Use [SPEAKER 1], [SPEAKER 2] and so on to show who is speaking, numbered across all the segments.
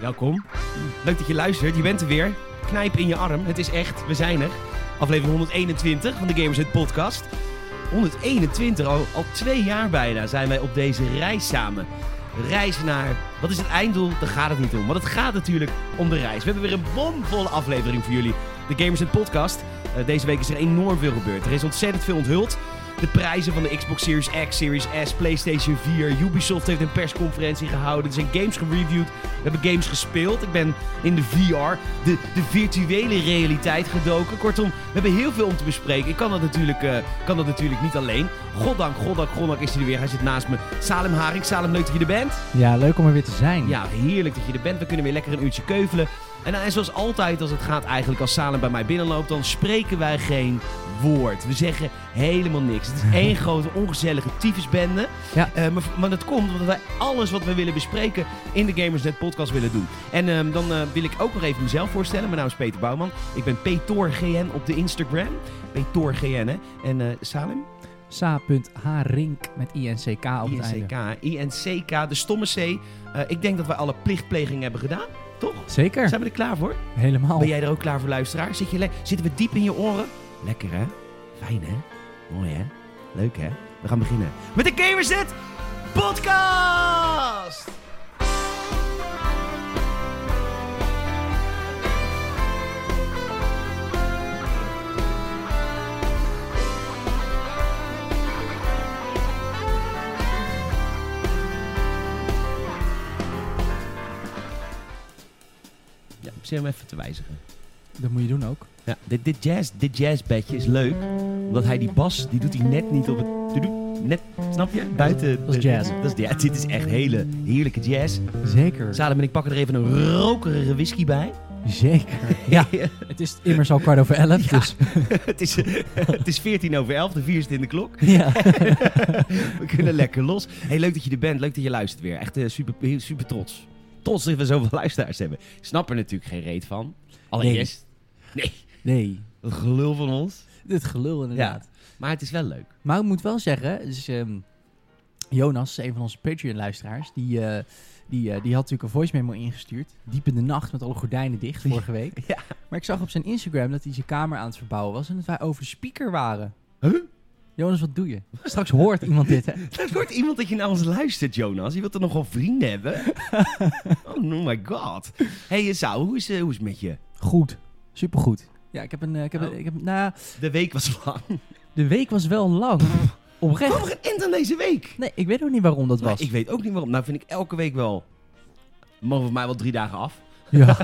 [SPEAKER 1] Welkom. Leuk dat je luistert. Je bent er weer. Knijp in je arm. Het is echt. We zijn er. Aflevering 121 van de Gamers Hut podcast. 121, al, al twee jaar bijna zijn wij op deze reis samen. Reis naar, wat is het einddoel? Daar gaat het niet om. Want het gaat natuurlijk om de reis. We hebben weer een bomvolle aflevering voor jullie. De Gamers Hut podcast. Eh, deze week is er enorm veel gebeurd. Er is ontzettend veel onthuld. De prijzen van de Xbox Series X, Series S, PlayStation 4. Ubisoft heeft een persconferentie gehouden. Er zijn games gereviewd. We hebben games gespeeld. Ik ben in de VR, de, de virtuele realiteit gedoken. Kortom, we hebben heel veel om te bespreken. Ik kan dat natuurlijk, eh, kan dat natuurlijk niet alleen. Goddank, goddank, goddank is hij er weer. Hij zit naast me. Salem Haring. Salem, leuk dat je er bent.
[SPEAKER 2] Ja, leuk om er weer te zijn.
[SPEAKER 1] Ja, heerlijk dat je er bent. We kunnen weer lekker een uurtje keuvelen. En, en zoals altijd, als het gaat eigenlijk als Salem bij mij binnenloopt, dan spreken wij geen woord. We zeggen helemaal niks. Het is één grote ongezellige tyfusbende.
[SPEAKER 2] Ja.
[SPEAKER 1] Eh, maar, maar dat komt omdat wij alles wat we willen bespreken in de Gamersnet podcast willen doen. En ehm, dan eh, wil ik ook nog even mezelf voorstellen. Mijn naam is Peter Bouwman. Ik ben PetorGN op de Instagram. PetorGN, hè. En eh, Salem?
[SPEAKER 2] Sa.hrink met INCK op het einde.
[SPEAKER 1] INCK. INCK, de stomme C. Eh, ik denk dat wij alle plichtplegingen hebben gedaan, toch?
[SPEAKER 2] Zeker,
[SPEAKER 1] Zijn we er klaar voor?
[SPEAKER 2] helemaal.
[SPEAKER 1] Ben jij er ook klaar voor, luisteraar? Zit je le- zitten we diep in je oren? Lekker, hè? Fijn, hè? Mooi, hè? Leuk, hè? We gaan beginnen met de Gamersnet Podcast! Ja, ik zit hem even te wijzigen.
[SPEAKER 2] Dat moet je doen ook.
[SPEAKER 1] Ja, dit, dit, jazz, dit jazzbedje is leuk, omdat hij die bas, die doet hij net niet op het... doedoe, Net, snap je? Buiten...
[SPEAKER 2] dat is jazz.
[SPEAKER 1] Dat is, ja, dit is echt hele heerlijke jazz.
[SPEAKER 2] Zeker.
[SPEAKER 1] Salem en ik pakken er even een rokerige whisky bij.
[SPEAKER 2] Zeker.
[SPEAKER 1] Ja,
[SPEAKER 2] het is immers al kwart over elf,
[SPEAKER 1] Ja.
[SPEAKER 2] dus...
[SPEAKER 1] het, is, het is 14 over 11, de vier zit in de klok.
[SPEAKER 2] ja.
[SPEAKER 1] We kunnen lekker los. Hey, leuk dat je er bent. Leuk dat je luistert weer. Echt eh, super, heel- super trots. Trots dat we zoveel luisteraars hebben. Ik snap er natuurlijk geen reet van. Allereerst. Nee.
[SPEAKER 2] Nee,
[SPEAKER 1] Dat gelul van ons.
[SPEAKER 2] dit gelul inderdaad.
[SPEAKER 1] Maar het is wel leuk.
[SPEAKER 2] Maar ik moet wel zeggen, dus, ehm, Jonas, een van onze Patreon-luisteraars, die, eh, die, eh, die had natuurlijk een voice memo ingestuurd. Diep in de nacht met alle gordijnen dicht vorige week.
[SPEAKER 1] Ja.
[SPEAKER 2] Maar ik zag op zijn Instagram dat hij zijn kamer aan het verbouwen was en dat wij over de speaker waren.
[SPEAKER 1] Huh?
[SPEAKER 2] Jonas, wat doe je? Straks hoort iemand dit, hè?
[SPEAKER 1] Dat wordt iemand dat je naar ons luistert, Jonas. Je wilt er nogal vrienden hebben. oh my god. hey, eh, Sao, hoe is, eh, hoe is het met je?
[SPEAKER 2] Goed. Supergoed. Ja, ik heb een... eh, Ik heb
[SPEAKER 1] Oh.
[SPEAKER 2] een ik heb, nou, ja,
[SPEAKER 1] De week was lang.
[SPEAKER 2] de week was wel lang.
[SPEAKER 1] Waarom
[SPEAKER 2] Oprecht.
[SPEAKER 1] geen eind aan deze week?
[SPEAKER 2] Nee, ik weet ook niet waarom dat
[SPEAKER 1] Maar
[SPEAKER 2] was.
[SPEAKER 1] ik weet ook niet waarom. Nou vind ik elke week wel... Mogen voor mij wel drie dagen af.
[SPEAKER 2] Ja.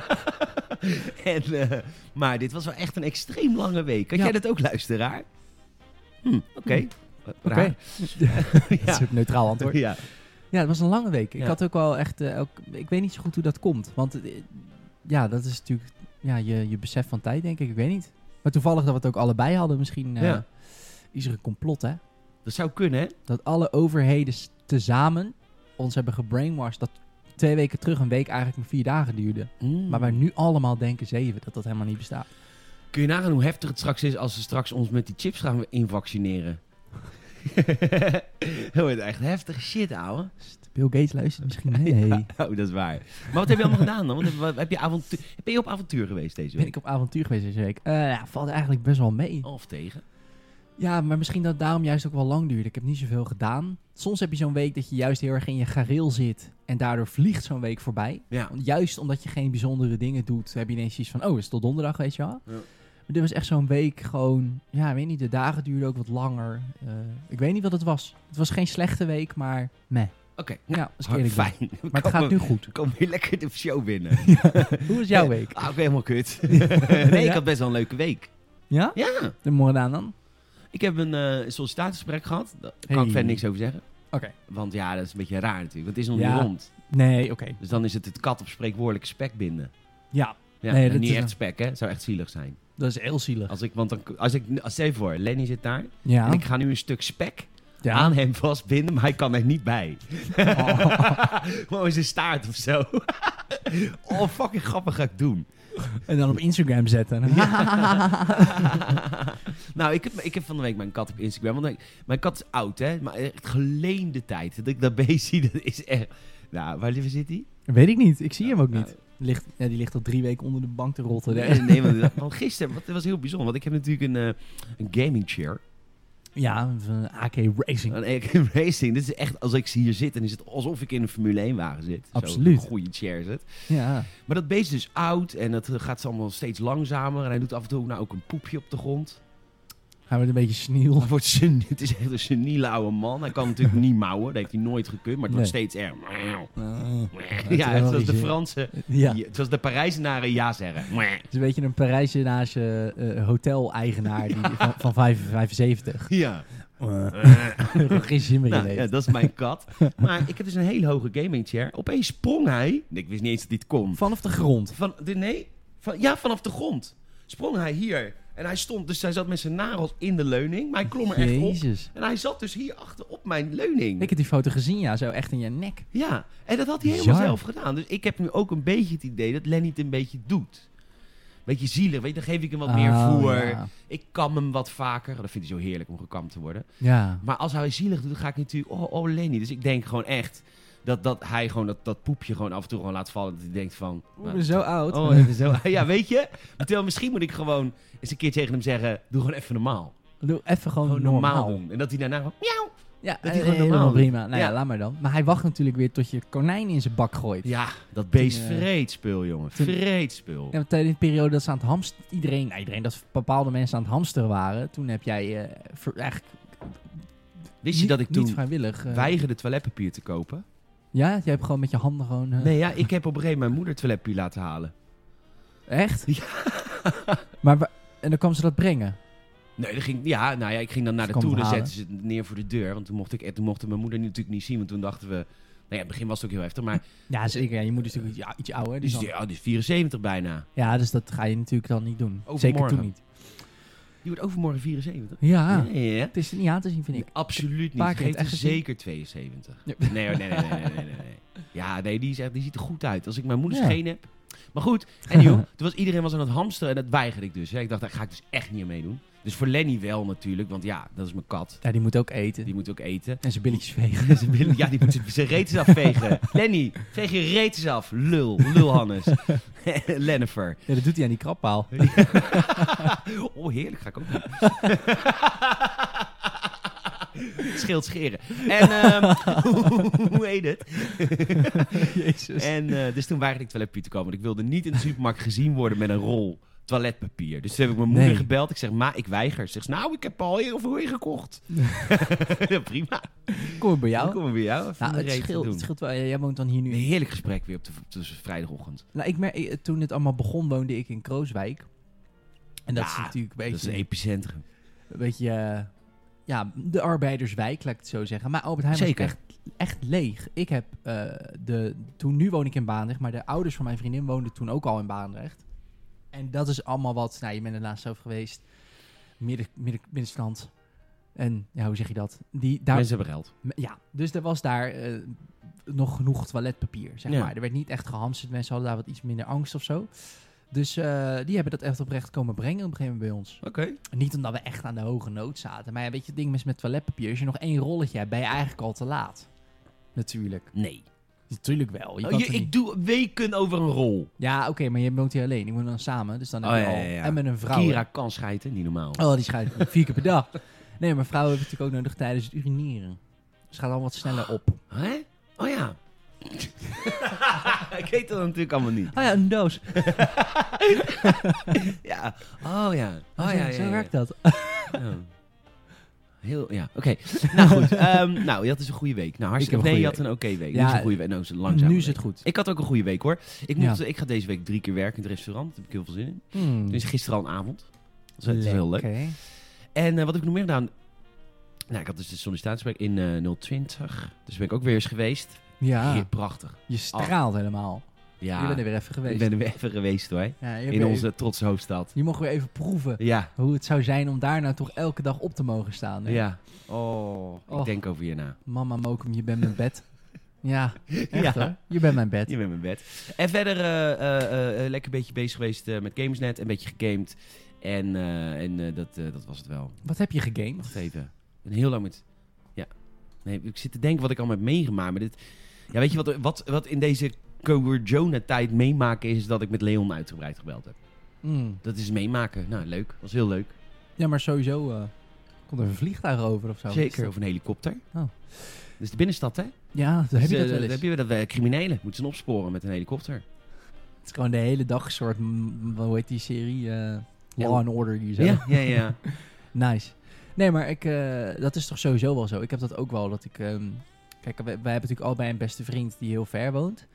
[SPEAKER 1] En, eh, maar dit was wel echt een extreem lange week. Had
[SPEAKER 2] Ja.
[SPEAKER 1] jij dat ook, luisteraar? Hm, oké. Eh,
[SPEAKER 2] Oké.
[SPEAKER 1] raar.
[SPEAKER 2] Dat is
[SPEAKER 1] ja.
[SPEAKER 2] het neutraal antwoord.
[SPEAKER 1] ja.
[SPEAKER 2] Ja, het was een lange week. Ik
[SPEAKER 1] Ja.
[SPEAKER 2] had ook wel echt... eh, ook, ik weet niet zo goed hoe dat komt. Want eh, ja, dat is natuurlijk... Ja, je, je besef van tijd, denk ik. Ik weet niet. Maar toevallig dat we het ook allebei hadden. Misschien eh,
[SPEAKER 1] Ja.
[SPEAKER 2] is er een complot, hè?
[SPEAKER 1] Dat zou kunnen, hè?
[SPEAKER 2] Dat alle overheden s- tezamen ons hebben gebrainwashed. Dat twee weken terug een week eigenlijk maar vier dagen duurde.
[SPEAKER 1] Hmm.
[SPEAKER 2] Maar wij nu allemaal denken zeven. Dat dat helemaal niet bestaat.
[SPEAKER 1] Kun je nagaan hoe heftig het straks is als ze straks ons met die chips gaan invaccineren? dat wordt echt heftig shit, ouwe.
[SPEAKER 2] Sst, Bill Gates luistert misschien mee.
[SPEAKER 1] Oh, dat is waar. Maar wat heb je allemaal gedaan dan? Wat heb, wat- heb je avontu- ben je op avontuur geweest deze
[SPEAKER 2] Ben
[SPEAKER 1] week?
[SPEAKER 2] ik op avontuur geweest deze week? Eh, ja, valt eigenlijk best wel mee.
[SPEAKER 1] Of tegen?
[SPEAKER 2] Ja, maar misschien dat het daarom juist ook wel lang duurde. Ik heb niet zoveel gedaan. Soms heb je zo'n week dat je juist heel erg in je gareel zit. En daardoor vliegt zo'n week voorbij.
[SPEAKER 1] Ja.
[SPEAKER 2] Want Juist omdat je geen bijzondere dingen doet, heb je ineens iets van... Oh, is het tot donderdag, weet je wel?
[SPEAKER 1] Ja.
[SPEAKER 2] Maar dit was echt zo'n week gewoon... Ja, ik weet niet, de dagen duurden ook wat langer. Eh, ik weet niet wat het was. Het was geen slechte week, maar meh.
[SPEAKER 1] Oké, nou,
[SPEAKER 2] Ja, als ik eerlijk ben.
[SPEAKER 1] fijn. We
[SPEAKER 2] Maar het
[SPEAKER 1] komen-
[SPEAKER 2] gaat nu goed.
[SPEAKER 1] we komen weer lekker de show binnen.
[SPEAKER 2] Hoe is jouw week?
[SPEAKER 1] Ah, ook helemaal kut. nee, ik
[SPEAKER 2] Ja?
[SPEAKER 1] had best wel een leuke week.
[SPEAKER 2] Ja?
[SPEAKER 1] Ja.
[SPEAKER 2] De Moradaan dan?
[SPEAKER 1] Ik heb een eh sollicitatiegesprek gehad. Daar kan
[SPEAKER 2] Hey.
[SPEAKER 1] ik verder niks over zeggen.
[SPEAKER 2] Oké.
[SPEAKER 1] Want ja, dat is een beetje raar natuurlijk. Want het is nog
[SPEAKER 2] Ja.
[SPEAKER 1] niet rond.
[SPEAKER 2] Nee, oké.
[SPEAKER 1] Dus dan is het het kat op spreekwoordelijke spek binden.
[SPEAKER 2] Ja,
[SPEAKER 1] Ja,
[SPEAKER 2] Nee,
[SPEAKER 1] en
[SPEAKER 2] dat
[SPEAKER 1] niet
[SPEAKER 2] is
[SPEAKER 1] echt
[SPEAKER 2] een-
[SPEAKER 1] spek, hè. Het zou echt zielig zijn.
[SPEAKER 2] dat is heel zielig.
[SPEAKER 1] Als ik, want dan, als ik, als, stel je voor, Lenny zit daar.
[SPEAKER 2] Ja.
[SPEAKER 1] En ik ga nu een stuk spek
[SPEAKER 2] ja.
[SPEAKER 1] aan hem vastbinden, maar hij kan er niet bij.
[SPEAKER 2] Oh.
[SPEAKER 1] Gewoon in zijn staart of zo. oh, fucking grappig ga ik doen.
[SPEAKER 2] En dan op Instagram zetten.
[SPEAKER 1] nou, ik heb, ik heb van de week mijn kat op Instagram. Want ik- mijn kat is oud, hè? Maar echt geleende tijd. Dat ik dat beest zie, dat is echt... Nou, waar waar zit hij?
[SPEAKER 2] Weet ik niet. Ik zie hem ook
[SPEAKER 1] Nou,
[SPEAKER 2] niet. Ligt, ja, die ligt al drie weken onder de bank te rotten.
[SPEAKER 1] Nee, nee, maar, want gisteren, want dat was heel bijzonder. Want ik heb natuurlijk een, eh, een gaming chair.
[SPEAKER 2] Ja, van AK Racing.
[SPEAKER 1] Een Aken Racing. Dit is echt, als ik ze hier zit, dan is het alsof ik in een Formule 1 wagen zit.
[SPEAKER 2] Absoluut.
[SPEAKER 1] Zo'n goede chair is het.
[SPEAKER 2] Ja.
[SPEAKER 1] Maar dat beest is dus oud en dat gaat ze allemaal steeds langzamer. En hij doet af en toe nou ook een poepje op de grond.
[SPEAKER 2] Gaan we het een beetje sniel.
[SPEAKER 1] Hij wordt sen- het is echt een seniele oude man. Hij kan natuurlijk niet mouwen, dat heeft hij nooit gekund. Maar het wordt steeds erg. Ja, het was de Fransen.
[SPEAKER 2] Ja.
[SPEAKER 1] die- Het was de Parijzenaren ja zeggen.
[SPEAKER 2] Het is een beetje een Parijzenage eh hotel-eigenaar die- van, van 5 75.
[SPEAKER 1] Ja. Eh,
[SPEAKER 2] Geen zin meer in
[SPEAKER 1] Nou, ja,
[SPEAKER 2] heeft.
[SPEAKER 1] dat is mijn kat. Maar ik heb dus een hele hoge gaming chair. Opeens sprong hij. Ik wist niet eens dat dit kon.
[SPEAKER 2] Vanaf de grond.
[SPEAKER 1] Van, de- nee, van, ja, vanaf de grond. Sprong hij hier. En hij stond, dus hij zat met zijn nagels in de leuning. Maar hij klom er echt op.
[SPEAKER 2] Jezus.
[SPEAKER 1] En hij zat dus hier achter op mijn leuning.
[SPEAKER 2] Ik heb die foto gezien, ja. Zo echt in je nek.
[SPEAKER 1] Ja, en dat had hij helemaal
[SPEAKER 2] Bizar.
[SPEAKER 1] zelf gedaan. Dus ik heb nu ook een beetje het idee dat Lenny het een beetje doet. Beetje zielig, weet je, dan geef ik hem wat meer
[SPEAKER 2] Ah,
[SPEAKER 1] voer.
[SPEAKER 2] Ja.
[SPEAKER 1] Ik kam hem wat vaker. Oh, Dat vindt hij zo heerlijk om gekamd te worden.
[SPEAKER 2] Ja.
[SPEAKER 1] Maar als hij zielig doet, dan ga ik natuurlijk... Oh, oh Lenny. Dus ik denk gewoon echt dat, dat hij gewoon dat, dat poepje gewoon af en toe gewoon laat vallen. Dat hij denkt van...
[SPEAKER 2] Oeh, ik ben zo oud.
[SPEAKER 1] Oh, even zo. Ja, weet je? Terwijl misschien moet ik gewoon eens een keer tegen hem zeggen... Doe gewoon even normaal.
[SPEAKER 2] Doe even gewoon,
[SPEAKER 1] Gewoon normaal,
[SPEAKER 2] normaal.
[SPEAKER 1] doen. En dat hij daarna gewoon... Miauw.
[SPEAKER 2] Ja,
[SPEAKER 1] hij
[SPEAKER 2] dat
[SPEAKER 1] gewoon normaal
[SPEAKER 2] helemaal
[SPEAKER 1] doet.
[SPEAKER 2] prima. Nou ja.
[SPEAKER 1] Ja.
[SPEAKER 2] laat maar dan. Maar hij wacht natuurlijk weer tot je konijn in zijn bak gooit.
[SPEAKER 1] Ja, dat beest
[SPEAKER 2] Toen, eh,
[SPEAKER 1] vreed spul, jongen.
[SPEAKER 2] toen-
[SPEAKER 1] Vreed spul.
[SPEAKER 2] Ja, want tijdens de periode dat ze aan het hamsteren... Iedereen, nou, iedereen, dat bepaalde mensen aan het hamsteren waren. Toen heb jij eh, ver- eigenlijk
[SPEAKER 1] Wist je
[SPEAKER 2] niet-
[SPEAKER 1] dat ik toen
[SPEAKER 2] niet vrijwillig... eh,
[SPEAKER 1] weigerde toiletpapier te kopen?
[SPEAKER 2] Ja, jij hebt gewoon met je handen gewoon... eh,
[SPEAKER 1] Nee, ja, ik heb op een gegeven moment mijn moeder toiletpapier laten halen.
[SPEAKER 2] Echt? Maar wa- en dan kwam ze dat brengen.
[SPEAKER 1] Nee, dat ging, ja, nou ja, ik ging dan naar
[SPEAKER 2] Ze
[SPEAKER 1] de
[SPEAKER 2] kwam
[SPEAKER 1] toer en
[SPEAKER 2] halen.
[SPEAKER 1] zetten ze het neer voor de deur. Want toen mocht ik, en toen mochten mijn moeder natuurlijk niet zien, want toen dachten we... Nou ja, in het begin was het ook heel heftig, maar
[SPEAKER 2] Ja, zeker. Ja, je moeder is natuurlijk iets, iets ouder.
[SPEAKER 1] die
[SPEAKER 2] Dus
[SPEAKER 1] is,
[SPEAKER 2] dan-
[SPEAKER 1] ja, die is 74 bijna.
[SPEAKER 2] ja, dus dat ga je natuurlijk dan niet doen. Zeker
[SPEAKER 1] Overmorgen.
[SPEAKER 2] toen niet.
[SPEAKER 1] Die wordt overmorgen 74.
[SPEAKER 2] Ja,
[SPEAKER 1] Ja, ja, ja.
[SPEAKER 2] het is er niet aan te zien, vind ik.
[SPEAKER 1] Absoluut niet.
[SPEAKER 2] Paar keer
[SPEAKER 1] Geeft
[SPEAKER 2] het echt
[SPEAKER 1] er
[SPEAKER 2] gezien.
[SPEAKER 1] zeker 72.
[SPEAKER 2] Ja.
[SPEAKER 1] Nee, hoor, nee, nee, nee, nee, nee, nee, nee. Ja, nee, die, is echt, die ziet er goed uit. Als ik mijn moeder
[SPEAKER 2] Ja.
[SPEAKER 1] scheen heb. Maar goed, en joh, toen was iedereen was aan het hamsteren en dat weigerde ik dus. hè. Ik dacht, daar ga ik dus echt niet aan meedoen. Dus voor Lenny wel natuurlijk, want ja, dat is mijn kat.
[SPEAKER 2] Ja, die moet ook eten.
[SPEAKER 1] Die moet ook eten.
[SPEAKER 2] En zijn billetjes vegen.
[SPEAKER 1] Ze willen- ja, die moet zijn- zijn reet eens afvegen. Lenny, veeg je reet eens af. Lul, lul Hannes. Lennifer.
[SPEAKER 2] Ja, dat doet hij aan die krappaal.
[SPEAKER 1] oh, heerlijk, ga ik ook doen. Scheelt scheren. En ehm, hoe heet het?
[SPEAKER 2] Jezus.
[SPEAKER 1] En, eh, dus toen weigerde ik toiletpapier te komen. Want ik wilde niet in de supermarkt gezien worden met een rol toiletpapier. Dus toen heb ik mijn moeder
[SPEAKER 2] Nee.
[SPEAKER 1] gebeld. Ik zeg, ma, ik weiger. Ze zegt, nou, ik heb al heel veel weer gekocht. Ja, Prima.
[SPEAKER 2] Kom maar
[SPEAKER 1] Dan
[SPEAKER 2] bij jou.
[SPEAKER 1] komen we bij jou. Even
[SPEAKER 2] Nou,
[SPEAKER 1] een
[SPEAKER 2] het
[SPEAKER 1] reet
[SPEAKER 2] scheelt,
[SPEAKER 1] doen.
[SPEAKER 2] het scheelt wel. Ja, Jij woont dan hier nu.
[SPEAKER 1] Een heerlijk gesprek weer op de, op de vrijdagochtend.
[SPEAKER 2] Nou, ik merk, eh, toen het allemaal begon, woonde ik in Krooswijk. En dat is
[SPEAKER 1] Ja,
[SPEAKER 2] natuurlijk een
[SPEAKER 1] Dat is
[SPEAKER 2] beetje,
[SPEAKER 1] een epicentrum.
[SPEAKER 2] een beetje eh, ja, de arbeiderswijk, laat ik het zo zeggen. Maar Albert Heijn
[SPEAKER 1] Zeker.
[SPEAKER 2] was echt, echt leeg. Ik heb eh, de, toen, nu woon ik in Baandrecht, maar de ouders van mijn vriendin woonden toen ook al in Baandrecht. En dat is allemaal wat, nou, je bent er laatst over geweest, midden, midden, middenstand. En, ja, hoe zeg je dat? Die, daar,
[SPEAKER 1] Mensen hebben geld.
[SPEAKER 2] M- Ja, dus er was daar eh, nog genoeg toiletpapier, zeg
[SPEAKER 1] Ja.
[SPEAKER 2] maar. Er werd niet echt gehamsterd. Mensen hadden daar wat iets minder angst of zo. Dus eh, die hebben dat echt oprecht komen brengen op een gegeven moment bij ons.
[SPEAKER 1] Oké.
[SPEAKER 2] Niet omdat we echt aan de hoge nood zaten. Maar ja, weet je, het ding is met toiletpapier. Als je nog één rolletje hebt, ben je eigenlijk al te laat. Natuurlijk.
[SPEAKER 1] Nee.
[SPEAKER 2] Natuurlijk wel. Je
[SPEAKER 1] Oh,
[SPEAKER 2] kan
[SPEAKER 1] je-
[SPEAKER 2] toch
[SPEAKER 1] ik
[SPEAKER 2] niet-
[SPEAKER 1] doe weken over een rol.
[SPEAKER 2] Ja, oké, maar je woont hier alleen. Ik woon dan samen. Dus dan
[SPEAKER 1] Oh,
[SPEAKER 2] heb je
[SPEAKER 1] ja,
[SPEAKER 2] al...
[SPEAKER 1] ja, ja.
[SPEAKER 2] En met een vrouw. hè.
[SPEAKER 1] Kira kan schijten, niet normaal.
[SPEAKER 2] Oh, die schijt vier keer per dag. Nee, maar vrouwen hebben natuurlijk ook nodig tijdens het urineren. Dus gaat al wat sneller op.
[SPEAKER 1] Hè? Oh ja. ik weet dat natuurlijk allemaal niet.
[SPEAKER 2] Oh ja, een doos.
[SPEAKER 1] Ja. Oh ja. Oh
[SPEAKER 2] zo
[SPEAKER 1] ja, ja,
[SPEAKER 2] zo
[SPEAKER 1] ja,
[SPEAKER 2] werkt dat.
[SPEAKER 1] Ja. Heel, ja, oké. Nou goed, ehm, nou, je had dus een goede week. Nou, hartstikke.
[SPEAKER 2] Ik
[SPEAKER 1] Nee,
[SPEAKER 2] heb een
[SPEAKER 1] je
[SPEAKER 2] goede
[SPEAKER 1] had een oké week.
[SPEAKER 2] Ja,
[SPEAKER 1] nu is een goede week. Nou, is een langzame
[SPEAKER 2] nu is
[SPEAKER 1] week.
[SPEAKER 2] het goed.
[SPEAKER 1] Ik had ook een goede week hoor. Ik, moet,
[SPEAKER 2] Ja. Mm.
[SPEAKER 1] ik ga deze week drie keer werken in het restaurant. Daar heb ik heel veel zin in. Dus gisteren al een avond. Dus dat is heel leuk. En eh, wat heb ik nog meer gedaan? Nou, ik had dus de sollicitatiegesprek in eh 020. Dus ben ik ook weer eens geweest.
[SPEAKER 2] Ja,
[SPEAKER 1] Hier, prachtig.
[SPEAKER 2] je straalt helemaal.
[SPEAKER 1] Ja,
[SPEAKER 2] Ah. Je bent er weer even geweest.
[SPEAKER 1] ik ben er weer even geweest hoor.
[SPEAKER 2] Ja, je, hebt
[SPEAKER 1] In
[SPEAKER 2] weer-
[SPEAKER 1] onze trotse hoofdstad.
[SPEAKER 2] je mocht weer even proeven
[SPEAKER 1] Ja,
[SPEAKER 2] hoe het zou zijn om daar nou toch elke dag op te mogen staan. hè?
[SPEAKER 1] ja. Oh, ik
[SPEAKER 2] Och.
[SPEAKER 1] denk over je na.
[SPEAKER 2] Mama Mokum, je bent mijn bed. ja, echt
[SPEAKER 1] Ja.
[SPEAKER 2] hoor. Je bent mijn bed.
[SPEAKER 1] Je bent in mijn bed. En verder eh, eh, eh, eh, lekker een beetje bezig geweest eh, met Gamersnet. Een beetje gegamed. En, eh, en eh, dat, eh, dat was het wel.
[SPEAKER 2] Wat heb je gegamed?
[SPEAKER 1] Wacht even. Ik ben heel lang met... Ja. Nee, ik zit te denken wat ik allemaal heb meegemaakt. Maar dit... Ja, weet je wat, wat, wat in deze corona-tijd meemaken is dat ik met Leon uitgebreid gebeld heb.
[SPEAKER 2] Mm.
[SPEAKER 1] Dat is meemaken. Nou, leuk. Was heel leuk.
[SPEAKER 2] Ja, maar sowieso eh, komt er een vliegtuig over of zo. Is
[SPEAKER 1] Zeker.
[SPEAKER 2] dat-
[SPEAKER 1] Of een helikopter.
[SPEAKER 2] Oh.
[SPEAKER 1] Dus de binnenstad, hè?
[SPEAKER 2] Ja, dan heb je
[SPEAKER 1] Dus,
[SPEAKER 2] dat
[SPEAKER 1] eh,
[SPEAKER 2] wel eens.
[SPEAKER 1] Dan heb je dat wij criminelen moeten ze opsporen met een helikopter.
[SPEAKER 2] Het is gewoon de hele dag een soort, mm, hoe heet die serie? eh,
[SPEAKER 1] Ja.
[SPEAKER 2] Law and Order hier zo.
[SPEAKER 1] Ja, ja, ja.
[SPEAKER 2] Nice. Nee, maar ik, eh, dat is toch sowieso wel zo. Ik heb dat ook wel, dat ik... ehm, kijk, wij, wij hebben natuurlijk allebei een beste vriend die heel ver woont.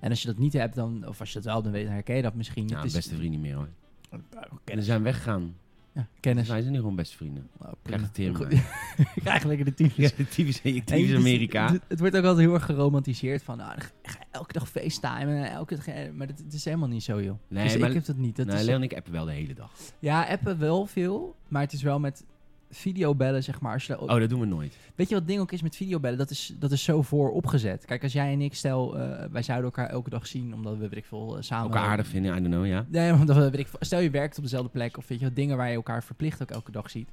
[SPEAKER 2] En als je dat niet hebt, dan, of als je dat wel hebt, dan weet- herken je dat misschien.
[SPEAKER 1] Nou,
[SPEAKER 2] Het is-
[SPEAKER 1] beste vrienden niet meer hoor. En ze
[SPEAKER 2] Kennis.
[SPEAKER 1] zijn weggegaan.
[SPEAKER 2] Ja,
[SPEAKER 1] Dan
[SPEAKER 2] kennis.
[SPEAKER 1] zijn ze nu gewoon beste vrienden.
[SPEAKER 2] Oh,
[SPEAKER 1] Krijg
[SPEAKER 2] prima.
[SPEAKER 1] de tering
[SPEAKER 2] Goed.
[SPEAKER 1] maar.
[SPEAKER 2] Ik krijg lekker de tyfus.
[SPEAKER 1] Ja, typisch,
[SPEAKER 2] En
[SPEAKER 1] typisch
[SPEAKER 2] het is-
[SPEAKER 1] Amerika.
[SPEAKER 2] Het, het wordt ook altijd heel erg geromantiseerd van, nou, dan ga- ga je elke dag facetimen, en elke dag, eh, maar dat, het is helemaal niet zo, joh.
[SPEAKER 1] Nee,
[SPEAKER 2] dus
[SPEAKER 1] maar-
[SPEAKER 2] ik heb dat niet. Dat
[SPEAKER 1] Nou,
[SPEAKER 2] is,
[SPEAKER 1] Leon en ik appen wel de hele dag.
[SPEAKER 2] ja, appen wel veel, maar het is wel met videobellen, zeg maar. Als je daar-
[SPEAKER 1] Oh, dat doen we nooit.
[SPEAKER 2] Weet je wat het ding ook is met videobellen? Dat is, dat is zo voor opgezet. Kijk, als jij en ik, stel, eh, wij zouden elkaar elke dag zien, omdat we, weet ik veel, eh, samen...
[SPEAKER 1] Elkaar aardig vinden, I don't know, ja.
[SPEAKER 2] Nee, maar omdat we, weet ik, veel- stel je werkt op dezelfde plek, of weet je wat, dingen waar je elkaar verplicht ook elke dag ziet.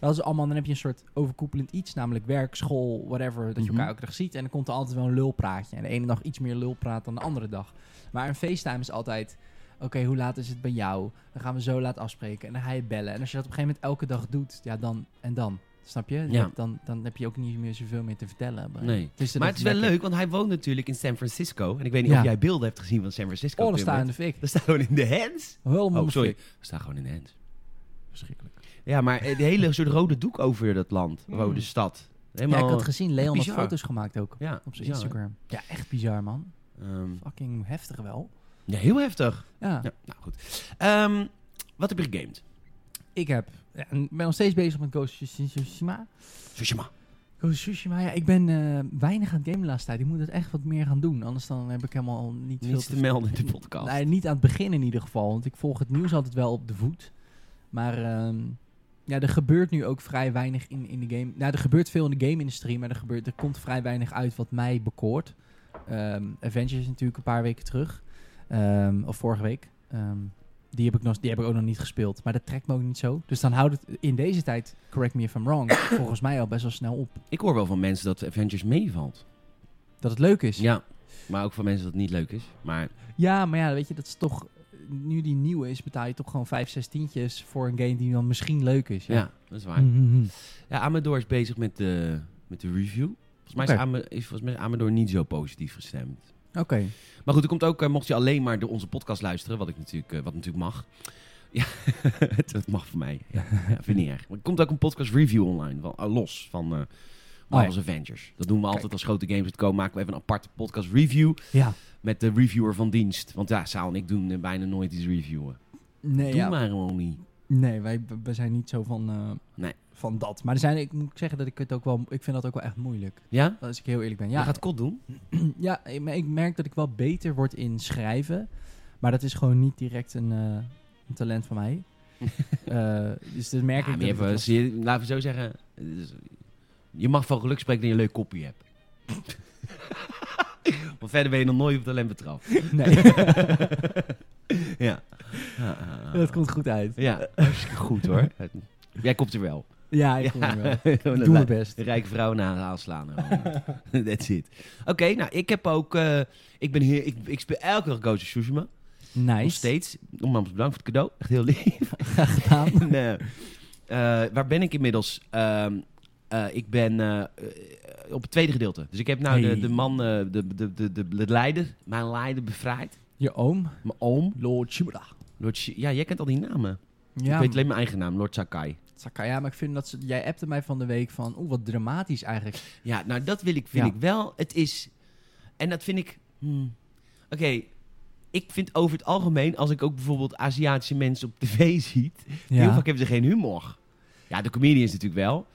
[SPEAKER 2] Dat is allemaal, dan heb je een soort overkoepelend iets, namelijk werk, school, whatever, dat je
[SPEAKER 1] Mhm.
[SPEAKER 2] elkaar elke dag ziet. En dan komt er altijd wel een lulpraatje. En de ene dag iets meer lulpraat dan de andere dag. Maar een FaceTime is altijd, oké, hoe laat is het bij jou? Dan gaan we zo laat afspreken en dan ga je bellen. En als je dat op een gegeven moment elke dag doet, ja, dan en dan. Snap je?
[SPEAKER 1] Ja.
[SPEAKER 2] Dan, dan heb je ook niet meer zoveel meer te vertellen.
[SPEAKER 1] Nee.
[SPEAKER 2] Dus dat
[SPEAKER 1] Maar het is wel
[SPEAKER 2] lekker.
[SPEAKER 1] leuk, want hij woont natuurlijk in San Francisco. En ik weet niet
[SPEAKER 2] Ja.
[SPEAKER 1] of jij beelden hebt gezien van San Francisco.
[SPEAKER 2] Alles
[SPEAKER 1] Tim,
[SPEAKER 2] staan in
[SPEAKER 1] hè?
[SPEAKER 2] de fik.
[SPEAKER 1] We staan gewoon in de hands.
[SPEAKER 2] Helemaal
[SPEAKER 1] Oh, sorry.
[SPEAKER 2] fik.
[SPEAKER 1] We staan gewoon in de hands.
[SPEAKER 2] Verschrikkelijk.
[SPEAKER 1] Ja, maar eh, de hele soort rode doek over dat land,
[SPEAKER 2] Mm.
[SPEAKER 1] rode stad.
[SPEAKER 2] Ja,
[SPEAKER 1] Helemaal...
[SPEAKER 2] ik had gezien, Leon had
[SPEAKER 1] Bizar.
[SPEAKER 2] foto's gemaakt ook.
[SPEAKER 1] Ja,
[SPEAKER 2] Op zijn
[SPEAKER 1] ja.
[SPEAKER 2] Instagram. Ja, echt bizar, man.
[SPEAKER 1] Ehm,
[SPEAKER 2] Fucking heftig wel.
[SPEAKER 1] ja, heel heftig.
[SPEAKER 2] Ja.
[SPEAKER 1] Ja, nou goed. Ehm, wat heb je gegamed?
[SPEAKER 2] Ik heb, ja, en ben nog steeds bezig met Ghost of Tsushima.
[SPEAKER 1] Tsushima.
[SPEAKER 2] Ghost of Tsushima, ja, ik ben eh, weinig aan het gamen de laatste tijd. Ik moet dat echt wat meer gaan doen. Anders dan heb ik helemaal niet veel
[SPEAKER 1] Niets te melden in de podcast.
[SPEAKER 2] Nee, niet aan het begin in ieder geval. Want ik volg het nieuws altijd wel op de voet. Maar ehm, ja, er gebeurt nu ook vrij weinig in, in de game. Nou, er gebeurt veel in de game-industrie, maar er, gebeurt, er komt vrij weinig uit wat mij bekoort. Ehm Avengers is natuurlijk een paar weken terug. Ehm, of vorige week. Ehm, die, heb ik nog, die heb ik ook nog niet gespeeld. Maar dat trekt me ook niet zo. Dus dan houdt het in deze tijd, correct me if I'm wrong, volgens mij al best wel snel op.
[SPEAKER 1] Ik hoor wel van mensen dat Avengers meevalt.
[SPEAKER 2] Dat het leuk is.
[SPEAKER 1] Ja, maar ook van mensen dat het niet leuk is. Maar
[SPEAKER 2] Ja, maar ja, weet je, dat is toch... Nu die nieuw is, betaal je toch gewoon 5, 6 tientjes voor een game die dan misschien leuk is.
[SPEAKER 1] ja,
[SPEAKER 2] Ja.
[SPEAKER 1] dat is waar.
[SPEAKER 2] Mhm.
[SPEAKER 1] Ja, Amador is bezig met de, met de review. Volgens mij is,
[SPEAKER 2] Oké.
[SPEAKER 1] Ama- is volgens mij Amador niet zo positief gestemd.
[SPEAKER 2] Oké.
[SPEAKER 1] Maar goed, er komt ook, eh, mocht je alleen maar de, onze podcast luisteren, wat, ik natuurlijk, eh, wat natuurlijk mag. Ja, dat mag voor mij. Ja, ja, vind ik niet erg. Maar er komt ook een podcast review online, van, ah, los van eh Marvel's Avengers. Dat doen we altijd
[SPEAKER 2] Oh Kijk.
[SPEAKER 1] als grote games het komen. Maken we even een aparte podcast review
[SPEAKER 2] Ja.
[SPEAKER 1] met de reviewer van dienst. Want ja, Saal en ik doen eh, bijna nooit iets reviewen.
[SPEAKER 2] Nee,
[SPEAKER 1] Doe
[SPEAKER 2] ja.
[SPEAKER 1] maar gewoon niet.
[SPEAKER 2] nee wij, wij zijn niet zo van, eh,
[SPEAKER 1] Nee.
[SPEAKER 2] van dat. Maar er zijn, ik moet zeggen dat ik het ook wel... Ik vind dat ook wel echt moeilijk.
[SPEAKER 1] Ja?
[SPEAKER 2] Als ik heel eerlijk ben.
[SPEAKER 1] ja?
[SPEAKER 2] Ja,
[SPEAKER 1] Je gaat kot doen?
[SPEAKER 2] ja ik, me- ik merk dat ik wel beter word in schrijven. Maar dat is gewoon niet direct een, eh, een talent van mij. Eh, dus dat merk
[SPEAKER 1] Ja,
[SPEAKER 2] ik.
[SPEAKER 1] maar je
[SPEAKER 2] dat ik
[SPEAKER 1] hebt,
[SPEAKER 2] dat-
[SPEAKER 1] eh, zie je- laten we zo zeggen. het is- Je mag van geluk spreken dat je een leuk kopje hebt. Want verder ben je nog nooit op talent betrapt.
[SPEAKER 2] Nee,
[SPEAKER 1] ja. Ja, ja, ja.
[SPEAKER 2] dat komt goed uit.
[SPEAKER 1] Ja, hartstikke goed hoor. Jij komt er wel.
[SPEAKER 2] Ja, ik voel me wel.
[SPEAKER 1] Ja,
[SPEAKER 2] Ik
[SPEAKER 1] een
[SPEAKER 2] doe
[SPEAKER 1] li-
[SPEAKER 2] mijn best.
[SPEAKER 1] een Rijke vrouwen naar de haal slaan. That's it. Oké, nou ik heb ook... eh, ik ben hier... Ik, ik speel elke dag Ghost of Tsushima. Nog
[SPEAKER 2] Nice.
[SPEAKER 1] steeds. Nogmaals bedankt voor het cadeau. Echt heel lief.
[SPEAKER 2] Graag gedaan.
[SPEAKER 1] En, eh, eh, waar ben ik inmiddels? Ehm, eh, ik ben eh, eh, op het tweede gedeelte. Dus ik heb nou de,
[SPEAKER 2] Hey.
[SPEAKER 1] de man, eh, de, de, de, de, de leider, mijn leider bevrijd.
[SPEAKER 2] Je oom,
[SPEAKER 1] Mijn oom.
[SPEAKER 2] Lord Shimura.
[SPEAKER 1] Lord Shi- ja, jij kent al die namen.
[SPEAKER 2] Ja,
[SPEAKER 1] ik weet alleen mijn eigen naam, Lord Sakai.
[SPEAKER 2] Sakai, ja, maar ik vind dat ze, jij appte mij van de week van, oeh, wat dramatisch eigenlijk.
[SPEAKER 1] Ja, nou dat wil ik, vind
[SPEAKER 2] Ja.
[SPEAKER 1] ik wel. Het is... En dat vind ik... hmm, Oké, ik vind over het algemeen, als ik ook bijvoorbeeld Aziatische mensen op tv zie... Heel vaak hebben ze geen humor. Ja, de comedians natuurlijk wel.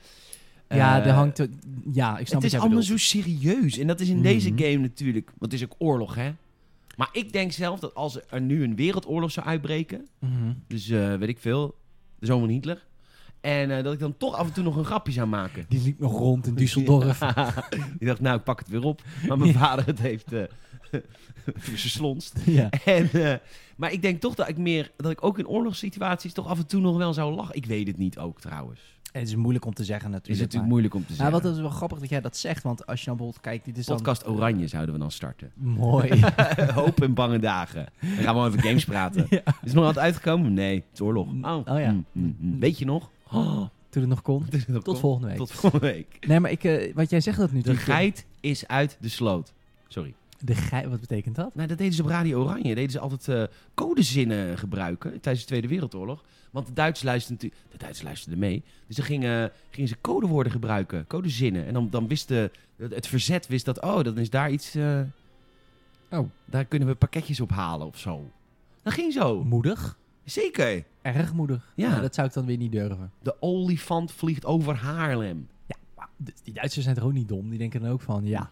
[SPEAKER 2] ja,
[SPEAKER 1] Eh,
[SPEAKER 2] er hangt, er- ja, ik
[SPEAKER 1] het
[SPEAKER 2] snap wat
[SPEAKER 1] is
[SPEAKER 2] jij
[SPEAKER 1] allemaal
[SPEAKER 2] bedoelt.
[SPEAKER 1] zo serieus. En dat is in deze
[SPEAKER 2] Mhm.
[SPEAKER 1] game natuurlijk. Want het is ook oorlog, hè? Maar ik denk zelf dat als er nu een wereldoorlog zou uitbreken.
[SPEAKER 2] Mhm.
[SPEAKER 1] Dus eh, weet ik veel. De zoon van Hitler. En eh, dat ik dan toch af en toe nog een grapje zou maken.
[SPEAKER 2] Die liep nog rond in Düsseldorf.
[SPEAKER 1] Ja. ik dacht, nou, ik pak het weer op. Maar mijn vader het heeft eh verslonst.
[SPEAKER 2] ja.
[SPEAKER 1] En, eh, maar ik denk toch dat ik meer. Dat ik ook in oorlogssituaties toch af en toe nog wel zou lachen. Ik weet het niet ook trouwens.
[SPEAKER 2] Het is moeilijk om te zeggen
[SPEAKER 1] Is het
[SPEAKER 2] natuurlijk.
[SPEAKER 1] natuurlijk moeilijk om te
[SPEAKER 2] maar,
[SPEAKER 1] zeggen.
[SPEAKER 2] maar Nou, wat is wel grappig dat jij dat zegt, want als je dan bijvoorbeeld kijkt, dit is dan...
[SPEAKER 1] Podcast Oranje zouden we dan starten.
[SPEAKER 2] Mooi.
[SPEAKER 1] Hoop en bange dagen. Dan gaan we gewoon even games praten.
[SPEAKER 2] Ja.
[SPEAKER 1] Is er nog wat uitgekomen? Nee, het is oorlog. Oh,
[SPEAKER 2] Oh ja.
[SPEAKER 1] Mm, mm, mm. Weet je nog? Oh,
[SPEAKER 2] Toen het nog kon.
[SPEAKER 1] tot
[SPEAKER 2] Tot volgende week.
[SPEAKER 1] Tot volgende week.
[SPEAKER 2] Nee, maar ik, eh, want jij zegt dat nu.
[SPEAKER 1] De
[SPEAKER 2] natuurlijk.
[SPEAKER 1] geit is uit de sloot. Sorry.
[SPEAKER 2] De geit, wat betekent dat?
[SPEAKER 1] Nou, dat deden ze op Radio Oranje. Deden ze altijd eh, codezinnen gebruiken tijdens de Tweede Wereldoorlog. Want de Duitsers luisterden natuurlijk... De Duitsers luisterden mee. Dus dan gingen, gingen ze codewoorden gebruiken. Codezinnen. En dan, dan wist de, het het verzet wist dat... Oh, dan is daar iets... eh,
[SPEAKER 2] Oh.
[SPEAKER 1] Daar kunnen we pakketjes op halen of zo. Dat ging zo.
[SPEAKER 2] Moedig.
[SPEAKER 1] Zeker.
[SPEAKER 2] Erg moedig.
[SPEAKER 1] Ja.
[SPEAKER 2] Nou, dat zou ik dan weer niet durven.
[SPEAKER 1] De olifant vliegt over Haarlem.
[SPEAKER 2] Maar d- die Duitsers zijn toch ook niet dom? Die denken dan ook van, ja,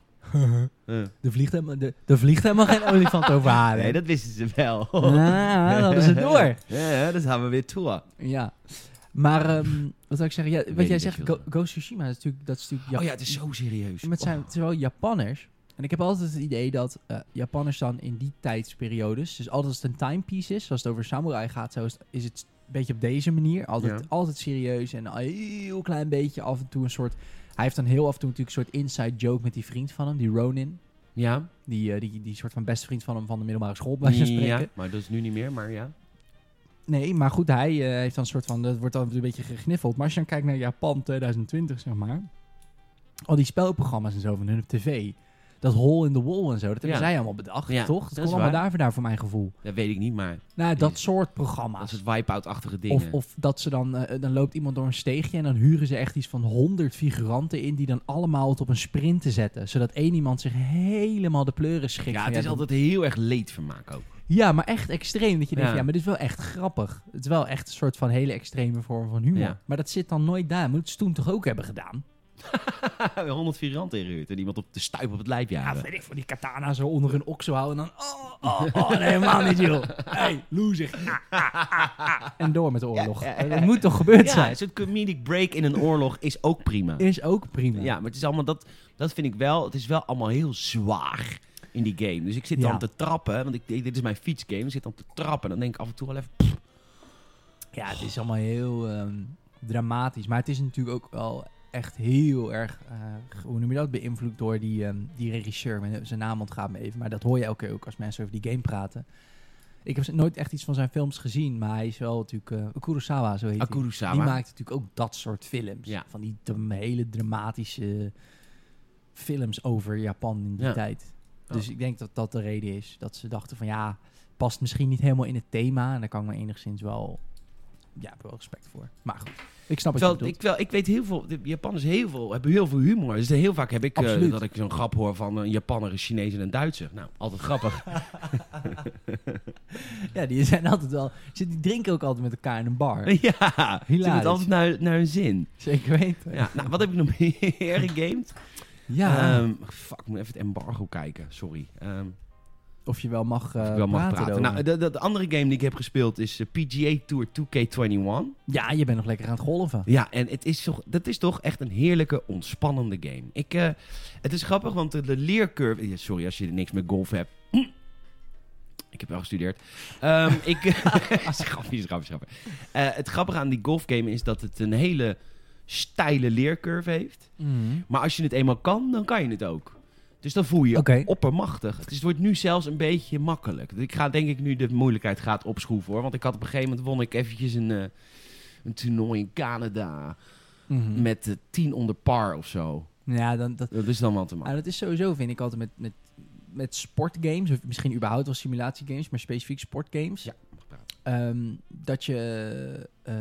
[SPEAKER 1] Eh.
[SPEAKER 2] er vliegt helemaal, de, er vliegt helemaal geen olifant over haar.
[SPEAKER 1] Nee, dat wisten ze wel.
[SPEAKER 2] Ah, dan hadden ze het door.
[SPEAKER 1] Ja, dat gaan we weer toe.
[SPEAKER 2] Ja. Maar ehm, wat zou ik zeggen? Ja, wat
[SPEAKER 1] niet
[SPEAKER 2] jij
[SPEAKER 1] wat
[SPEAKER 2] zegt,
[SPEAKER 1] je
[SPEAKER 2] Go,
[SPEAKER 1] wilde.
[SPEAKER 2] Ghost Tsushima is natuurlijk... Dat is natuurlijk
[SPEAKER 1] Oh
[SPEAKER 2] Jap-
[SPEAKER 1] ja, het is zo serieus.
[SPEAKER 2] Maar het zijn
[SPEAKER 1] Oh.
[SPEAKER 2] terwijl Japanners... En ik heb altijd het idee dat eh, Japanners dan in die tijdsperiodes... Dus altijd als het een timepiece is, als het over samurai gaat... Zo is, het- is het een beetje op deze manier. Altijd,
[SPEAKER 1] Ja.
[SPEAKER 2] altijd serieus en een heel klein beetje af en toe een soort... Hij heeft dan heel af en toe natuurlijk een soort inside joke met die vriend van hem, die Ronin.
[SPEAKER 1] Ja,
[SPEAKER 2] Die, eh, die, die soort van beste vriend van hem van de middelbare school, bij wijze van spreken.
[SPEAKER 1] ja, maar dat is nu niet meer, maar ja.
[SPEAKER 2] Nee, maar goed, hij eh, heeft dan een soort van. Dat wordt dan een beetje gegniffeld. Maar als je dan kijkt naar Japan 2020, zeg maar. Al die spelprogramma's en zo van hun op tv. Dat hole in the wall en zo. Dat hebben
[SPEAKER 1] Ja.
[SPEAKER 2] zij allemaal bedacht,
[SPEAKER 1] Ja,
[SPEAKER 2] toch?
[SPEAKER 1] dat
[SPEAKER 2] Dat,
[SPEAKER 1] is
[SPEAKER 2] komt allemaal
[SPEAKER 1] waar.
[SPEAKER 2] daar vandaan voor mijn gevoel.
[SPEAKER 1] Dat weet ik niet, maar
[SPEAKER 2] Nou,
[SPEAKER 1] Die-
[SPEAKER 2] dat soort
[SPEAKER 1] dat is
[SPEAKER 2] programma's.
[SPEAKER 1] het wipe-out-achtige ding.
[SPEAKER 2] Of, of dat ze dan, eh, dan loopt iemand door een steegje en dan huren ze echt iets van 100 figuranten in die dan allemaal het op een sprint te zetten. Zodat één iemand zich helemaal de pleuren schikt.
[SPEAKER 1] ja,
[SPEAKER 2] van,
[SPEAKER 1] het is
[SPEAKER 2] dat-
[SPEAKER 1] altijd heel erg leedvermaak ook.
[SPEAKER 2] ja, maar echt extreem. Dat je denkt,
[SPEAKER 1] Ja.
[SPEAKER 2] ja, maar dit is wel echt grappig. Het is wel echt een soort van hele extreme vorm van humor.
[SPEAKER 1] Ja.
[SPEAKER 2] Maar dat zit dan nooit daar. Moet ze toen toch ook hebben gedaan?
[SPEAKER 1] 100 vierant ingehuurd en iemand op de stuip op het lijf
[SPEAKER 2] Ja,
[SPEAKER 1] jagen.
[SPEAKER 2] weet ik, voor die katana zo onder hun oksel houden en dan... Oh, oh, oh, nee, helemaal niet, joh. Hey, loser. Ah, ah, ah, ah. En door met de oorlog.
[SPEAKER 1] Ja, ja, ja.
[SPEAKER 2] Dat moet toch gebeurd
[SPEAKER 1] Ja,
[SPEAKER 2] zijn?
[SPEAKER 1] een soort comedic break in een oorlog is ook prima.
[SPEAKER 2] Is ook prima.
[SPEAKER 1] Ja, maar het is allemaal, dat, dat vind ik wel, het is wel allemaal heel zwaar in die game. Dus ik zit dan
[SPEAKER 2] Ja.
[SPEAKER 1] te trappen, want ik, dit is mijn fietsgame, ik zit dan te trappen. En dan denk ik af en toe wel even, pff,
[SPEAKER 2] Ja, het is allemaal heel ehm, dramatisch. Maar het is natuurlijk ook wel echt heel erg, eh, hoe noem je dat, beïnvloed door die, ehm, die regisseur. Mijn- Zijn naam ontgaat me even, maar dat hoor je elke keer ook als mensen over die game praten. Ik heb nooit echt iets van zijn films gezien, maar hij is wel natuurlijk... eh Kurosawa, zo heet hij.
[SPEAKER 1] Akurusawa.
[SPEAKER 2] Die maakt natuurlijk ook dat soort films.
[SPEAKER 1] Ja.
[SPEAKER 2] Van die dra- hele dramatische films over Japan in die
[SPEAKER 1] Ja.
[SPEAKER 2] tijd.
[SPEAKER 1] Oh.
[SPEAKER 2] Dus ik denk dat dat de reden is. Dat ze dachten van ja, past misschien niet helemaal in het thema. En daar kan ik me enigszins wel... Ja, ik heb wel respect voor. Maar goed, ik snap het
[SPEAKER 1] Terwijl
[SPEAKER 2] wel.
[SPEAKER 1] ik, wel, ik weet heel veel, de Japanners heel veel, hebben heel veel humor. Dus heel vaak heb ik eh,
[SPEAKER 2] Absoluut.
[SPEAKER 1] dat ik zo'n grap hoor van een Japanner, een Chinees en een Duitser. Nou, altijd grappig.
[SPEAKER 2] Ja, die zijn altijd wel... ze- Die drinken ook altijd met elkaar in een bar.
[SPEAKER 1] ja, ze doen het altijd naar, naar hun zin.
[SPEAKER 2] Zeker weten.
[SPEAKER 1] Ja, nou, wat heb ik nog meer gegamed?
[SPEAKER 2] Ja,
[SPEAKER 1] Ehm, fuck, ik moet even het embargo kijken, sorry. Ehm,
[SPEAKER 2] of je wel mag,
[SPEAKER 1] of
[SPEAKER 2] eh,
[SPEAKER 1] ik wel mag
[SPEAKER 2] praten.
[SPEAKER 1] praten. Nou,
[SPEAKER 2] erover.
[SPEAKER 1] de, de- de andere game die ik heb gespeeld is eh, PGA Tour 2K21.
[SPEAKER 2] ja, je bent nog lekker aan het golven.
[SPEAKER 1] Ja, en het is toch, dat is toch echt een heerlijke, ontspannende game. Ik, eh, het is grappig, want de, de leercurve... ja, sorry, als je niks met golf hebt. Ik heb wel gestudeerd. Ehm ik, schapje, schapje, schapje. Eh, het grappige aan die golfgame is dat het een hele steile leercurve heeft.
[SPEAKER 2] Mhm.
[SPEAKER 1] Maar als je het eenmaal kan, dan kan je het ook. Dus dan voel je je
[SPEAKER 2] Oké.
[SPEAKER 1] oppermachtig. Het, is, het wordt nu zelfs een beetje makkelijk. Ik ga denk ik nu de moeilijkheid gaat opschroeven hoor. Want ik had op een gegeven moment won ik eventjes een, eh, een toernooi in Canada
[SPEAKER 2] Mhm.
[SPEAKER 1] met eh, 10 onder par of zo.
[SPEAKER 2] Ja, dan, dat,
[SPEAKER 1] Dat is dan wel te maken.
[SPEAKER 2] Ah, dat is sowieso, vind ik altijd met, met, met sportgames, of misschien überhaupt wel simulatiegames, maar specifiek sportgames.
[SPEAKER 1] Ja,
[SPEAKER 2] Ehm, dat je, eh,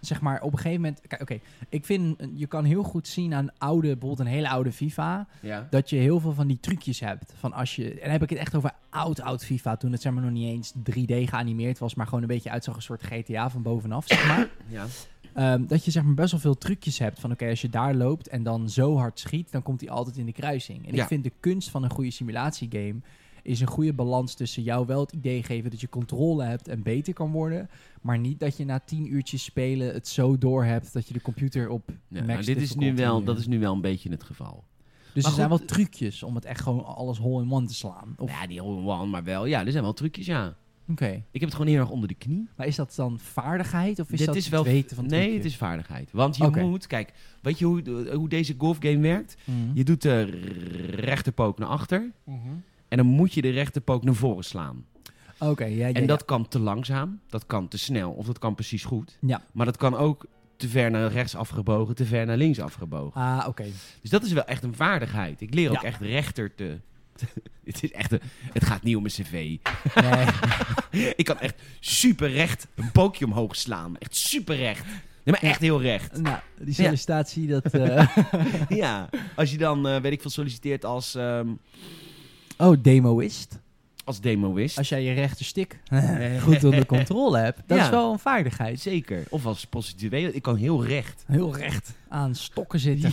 [SPEAKER 2] zeg maar, op een gegeven moment... Kijk, oké, ik vind, je kan heel goed zien aan oude, bijvoorbeeld een hele oude FIFA,
[SPEAKER 1] Ja.
[SPEAKER 2] dat je heel veel van die trucjes hebt. Van als je, en dan heb ik het echt over oud, oud FIFA, toen het zeg maar nog niet eens 3D geanimeerd was, maar gewoon een beetje uitzag als een soort GTA van bovenaf, zeg maar.
[SPEAKER 1] ja.
[SPEAKER 2] Ehm, dat je zeg maar best wel veel trucjes hebt. Van oké, als je daar loopt en dan zo hard schiet, dan komt hij altijd in de kruising. En
[SPEAKER 1] Ja.
[SPEAKER 2] ik vind de kunst van een goede simulatiegame is een goede balans tussen jou wel het idee geven dat je controle hebt en beter kan worden, maar niet dat je na tien uurtjes spelen het zo door hebt dat je de computer op
[SPEAKER 1] Ja,
[SPEAKER 2] max
[SPEAKER 1] nou, dit is nu
[SPEAKER 2] difficulty
[SPEAKER 1] wel,
[SPEAKER 2] neer-
[SPEAKER 1] dat is nu wel een beetje het geval.
[SPEAKER 2] Dus
[SPEAKER 1] maar
[SPEAKER 2] er zijn
[SPEAKER 1] goed,
[SPEAKER 2] wel trucjes om het echt gewoon alles hole in one te slaan. Of,
[SPEAKER 1] Nou Ja, die hole in one, maar wel. Ja, er zijn wel trucjes, ja. Ik heb het gewoon heel erg onder de knie.
[SPEAKER 2] Maar is dat dan vaardigheid of is
[SPEAKER 1] Dit
[SPEAKER 2] dat
[SPEAKER 1] is wel-
[SPEAKER 2] het weten van het
[SPEAKER 1] Nee, het
[SPEAKER 2] trucje?
[SPEAKER 1] is vaardigheid. Want je
[SPEAKER 2] Oké.
[SPEAKER 1] moet, kijk, weet je hoe, hoe deze golfgame werkt?
[SPEAKER 2] Mhm.
[SPEAKER 1] Je doet de rechterpook naar achter. En dan moet je de rechterpook naar voren slaan.
[SPEAKER 2] Oké, ja, ja,
[SPEAKER 1] En
[SPEAKER 2] ja.
[SPEAKER 1] dat kan te langzaam, dat kan te snel of dat kan precies goed.
[SPEAKER 2] Ja.
[SPEAKER 1] Maar dat kan ook te ver naar rechts afgebogen, te ver naar links afgebogen.
[SPEAKER 2] Ah, oké.
[SPEAKER 1] Dus dat is wel echt een vaardigheid. Ik leer ook
[SPEAKER 2] Ja.
[SPEAKER 1] echt rechter te... het, is echt een- het gaat niet om een cv.
[SPEAKER 2] Nee.
[SPEAKER 1] Ik kan echt super recht een pookje omhoog slaan. Echt super recht. Nee, maar echt heel recht.
[SPEAKER 2] nou, die sollicitatie, dat... eh,
[SPEAKER 1] Ja. Als je dan, eh, weet ik veel, solliciteert als, ehm
[SPEAKER 2] oh, demoist.
[SPEAKER 1] als demoist.
[SPEAKER 2] Als jij je rechterstik goed onder controle hebt, dat
[SPEAKER 1] Ja.
[SPEAKER 2] is wel een vaardigheid.
[SPEAKER 1] Zeker. Of als prostitueel. Ik kan heel recht.
[SPEAKER 2] Heel recht aan stokken zitten.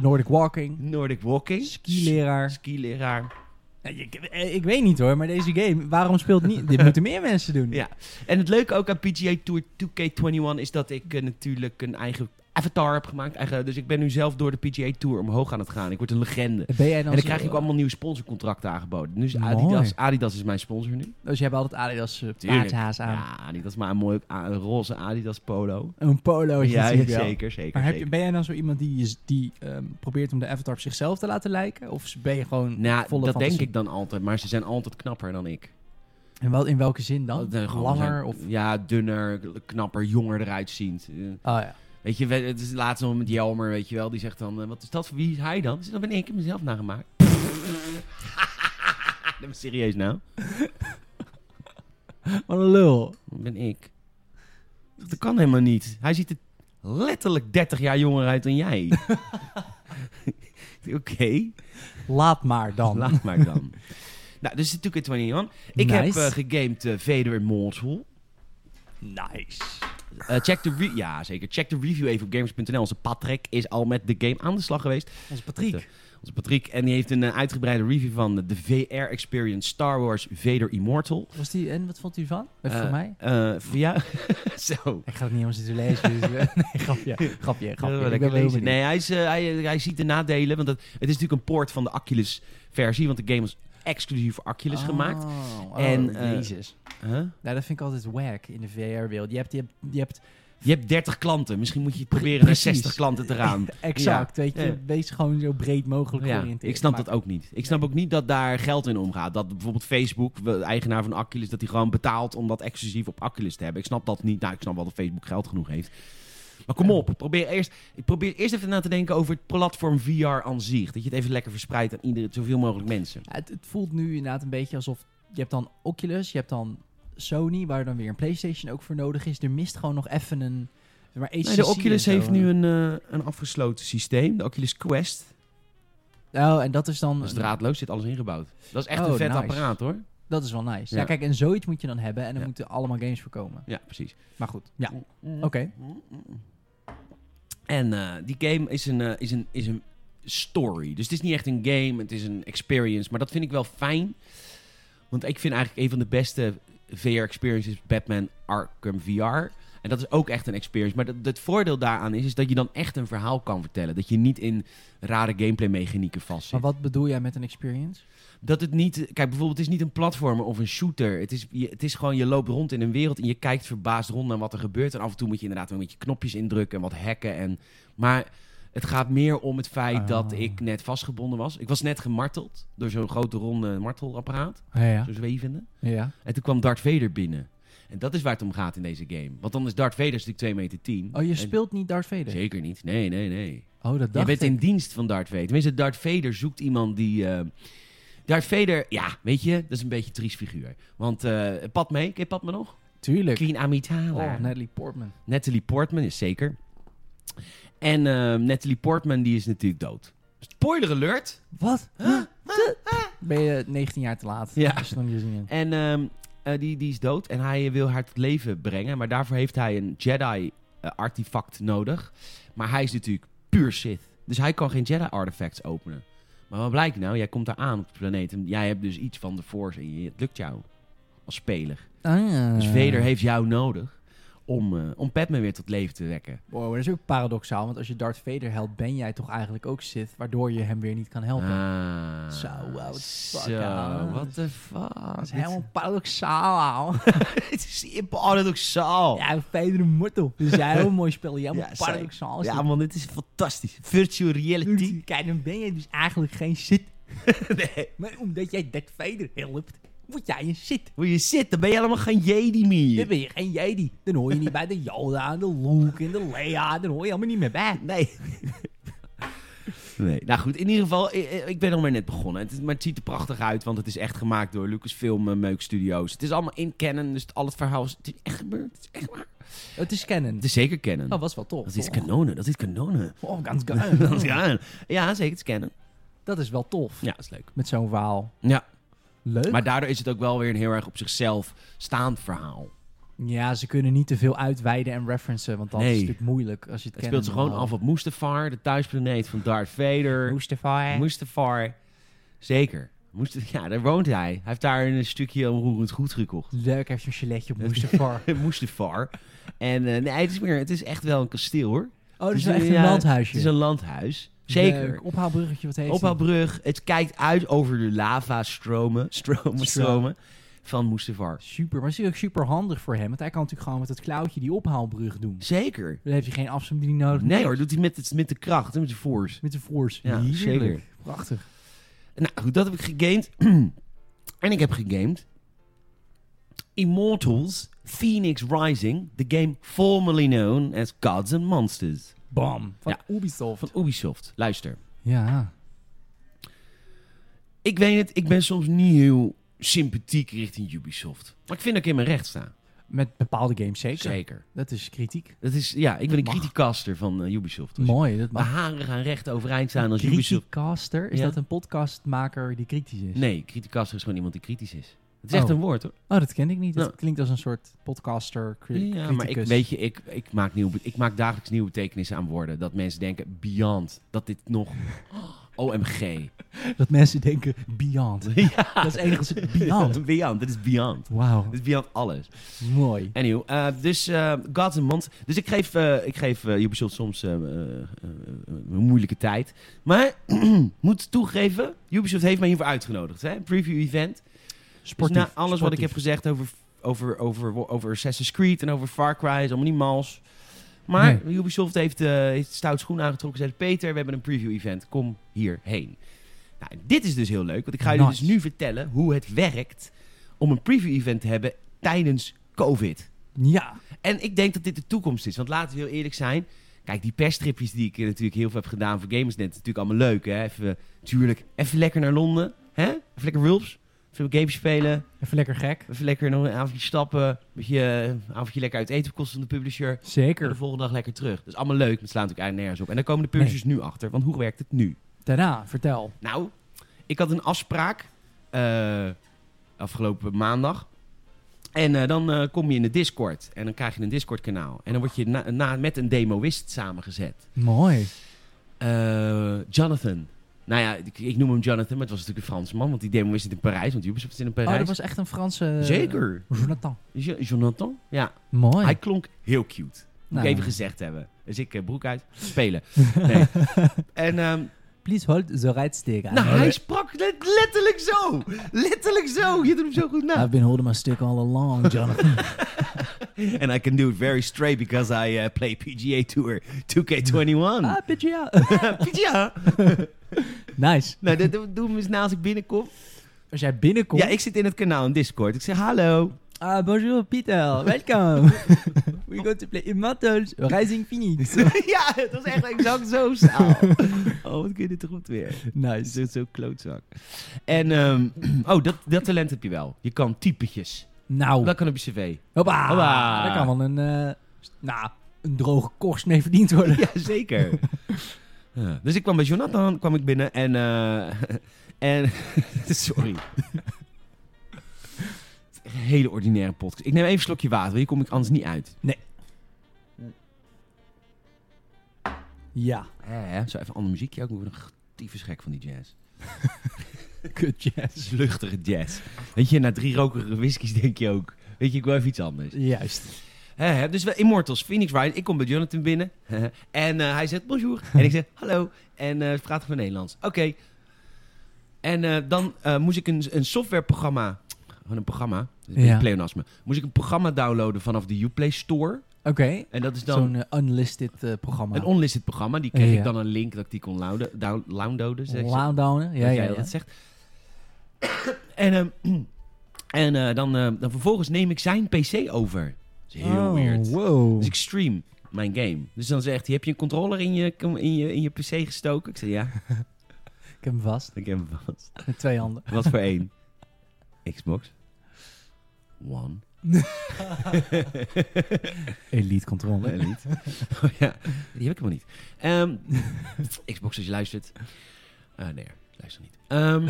[SPEAKER 2] Nordic walking.
[SPEAKER 1] Nordic walking.
[SPEAKER 2] Skileraar.
[SPEAKER 1] Skileraar.
[SPEAKER 2] Eh, Ik, eh, ik weet niet hoor, maar deze game, waarom speelt niet... Dit moeten meer mensen doen.
[SPEAKER 1] Ja. En het leuke ook aan PGA Tour 2K21 is dat ik eh, natuurlijk een eigen avatar heb gemaakt. Eigen, dus ik ben nu zelf door de PGA Tour omhoog aan het gaan. Ik word een legende.
[SPEAKER 2] Ben jij dan
[SPEAKER 1] En dan
[SPEAKER 2] zo-
[SPEAKER 1] krijg ik ook allemaal nieuwe sponsorcontracten aangeboden. Nu is
[SPEAKER 2] Mooi.
[SPEAKER 1] Adidas. Adidas is mijn sponsor nu.
[SPEAKER 2] Dus je hebt altijd Adidas eh,
[SPEAKER 1] Tuurlijk.
[SPEAKER 2] paardhaas aan.
[SPEAKER 1] Ja, Adidas. Maar een mooi a- een roze Adidas polo.
[SPEAKER 2] Een polo is
[SPEAKER 1] Ja,
[SPEAKER 2] natuurlijk
[SPEAKER 1] zeker,
[SPEAKER 2] wel.
[SPEAKER 1] zeker. zeker.
[SPEAKER 2] Maar heb je, ben jij dan zo iemand die, je- die ehm, probeert om de avatar op zichzelf te laten lijken? Of ben je gewoon
[SPEAKER 1] Nou,
[SPEAKER 2] volle
[SPEAKER 1] dat
[SPEAKER 2] fantasie?
[SPEAKER 1] denk ik dan altijd. Maar ze zijn altijd knapper dan ik.
[SPEAKER 2] En wel, in welke zin dan?
[SPEAKER 1] Dat, eh, gewoon
[SPEAKER 2] Langer
[SPEAKER 1] zijn-
[SPEAKER 2] of...
[SPEAKER 1] Ja, dunner, k- knapper, jonger eruit ziet. Eh,
[SPEAKER 2] Oh ja.
[SPEAKER 1] Weet je, we- het is laatst nog met Jelmer, weet je wel. Die zegt dan, eh, wat is dat voor wie is hij dan? Ik zeg, Dat ben ik, ik heb mezelf nagemaakt. Nee, maar serieus nou?
[SPEAKER 2] Wat een lul.
[SPEAKER 1] Dat ben ik. Dat kan helemaal niet. Hij ziet er letterlijk 30 jaar jonger uit dan jij. Oké,
[SPEAKER 2] Laat maar dan.
[SPEAKER 1] laat maar dan. nou, dus natuurlijk het 21. Ik heb
[SPEAKER 2] Nice.
[SPEAKER 1] eh, gegamed eh, Vader Immortal.
[SPEAKER 2] Nice.
[SPEAKER 1] Eh, check de re- ja, zeker. Check de review even op gamers.nl. Onze Patrick is al met de game aan de slag geweest.
[SPEAKER 2] Onze Patriek.
[SPEAKER 1] Onze Patrick. En die heeft een eh, uitgebreide review van de VR Experience Star Wars Vader Immortal.
[SPEAKER 2] Was die, en wat vond u van? Even
[SPEAKER 1] Eh,
[SPEAKER 2] voor mij?
[SPEAKER 1] eh, voor jou? Zo.
[SPEAKER 2] Ik ga het niet helemaal zitten lezen. Dus, eh, nee, grapje. Grapje,
[SPEAKER 1] Dat
[SPEAKER 2] grapje.
[SPEAKER 1] wil
[SPEAKER 2] ik
[SPEAKER 1] ik
[SPEAKER 2] ben wel heel
[SPEAKER 1] lezen.
[SPEAKER 2] benieuwd.
[SPEAKER 1] Nee, hij, is, eh, hij, hij ziet de nadelen. Want dat, het is natuurlijk een port van de Oculus versie. Want de game was exclusief voor Oculus
[SPEAKER 2] Oh,
[SPEAKER 1] gemaakt.
[SPEAKER 2] Oh,
[SPEAKER 1] En,
[SPEAKER 2] en,
[SPEAKER 1] eh,
[SPEAKER 2] Jezus.
[SPEAKER 1] Huh?
[SPEAKER 2] Nou, dat vind ik altijd wack in de VR-wereld. Je hebt, je hebt, je hebt
[SPEAKER 1] Je hebt 30 klanten. Misschien moet je het
[SPEAKER 2] Pre-
[SPEAKER 1] proberen
[SPEAKER 2] precies.
[SPEAKER 1] naar 60 klanten te gaan.
[SPEAKER 2] exact, weet je,
[SPEAKER 1] Ja.
[SPEAKER 2] wees gewoon zo breed mogelijk
[SPEAKER 1] Ja,
[SPEAKER 2] georiënteerd.
[SPEAKER 1] ik snap
[SPEAKER 2] Maar-
[SPEAKER 1] dat ook niet. Ik snap ook niet dat daar geld in omgaat. Dat bijvoorbeeld Facebook, we- eigenaar van Oculus, dat die gewoon betaalt om dat exclusief op Oculus te hebben. Ik snap dat niet. Nou, ik snap wel dat Facebook geld genoeg heeft. Maar kom
[SPEAKER 2] Ja.
[SPEAKER 1] op, probeer eerst, ik probeer eerst even na te denken over het platform VR aan zich. Dat je het even lekker verspreidt aan iedereen, zoveel mogelijk mensen.
[SPEAKER 2] Ja, het, het voelt nu inderdaad een beetje alsof je hebt dan Oculus, je hebt dan Sony, waar dan weer een PlayStation ook voor nodig is. Er mist gewoon nog even een. Maar ACC
[SPEAKER 1] Nee, de Oculus
[SPEAKER 2] en zo.
[SPEAKER 1] heeft nu een, eh, een afgesloten systeem. De Oculus Quest.
[SPEAKER 2] Oh, en dat is dan.
[SPEAKER 1] Dat is draadloos, zit alles ingebouwd. Dat is echt
[SPEAKER 2] Oh,
[SPEAKER 1] een vet
[SPEAKER 2] nice.
[SPEAKER 1] apparaat hoor.
[SPEAKER 2] dat is wel nice. Ja.
[SPEAKER 1] Ja.
[SPEAKER 2] kijk, en zoiets moet je dan hebben en dan
[SPEAKER 1] Ja.
[SPEAKER 2] moeten allemaal games voor komen.
[SPEAKER 1] Ja, precies.
[SPEAKER 2] Maar goed, ja. Oké.
[SPEAKER 1] En eh, die game is een, eh, is, een, is een story. Dus het is niet echt een game, het is een experience. Maar dat vind ik wel fijn. Want ik vind eigenlijk een van de beste VR-experiences Batman Arkham VR. En dat is ook echt een experience. Maar dat, het voordeel daaraan is, is dat je dan echt een verhaal kan vertellen. Dat je niet in rare gameplay-mechanieken vastzit.
[SPEAKER 2] Maar wat bedoel jij met een experience?
[SPEAKER 1] Dat het niet... Kijk, bijvoorbeeld, het is niet een platformer of een shooter. Het is, je- het is gewoon, je loopt rond in een wereld en je kijkt verbaasd rond naar wat er gebeurt. En af en toe moet je inderdaad wel met je knopjes indrukken en wat hacken. En, maar het gaat meer om het feit
[SPEAKER 2] Ah.
[SPEAKER 1] dat ik net vastgebonden was. Ik was net gemarteld door zo'n grote ronde martelapparaat.
[SPEAKER 2] Ja, ja.
[SPEAKER 1] Zo'n zwevende.
[SPEAKER 2] ja.
[SPEAKER 1] En toen kwam Darth Vader binnen. En dat is waar het om gaat in deze game. Want dan is Darth Vader natuurlijk 2 meter 10.
[SPEAKER 2] Oh, je
[SPEAKER 1] En-
[SPEAKER 2] speelt niet Darth Vader?
[SPEAKER 1] Zeker niet. Nee, nee, nee.
[SPEAKER 2] Oh, dat
[SPEAKER 1] Je
[SPEAKER 2] dacht
[SPEAKER 1] bent
[SPEAKER 2] ik.
[SPEAKER 1] in dienst van Darth Vader. Tenminste, Darth Vader zoekt iemand die... eh, Darth Vader, ja, weet je, dat is een beetje een triest figuur. Want eh Padme, ken je Padme nog?
[SPEAKER 2] Tuurlijk.
[SPEAKER 1] Queen Amidala.
[SPEAKER 2] Oh, Natalie Portman.
[SPEAKER 1] Natalie Portman, is zeker. En eh, Natalie Portman, die is natuurlijk dood. Spoiler alert!
[SPEAKER 2] Wat? Huh? Ben je 19 jaar te laat?
[SPEAKER 1] Ja.
[SPEAKER 2] Als je het nog niet gezien hebt.
[SPEAKER 1] En ehm, eh, die, die is dood en hij wil haar tot leven brengen. Maar daarvoor heeft hij een Jedi-artefact nodig. Maar hij is natuurlijk puur Sith. Dus hij kan geen Jedi-artefacts openen. Maar wat blijkt nou? Jij komt daar aan op de planeet. En jij hebt dus iets van de Force in je. Het lukt jou als speler.
[SPEAKER 2] Ah, ja.
[SPEAKER 1] Dus Vader heeft jou nodig om, eh, om Padme weer tot leven te wekken.
[SPEAKER 2] Wow, dat is ook paradoxaal, want als je Darth Vader helpt, ben jij toch eigenlijk ook Sith, waardoor je hem weer niet kan helpen.
[SPEAKER 1] Ah,
[SPEAKER 2] Zo, wauw, wat fuck,
[SPEAKER 1] Zo,
[SPEAKER 2] ja.
[SPEAKER 1] what the fuck.
[SPEAKER 2] dat is helemaal paradoxaal.
[SPEAKER 1] Het is oh, heel paradoxaal.
[SPEAKER 2] ja, Vader Mortel. Dat is een heel mooi spel. Ja, maar
[SPEAKER 1] Ja, zei-
[SPEAKER 2] paradoxaal is
[SPEAKER 1] Ja,
[SPEAKER 2] dat.
[SPEAKER 1] man, dit is fantastisch. Virtual reality.
[SPEAKER 2] Kijk, dan ben je dus eigenlijk geen Sith.
[SPEAKER 1] nee.
[SPEAKER 2] Maar omdat jij Darth Vader helpt, word jij een Sith.
[SPEAKER 1] Hoe je zit, dan ben je helemaal geen Jedi
[SPEAKER 2] Dan
[SPEAKER 1] meer.
[SPEAKER 2] ben je geen Jedi. Dan hoor je niet bij de Yoda, de Luke en de Leia. Dan hoor je allemaal niet meer bij.
[SPEAKER 1] Nee. nee. Nou goed, in ieder geval, i- i- ik ben nog maar net begonnen. Het, is- maar het ziet er prachtig uit, want het is echt gemaakt door Lucasfilm eh, Meuk Studios. Het is allemaal in canon, dus al het verhaal is, het is echt gebeurd. Het is echt waar.
[SPEAKER 2] Het is canon. Oh,
[SPEAKER 1] Het is zeker canon.
[SPEAKER 2] Dat was wel tof.
[SPEAKER 1] dat is
[SPEAKER 2] toch?
[SPEAKER 1] kanonen, dat is kanonen.
[SPEAKER 2] Oh, ganz geil.
[SPEAKER 1] Dat Oh. is canon. Ja, zeker, het is canon.
[SPEAKER 2] Dat is wel tof.
[SPEAKER 1] Ja, dat is leuk.
[SPEAKER 2] Met zo'n verhaal.
[SPEAKER 1] Ja,
[SPEAKER 2] Leuk.
[SPEAKER 1] maar daardoor is het ook wel weer een heel erg op zichzelf staand verhaal.
[SPEAKER 2] Ja, ze kunnen niet te veel uitweiden en referencen, want dat
[SPEAKER 1] Nee.
[SPEAKER 2] is natuurlijk moeilijk als je
[SPEAKER 1] Het
[SPEAKER 2] het kent.
[SPEAKER 1] speelt ze gewoon af op Mustafar, de thuisplaneet van Darth Vader.
[SPEAKER 2] Mustafa.
[SPEAKER 1] Mustafar. Zeker. Moest, ja, daar woont hij. Hij heeft daar een stukje onroerend goed gekocht.
[SPEAKER 2] Leuk, heeft zo'n geletje op Mustafa.
[SPEAKER 1] Mustafar. En eh, nee, het is, meer, het is echt wel een kasteel hoor.
[SPEAKER 2] Oh, dat
[SPEAKER 1] Het
[SPEAKER 2] is wel echt een
[SPEAKER 1] ja,
[SPEAKER 2] landhuisje.
[SPEAKER 1] Het is een landhuis. Zeker.
[SPEAKER 2] Leuk. Ophaalbruggetje, wat heet
[SPEAKER 1] Op haar brug. Het kijkt uit over de lavastromen. Stromen,
[SPEAKER 2] Stromen.
[SPEAKER 1] stromen. Van Mustafar.
[SPEAKER 2] die? Super, maar het is ook super handig voor hem, want hij kan natuurlijk gewoon met het klauwtje die ophaalbrug doen.
[SPEAKER 1] Zeker.
[SPEAKER 2] Dan heb je geen afstandsbediening nodig.
[SPEAKER 1] Nee hoor, doet hij met, het, met de kracht, hè, met de force.
[SPEAKER 2] Met de force.
[SPEAKER 1] Ja,
[SPEAKER 2] Heerlijk.
[SPEAKER 1] zeker.
[SPEAKER 2] Prachtig.
[SPEAKER 1] Nou goed, dat heb ik gegamed. en ik heb gegamed. Immortals Phoenix Rising, de game formerly known as Gods and Monsters.
[SPEAKER 2] Bam. Van
[SPEAKER 1] Ja.
[SPEAKER 2] Ubisoft.
[SPEAKER 1] Van Ubisoft. Luister.
[SPEAKER 2] Ja.
[SPEAKER 1] Ik weet het, ik ben soms niet heel sympathiek richting Ubisoft. Maar ik vind dat ik in mijn recht sta.
[SPEAKER 2] Met bepaalde games zeker.
[SPEAKER 1] Zeker.
[SPEAKER 2] Dat is kritiek.
[SPEAKER 1] Dat is, ja, ik ben een
[SPEAKER 2] Mag.
[SPEAKER 1] criticaster van eh, Ubisoft. Dus
[SPEAKER 2] Mooi, dat
[SPEAKER 1] Mijn
[SPEAKER 2] mag.
[SPEAKER 1] haren gaan recht overeind staan als Ubisoft.
[SPEAKER 2] Criticaster, is
[SPEAKER 1] Ja.
[SPEAKER 2] dat een podcastmaker die kritisch is?
[SPEAKER 1] Nee, criticaster is gewoon iemand die kritisch is. Het is echt
[SPEAKER 2] Oh.
[SPEAKER 1] een woord hoor.
[SPEAKER 2] Oh, dat ken ik niet. Dat
[SPEAKER 1] Nou.
[SPEAKER 2] klinkt als een soort podcaster, cri-
[SPEAKER 1] Ja, maar ik,
[SPEAKER 2] criticus.
[SPEAKER 1] weet je, ik, ik, maak nieuw, ik maak dagelijks nieuwe betekenissen aan woorden. Dat mensen denken, beyond, dat dit nog... OMG.
[SPEAKER 2] Dat mensen denken, beyond.
[SPEAKER 1] Ja.
[SPEAKER 2] Dat is Engels, beyond.
[SPEAKER 1] beyond, dit is beyond.
[SPEAKER 2] Wauw,
[SPEAKER 1] Dit is beyond alles.
[SPEAKER 2] mooi.
[SPEAKER 1] Anyhow, eh, dus eh Gods and Monsters. Dus ik geef, eh, ik geef eh, Ubisoft soms eh, eh, eh, een moeilijke tijd. Maar moet toegeven, Ubisoft heeft mij hiervoor uitgenodigd. Hè? Preview event.
[SPEAKER 2] Sportief.
[SPEAKER 1] dus na alles wat ik heb gezegd over, over, over, over Assassin's Creed en over Far Cry is allemaal niet mals. Maar Ubisoft heeft, eh heeft stout schoen aangetrokken. Zei Peter, we hebben een preview event. Kom hierheen. Nou, dit is dus heel leuk. Want ik ga jullie
[SPEAKER 2] Nice.
[SPEAKER 1] dus nu vertellen hoe het werkt om een preview event te hebben tijdens COVID.
[SPEAKER 2] Ja,
[SPEAKER 1] En ik denk dat dit de toekomst is. Want laten we heel eerlijk zijn. Kijk, die persstripjes die ik eh, natuurlijk heel veel heb gedaan voor Gamersnet. is natuurlijk allemaal leuk, hè. Even, tuurlijk, even lekker naar Londen. Hè? Even lekker Wulps. Even games spelen.
[SPEAKER 2] even lekker gek.
[SPEAKER 1] Even lekker nog een avondje stappen. Een beetje, eh, een avondje lekker uit eten op kosten van de publisher. En de
[SPEAKER 2] Zeker.
[SPEAKER 1] volgende dag lekker terug. Dat is allemaal leuk, maar het slaat natuurlijk eigenlijk nergens op. En daar komen de publishers nu achter, want hoe werkt het nu?
[SPEAKER 2] Daarna, vertel.
[SPEAKER 1] Nou, ik had een afspraak eh, afgelopen maandag. En eh, dan eh, kom je in de Discord. En dan krijg je een Discord-kanaal. En dan word je na, na- met een demoist samengezet.
[SPEAKER 2] Mooi.
[SPEAKER 1] Eh, Jonathan. Nou ja, ik, ik noem hem Jonathan, maar het was natuurlijk een Fransman. Want die demoist zit in Parijs, want Ubisoft zit in
[SPEAKER 2] Oh, dat
[SPEAKER 1] Parijs.
[SPEAKER 2] was echt een Franse...
[SPEAKER 1] Zeker.
[SPEAKER 2] Jonathan.
[SPEAKER 1] Jo- Jonathan? Ja.
[SPEAKER 2] Mooi.
[SPEAKER 1] Hij klonk heel cute. Moet
[SPEAKER 2] Oh Nou.
[SPEAKER 1] ik even gezegd hebben. Dus ik eh, broek uit, spelen. Nee. en ehm,
[SPEAKER 2] Please hold the right stick.
[SPEAKER 1] nou, hij sprak le- letterlijk zo. Letterlijk zo. Je doet hem zo goed na.
[SPEAKER 2] I've been holding my stick all along, Jonathan. Nou.
[SPEAKER 1] And I can do it very straight because I eh, play PGA Tour 2K21.
[SPEAKER 2] ah, bitch, ja.
[SPEAKER 1] PGA.
[SPEAKER 2] nice.
[SPEAKER 1] nou, dat dat doen we eens na als ik binnenkom.
[SPEAKER 2] Als jij binnenkomt...
[SPEAKER 1] Ja, ik zit in het kanaal in Discord. Ik zeg hallo.
[SPEAKER 2] Ah, bonjour, Pieter. Welkom. We go to play Immortals Rising Phoenix.
[SPEAKER 1] ja, het was echt exact zo saal. oh, wat kun je dit toch goed weer.
[SPEAKER 2] Nice.
[SPEAKER 1] Is dit zo klootzak. En, ehm, oh, dat, dat talent heb je wel. Je kan typetjes.
[SPEAKER 2] Nou,
[SPEAKER 1] Dat kan op je cv.
[SPEAKER 2] hoppa.
[SPEAKER 1] Hoppa.
[SPEAKER 2] Dat kan wel een, eh, s- nou, een droge korst mee verdiend worden.
[SPEAKER 1] Ja, zeker. Ja. Dus ik kwam bij Jonathan kwam ik binnen en... eh, en sorry. Een hele ordinaire podcast. Ik neem even een slokje water, hier kom ik anders niet uit.
[SPEAKER 2] Ja,
[SPEAKER 1] Hè? Zo even een ander muziekje ook. Ik word nog tyfus gek van die jazz.
[SPEAKER 2] kut jazz.
[SPEAKER 1] Sluchtige jazz. Weet je, na drie rokerige whiskies denk je ook... Weet je, ik wil even iets anders.
[SPEAKER 2] Juist.
[SPEAKER 1] Hè, hè. Dus we Immortals, Phoenix Ryan. Ik kom bij Jonathan binnen. en eh, hij zegt bonjour. En ik zeg hallo. En eh, ze praten gewoon Nederlands. Oké. En eh, dan eh, moest ik een, een softwareprogramma... Gewoon een programma. Een beetje
[SPEAKER 2] Ja.
[SPEAKER 1] pleonasme. Moest ik een programma downloaden vanaf de Uplay Store.
[SPEAKER 2] Oké,
[SPEAKER 1] En dat is Dus dan
[SPEAKER 2] zo'n eh, unlisted eh, programma.
[SPEAKER 1] een onlisted programma. Die kreeg
[SPEAKER 2] Ja.
[SPEAKER 1] ik dan een link dat ik die kon louden- down- downloaden. zeg ze
[SPEAKER 2] Laandownen. Ja,
[SPEAKER 1] dat
[SPEAKER 2] ja,
[SPEAKER 1] jij
[SPEAKER 2] ja.
[SPEAKER 1] dat zegt. en ehm, en eh, dan, eh, dan vervolgens neem ik zijn PC over. Dat is heel
[SPEAKER 2] Oh,
[SPEAKER 1] weird.
[SPEAKER 2] Wow.
[SPEAKER 1] Dus ik stream mijn game. Dus dan zegt hij: Heb je een controller in je, in je, in je PC gestoken? Ik zeg: Ja,
[SPEAKER 2] Ik heb hem vast.
[SPEAKER 1] ik heb hem vast.
[SPEAKER 2] Met twee handen.
[SPEAKER 1] Wat voor één? Xbox. One.
[SPEAKER 2] Elite controller.
[SPEAKER 1] Elite. oh ja, die heb ik helemaal niet. Ehm, Xbox, als je luistert. Eh, nee, luister niet. Ehm,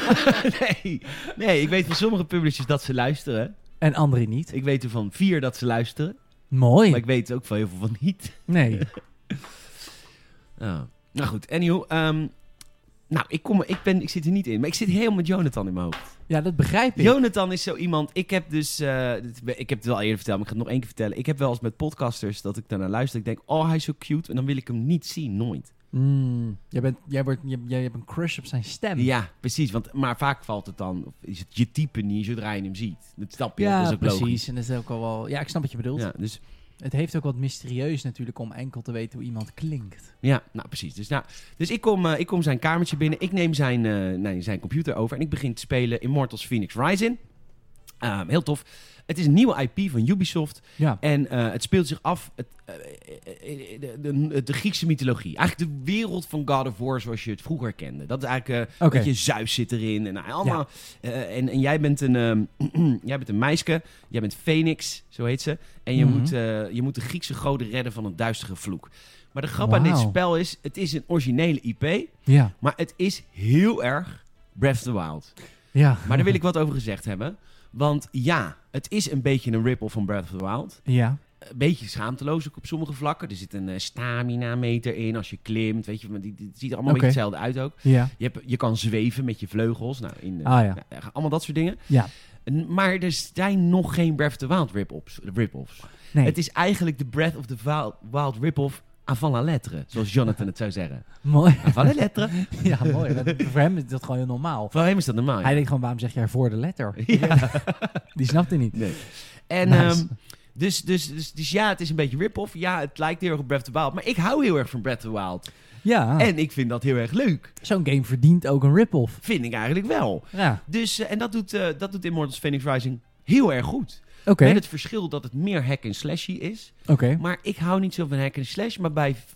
[SPEAKER 1] nee, nee, ik weet van sommige publishers dat ze luisteren.
[SPEAKER 2] En André niet.
[SPEAKER 1] Ik weet er van vier dat ze luisteren. Maar
[SPEAKER 2] Mooi.
[SPEAKER 1] ik weet ook van heel veel van niet.
[SPEAKER 2] Nee.
[SPEAKER 1] Ah. Nou goed, anyhow. ehm, nou, ik, kom, ik, ben, ik zit er niet in. Maar ik zit helemaal met Jonathan in mijn hoofd.
[SPEAKER 2] Ja, dat begrijp ik.
[SPEAKER 1] Jonathan is zo iemand. Ik heb dus. eh, dit- ik heb het wel eerder verteld, maar ik ga het nog één keer vertellen. Ik heb wel eens met podcasters dat ik daarnaar luister. Ik denk, oh, hij is zo cute. En dan wil ik hem niet zien, nooit.
[SPEAKER 2] Mm, jij, bent, jij, wordt, jij, jij hebt een crush op zijn stem.
[SPEAKER 1] Ja, precies. Want, maar vaak valt het dan, of is het je type niet zodra je hem ziet. Dat snap je,
[SPEAKER 2] Ja,
[SPEAKER 1] dat is ook
[SPEAKER 2] precies.
[SPEAKER 1] logisch.
[SPEAKER 2] En dat is ook al wel... Ja, ik snap wat je bedoelt.
[SPEAKER 1] Ja, dus,
[SPEAKER 2] Het heeft ook wat mysterieus natuurlijk om enkel te weten hoe iemand klinkt.
[SPEAKER 1] ja, nou precies. Dus, nou, dus ik, kom, eh, ik kom zijn kamertje binnen, ik neem zijn, eh, nee, zijn computer over en ik begin te spelen Immortals Phoenix Rising. Ehm, heel tof. Het is een nieuwe IP van Ubisoft
[SPEAKER 2] Ja.
[SPEAKER 1] en eh, het speelt zich af, het, eh, eh, eh, de, de, de Griekse mythologie. Eigenlijk de wereld van God of War zoals je het vroeger kende. Dat is eigenlijk eh,
[SPEAKER 2] Oké.
[SPEAKER 1] Dat je Zeus zit erin. En, nou, allemaal, eh, en, en jij bent een, ehm, jij bent een meisje. Jij bent Phoenix, zo heet ze. En je,
[SPEAKER 2] Mhm.
[SPEAKER 1] moet, eh, je moet de Griekse goden redden van een duistere vloek. Maar de grap aan
[SPEAKER 2] Wauw.
[SPEAKER 1] dit spel is... Het is een originele IP.
[SPEAKER 2] Ja.
[SPEAKER 1] Maar het is heel erg Breath of the Wild.
[SPEAKER 2] Ja.
[SPEAKER 1] Maar daar wil ik wat over gezegd hebben. Want ja, het is een beetje een ripple van Breath of the Wild
[SPEAKER 2] Ja.
[SPEAKER 1] een beetje schaamteloos ook op sommige vlakken. Er zit een eh, stamina-meter in als je klimt. Weet je, maar die, die ziet er allemaal een
[SPEAKER 2] Oké.
[SPEAKER 1] beetje hetzelfde uit ook.
[SPEAKER 2] Ja.
[SPEAKER 1] Je, hebt, je kan zweven met je vleugels. Nou, in, eh,
[SPEAKER 2] Ah, ja.
[SPEAKER 1] nou, allemaal dat soort dingen.
[SPEAKER 2] Ja.
[SPEAKER 1] En- Maar er zijn nog geen Breath of the Wild rip-offs. rip-offs.
[SPEAKER 2] Nee.
[SPEAKER 1] Het is eigenlijk de Breath of the Wild, Wild rip-off avant la lettre. Zoals Jonathan het zou zeggen.
[SPEAKER 2] Mooi.
[SPEAKER 1] Avant la lettre.
[SPEAKER 2] ja, mooi. Dat- voor hem is dat gewoon heel normaal.
[SPEAKER 1] Voor hem is dat normaal. ja.
[SPEAKER 2] Hij denkt gewoon, waarom zeg jij voor de letter?
[SPEAKER 1] Ja.
[SPEAKER 2] Die snapt hij niet.
[SPEAKER 1] Nee. En,
[SPEAKER 2] Nice.
[SPEAKER 1] ehm, dus, dus, dus, dus ja, het is een beetje rip-off. Ja, het lijkt heel erg op Breath of the Wild. Maar ik hou heel erg van Breath of the Wild.
[SPEAKER 2] Ja.
[SPEAKER 1] En ik vind dat heel erg leuk.
[SPEAKER 2] Zo'n game verdient ook een rip-off.
[SPEAKER 1] Vind ik eigenlijk wel.
[SPEAKER 2] Ja.
[SPEAKER 1] Dus, eh, en dat doet, eh, dat doet Immortals Phoenix Rising heel erg goed.
[SPEAKER 2] Oké.
[SPEAKER 1] Met het verschil dat het meer hack en slashy is.
[SPEAKER 2] Oké.
[SPEAKER 1] Maar ik hou niet zo van hack en slash. Maar bij F-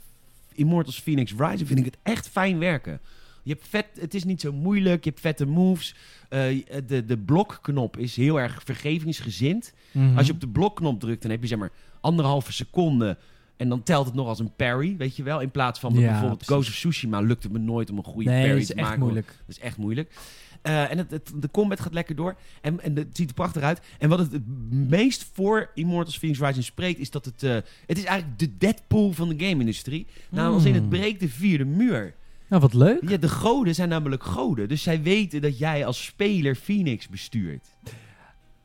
[SPEAKER 1] Immortals Phoenix Rising vind ik het echt fijn werken. Je hebt vet, het is niet zo moeilijk. Je hebt vette moves. Eh, de, de blokknop is heel erg vergevingsgezind.
[SPEAKER 2] Mhm.
[SPEAKER 1] Als je op de blokknop drukt, dan heb je zeg maar anderhalve seconde. En dan telt het nog als een parry, weet je wel. In plaats van
[SPEAKER 2] Ja,
[SPEAKER 1] bijvoorbeeld
[SPEAKER 2] precies.
[SPEAKER 1] Ghost of Tsushima lukt het me nooit om een goede
[SPEAKER 2] Nee, dat
[SPEAKER 1] parry
[SPEAKER 2] is
[SPEAKER 1] te
[SPEAKER 2] echt
[SPEAKER 1] maken.
[SPEAKER 2] moeilijk.
[SPEAKER 1] Dat is echt moeilijk. Eh, en het, het- de combat gaat lekker door. En, en het ziet er prachtig uit. En wat het, het meest voor Immortals Phoenix Rising spreekt... is dat het... eh, het is eigenlijk de Deadpool van de game-industrie. Nou, als in het
[SPEAKER 2] Hmm.
[SPEAKER 1] breekt de vierde muur.
[SPEAKER 2] Nou, wat leuk.
[SPEAKER 1] Ja, de goden zijn namelijk goden. Dus zij weten dat jij als speler Phoenix bestuurt.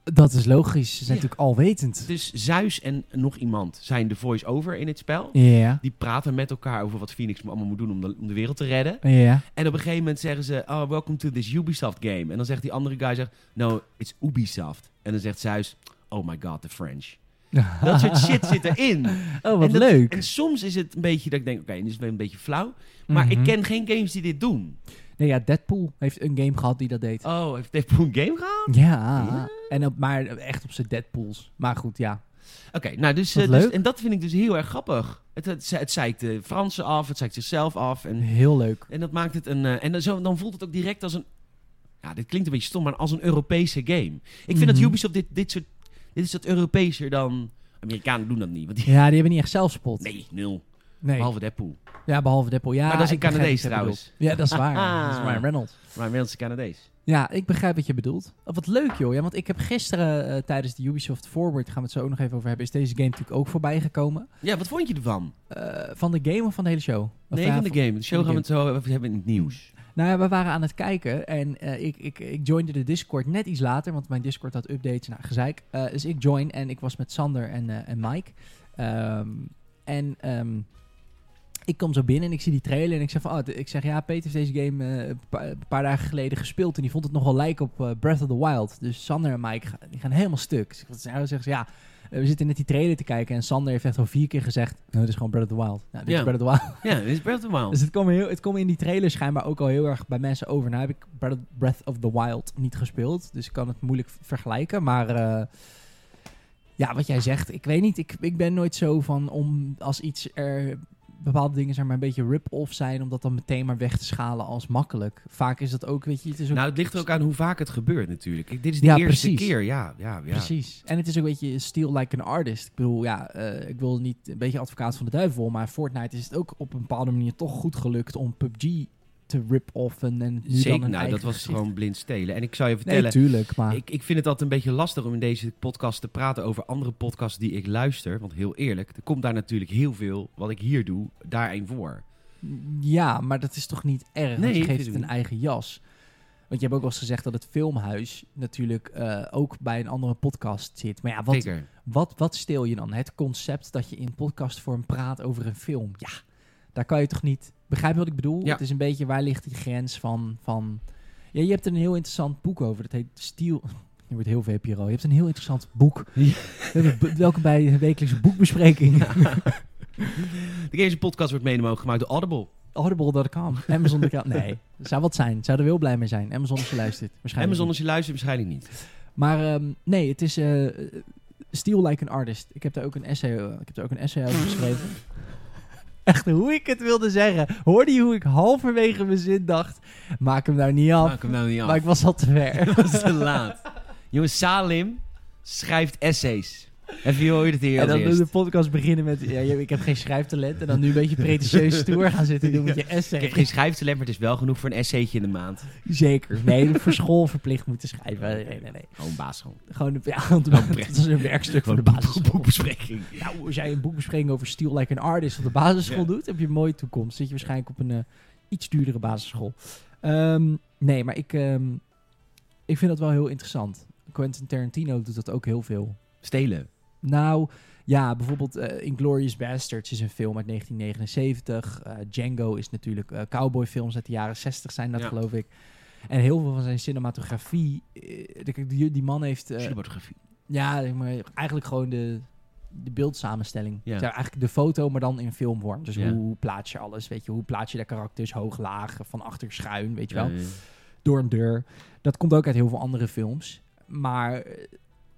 [SPEAKER 2] Dat is logisch. Ze zijn
[SPEAKER 1] Ja.
[SPEAKER 2] natuurlijk alwetend.
[SPEAKER 1] Dus Zeus en nog iemand zijn de voice-over in het spel.
[SPEAKER 2] Ja.
[SPEAKER 1] Die praten met elkaar over wat Phoenix allemaal moet doen om de, om de wereld te redden.
[SPEAKER 2] Ja.
[SPEAKER 1] En op een gegeven moment zeggen ze, oh, welcome to this Ubisoft game. En dan zegt die andere guy, zegt, no, it's Ubisoft. En dan zegt Zeus, oh my god, the French. Dat soort shit zit erin.
[SPEAKER 2] Oh, wat
[SPEAKER 1] en dat-
[SPEAKER 2] leuk.
[SPEAKER 1] En soms is het een beetje dat ik denk, oké, dit is weer een beetje flauw. Maar
[SPEAKER 2] Mhm.
[SPEAKER 1] ik ken geen games die dit doen.
[SPEAKER 2] Nee, ja, Deadpool heeft een game gehad die dat deed.
[SPEAKER 1] Oh, heeft Deadpool een game gehad?
[SPEAKER 2] Ja.
[SPEAKER 1] Oh. Ja?
[SPEAKER 2] En op, maar echt op zijn Deadpools. Maar goed, ja.
[SPEAKER 1] Oké, nou dus,
[SPEAKER 2] Wat
[SPEAKER 1] eh, dus-
[SPEAKER 2] leuk.
[SPEAKER 1] En dat vind ik dus heel erg grappig. Het, het, ze- het zeikt de Fransen af, het zeikt zichzelf af. En,
[SPEAKER 2] Heel leuk.
[SPEAKER 1] en dat maakt het een... eh, en dan, zo, dan voelt het ook direct als een... Ja, dit klinkt een beetje stom, maar als een Europese game. Ik vind dat
[SPEAKER 2] Mhm.
[SPEAKER 1] Ubisoft dit, dit soort... Dit is dat Europeeser dan... Amerikanen doen dat niet, want die...
[SPEAKER 2] Ja, die hebben niet echt zelfspot.
[SPEAKER 1] Nee, nul.
[SPEAKER 2] Nee.
[SPEAKER 1] Behalve Deadpool.
[SPEAKER 2] Ja, behalve Deadpool. Ja,
[SPEAKER 1] Maar dat is een
[SPEAKER 2] ik begrijp
[SPEAKER 1] Canadees
[SPEAKER 2] wat je
[SPEAKER 1] trouwens.
[SPEAKER 2] bedoelt. Ja, dat is waar. dat is Ryan Reynolds.
[SPEAKER 1] Maar Nederlandse Canadees.
[SPEAKER 2] Ja, ik begrijp wat je bedoelt. Oh, wat leuk joh. Ja, want ik heb gisteren eh, tijdens de Ubisoft Forward, gaan we het zo ook nog even over hebben, is deze game natuurlijk ook voorbij gekomen.
[SPEAKER 1] Ja, wat vond je ervan?
[SPEAKER 2] Eh, van de game of van de hele show? Of
[SPEAKER 1] Nee,
[SPEAKER 2] ja,
[SPEAKER 1] van de game. De show
[SPEAKER 2] van
[SPEAKER 1] gaan we
[SPEAKER 2] de
[SPEAKER 1] het zo even hebben in het nieuws.
[SPEAKER 2] Nou ja, we waren aan het kijken en eh, ik, ik, ik joinde de Discord net iets later, want mijn Discord had updates, nou gezeik. Eh, dus ik join en ik was met Sander en, eh, en Mike. Ehm, en ehm, ik kom zo binnen en ik zie die trailer en ik zeg van, oh, d- ik zeg ja, Peter heeft deze game eh, een pa- een paar dagen geleden gespeeld en die vond het nogal lijken op eh, Breath of the Wild. Dus Sander en Mike gaan, die gaan helemaal stuk. Dus ik zeg, wat is nou? zeggen ze, ja, eh, we zitten net die trailer te kijken en Sander heeft echt al vier keer gezegd, nou, dit is gewoon Breath of the Wild. Nou, dit
[SPEAKER 1] Ja.
[SPEAKER 2] is Breath of the Wild.
[SPEAKER 1] Ja, dit is Breath of the Wild.
[SPEAKER 2] Dus het kwam, heel, het kwam in die trailer schijnbaar ook al heel erg bij mensen over. Nou heb ik Breath- Breath of the Wild niet gespeeld, dus ik kan het moeilijk v- vergelijken. Maar eh, ja, wat jij zegt, ik weet niet. Ik, ik ben nooit zo van om als iets er bepaalde dingen zijn maar een beetje rip-off zijn, om dat dan meteen maar weg te schalen als makkelijk. Vaak is dat ook, weet je, het is ook
[SPEAKER 1] Nou, het ligt er ook aan hoe vaak het gebeurt natuurlijk. Ik- dit is de
[SPEAKER 2] Ja,
[SPEAKER 1] eerste
[SPEAKER 2] precies.
[SPEAKER 1] keer, ja. ja, ja.
[SPEAKER 2] Precies. En het is ook een beetje steal like an artist. Ik bedoel, ja, eh, ik wil niet een beetje advocaat van de duivel, maar Fortnite is het ook op een bepaalde manier toch goed gelukt om PUBG te rip-offen en nu dan
[SPEAKER 1] Zeker,
[SPEAKER 2] een
[SPEAKER 1] nou,
[SPEAKER 2] eigen
[SPEAKER 1] dat was
[SPEAKER 2] gezicht.
[SPEAKER 1] gewoon blind stelen. En ik zou je
[SPEAKER 2] Nee,
[SPEAKER 1] vertellen,
[SPEAKER 2] natuurlijk, maar
[SPEAKER 1] ik, ik vind het altijd een beetje lastig om in deze podcast te praten over andere podcasts die ik luister. Want heel eerlijk, er komt daar natuurlijk heel veel, wat ik hier doe, daarin voor.
[SPEAKER 2] ja, maar dat is toch niet erg?
[SPEAKER 1] Nee,
[SPEAKER 2] want je
[SPEAKER 1] vind
[SPEAKER 2] geeft
[SPEAKER 1] ik
[SPEAKER 2] het een
[SPEAKER 1] niet.
[SPEAKER 2] eigen jas. Want je hebt ook wel eens gezegd dat het filmhuis natuurlijk eh, ook bij een andere podcast zit. Maar ja, wat,
[SPEAKER 1] Zeker.
[SPEAKER 2] wat, wat steel je dan? Het concept dat je in podcastvorm praat over een film. Ja, daar kan je toch niet... Begrijp je wat ik bedoel?
[SPEAKER 1] Ja.
[SPEAKER 2] Het is een beetje, waar ligt die grens van... van ja, je hebt er een heel interessant boek over. Dat heet Steel... Je wordt heel VPRO. Je hebt een heel interessant boek.
[SPEAKER 1] Ja.
[SPEAKER 2] Welkom bij de wekelijkse boekbespreking.
[SPEAKER 1] Deze podcast wordt mede mogelijk gemaakt door Audible.
[SPEAKER 2] Audible.com. Amazon.com. Nee, zou wat zijn. Zou er wel blij mee zijn. Amazon als je luistert. Waarschijnlijk
[SPEAKER 1] Amazon
[SPEAKER 2] niet.
[SPEAKER 1] als je luistert waarschijnlijk niet.
[SPEAKER 2] Maar ehm, nee, het is eh Steal Like an Artist. Ik heb daar ook een essay, eh, ik heb daar ook een essay over geschreven. Echt, hoe ik het wilde zeggen. Hoorde je hoe ik halverwege mijn zin dacht? Maak hem nou niet af.
[SPEAKER 1] Maak hem nou niet af.
[SPEAKER 2] Maar ik was al te ver.
[SPEAKER 1] Dat is te laat. Jongens, Salim schrijft essays. Even je hoort het hier
[SPEAKER 2] En
[SPEAKER 1] als
[SPEAKER 2] dan
[SPEAKER 1] eerst.
[SPEAKER 2] de podcast beginnen met... Ja, je- ik heb geen schrijftalent. En dan nu een beetje pretentieus stoer gaan zitten doen met je essay.
[SPEAKER 1] Ik heb geen schrijftalent, maar het is wel genoeg voor een essaytje in de maand.
[SPEAKER 2] Zeker. Nee, voor school verplicht moeten schrijven. Nee, nee, nee.
[SPEAKER 1] Oh, een basisschool.
[SPEAKER 2] Gewoon, ja, want dat is een werkstuk voor de basis.
[SPEAKER 1] boekbespreking.
[SPEAKER 2] Nou, als jij een boekbespreking over Steel Like an Artist op de basisschool
[SPEAKER 1] Ja.
[SPEAKER 2] doet, heb je een mooie toekomst. Zit je waarschijnlijk op een eh, iets duurdere basisschool. Ehm, nee, maar ik, ehm, ik vind dat wel heel interessant. Quentin Tarantino doet dat ook heel veel.
[SPEAKER 1] Stelen.
[SPEAKER 2] Nou, ja, bijvoorbeeld eh, Inglorious Bastards is een film uit 1979. Eh, Django is natuurlijk eh, cowboyfilms uit de jaren 60 zijn dat,
[SPEAKER 1] Ja.
[SPEAKER 2] geloof ik. En heel veel van zijn cinematografie... eh, kijk, die, die man heeft... eh,
[SPEAKER 1] Cinematografie.
[SPEAKER 2] ja, zeg maar eigenlijk gewoon de, de beeldsamenstelling.
[SPEAKER 1] Ja.
[SPEAKER 2] Dus eigenlijk de foto, maar dan in filmvorm. Dus
[SPEAKER 1] Ja.
[SPEAKER 2] hoe plaats je alles, weet je? Hoe plaats je de karakters hoog, laag, van achter, schuin, weet je wel?
[SPEAKER 1] Ja, ja.
[SPEAKER 2] Door een deur. Dat komt ook uit heel veel andere films. Maar eh,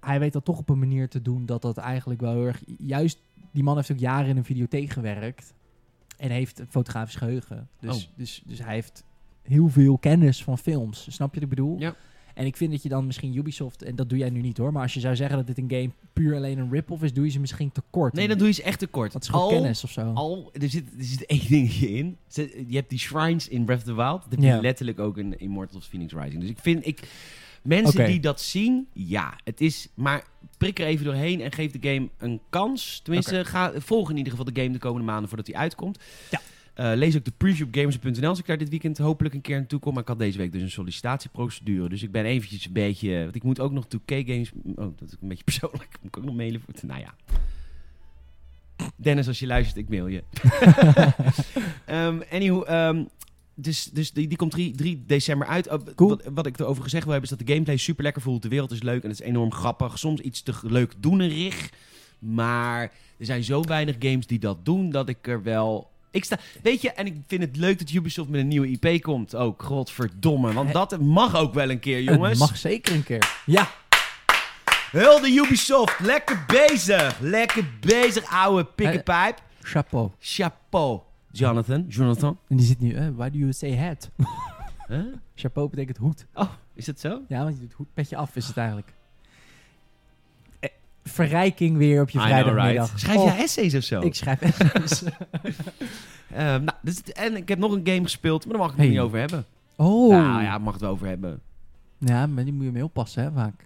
[SPEAKER 2] hij weet dat toch op een manier te doen dat dat eigenlijk wel heel erg... Juist, die man heeft ook jaren in een videotheek gewerkt. En heeft een fotografisch geheugen.
[SPEAKER 1] Oh.
[SPEAKER 2] Dus, dus, dus hij heeft heel veel kennis van films. Snap je wat ik bedoel?
[SPEAKER 1] Ja.
[SPEAKER 2] En ik vind dat je dan misschien Ubisoft, en dat doe jij nu niet hoor, maar als je zou zeggen dat dit een game puur alleen een rip-off is, doe je ze misschien tekort.
[SPEAKER 1] Nee, dan doe je ze echt tekort.
[SPEAKER 2] Dat is gewoon kennis of zo.
[SPEAKER 1] Al, er zit, er zit één dingetje in. Ze- Je hebt die shrines in Breath of the Wild. Dat heb je
[SPEAKER 2] Ja.
[SPEAKER 1] letterlijk ook in Immortals Phoenix Rising. Dus ik vind, ik, mensen
[SPEAKER 2] Oké.
[SPEAKER 1] die dat zien, ja, het is, maar prik er even doorheen en geef de game een kans. Tenminste, ga, volg in ieder geval de game de komende maanden voordat die uitkomt.
[SPEAKER 2] Ja.
[SPEAKER 1] Eh, lees ook de preview op gamers.nl als ik daar dit weekend hopelijk een keer naartoe kom. Maar ik had deze week dus een sollicitatieprocedure. Dus ik ben eventjes een beetje... Want ik moet ook nog 2K-games... Oh, dat is een beetje persoonlijk. Moet ik ook nog mailen voor... Nou ja, Dennis, als je luistert, ik mail je. Ehm anyhow, ehm, dus, dus die, die komt 3, 3 december uit. Oh,
[SPEAKER 2] Cool.
[SPEAKER 1] wat, wat ik erover gezegd wil hebben, is dat de gameplay super lekker voelt. De wereld is leuk en het is enorm grappig. Soms iets te leuk doenerig. Maar er zijn zo weinig games die dat doen, dat ik er wel... Ik sta, weet je, en ik vind het leuk dat Ubisoft met een nieuwe IP komt ook. Godverdomme, want dat mag ook wel een keer, jongens.
[SPEAKER 2] Het mag zeker een keer. Ja,
[SPEAKER 1] Hulde Ubisoft, lekker bezig. Lekker bezig, ouwe pikkenpijp.
[SPEAKER 2] chapeau.
[SPEAKER 1] Chapeau, Jonathan. Jonathan.
[SPEAKER 2] En die zit nu, eh, why do you say hat? Chapeau betekent hoed.
[SPEAKER 1] Oh, is dat zo?
[SPEAKER 2] Ja, want je doet hoedpetje af, is het eigenlijk. Eh, Verrijking weer op je
[SPEAKER 1] I know,
[SPEAKER 2] vrijdagmiddag.
[SPEAKER 1] right. Schrijf
[SPEAKER 2] Oh,
[SPEAKER 1] jij essays of zo?
[SPEAKER 2] Ik schrijf essays.
[SPEAKER 1] Ehm, nou, dus, het- en ik heb nog een game gespeeld, maar daar mag ik het
[SPEAKER 2] Hey.
[SPEAKER 1] niet over hebben.
[SPEAKER 2] Oh.
[SPEAKER 1] Nou ja, mag het wel over hebben.
[SPEAKER 2] Ja, maar die moet je mee oppassen, hè, vaak.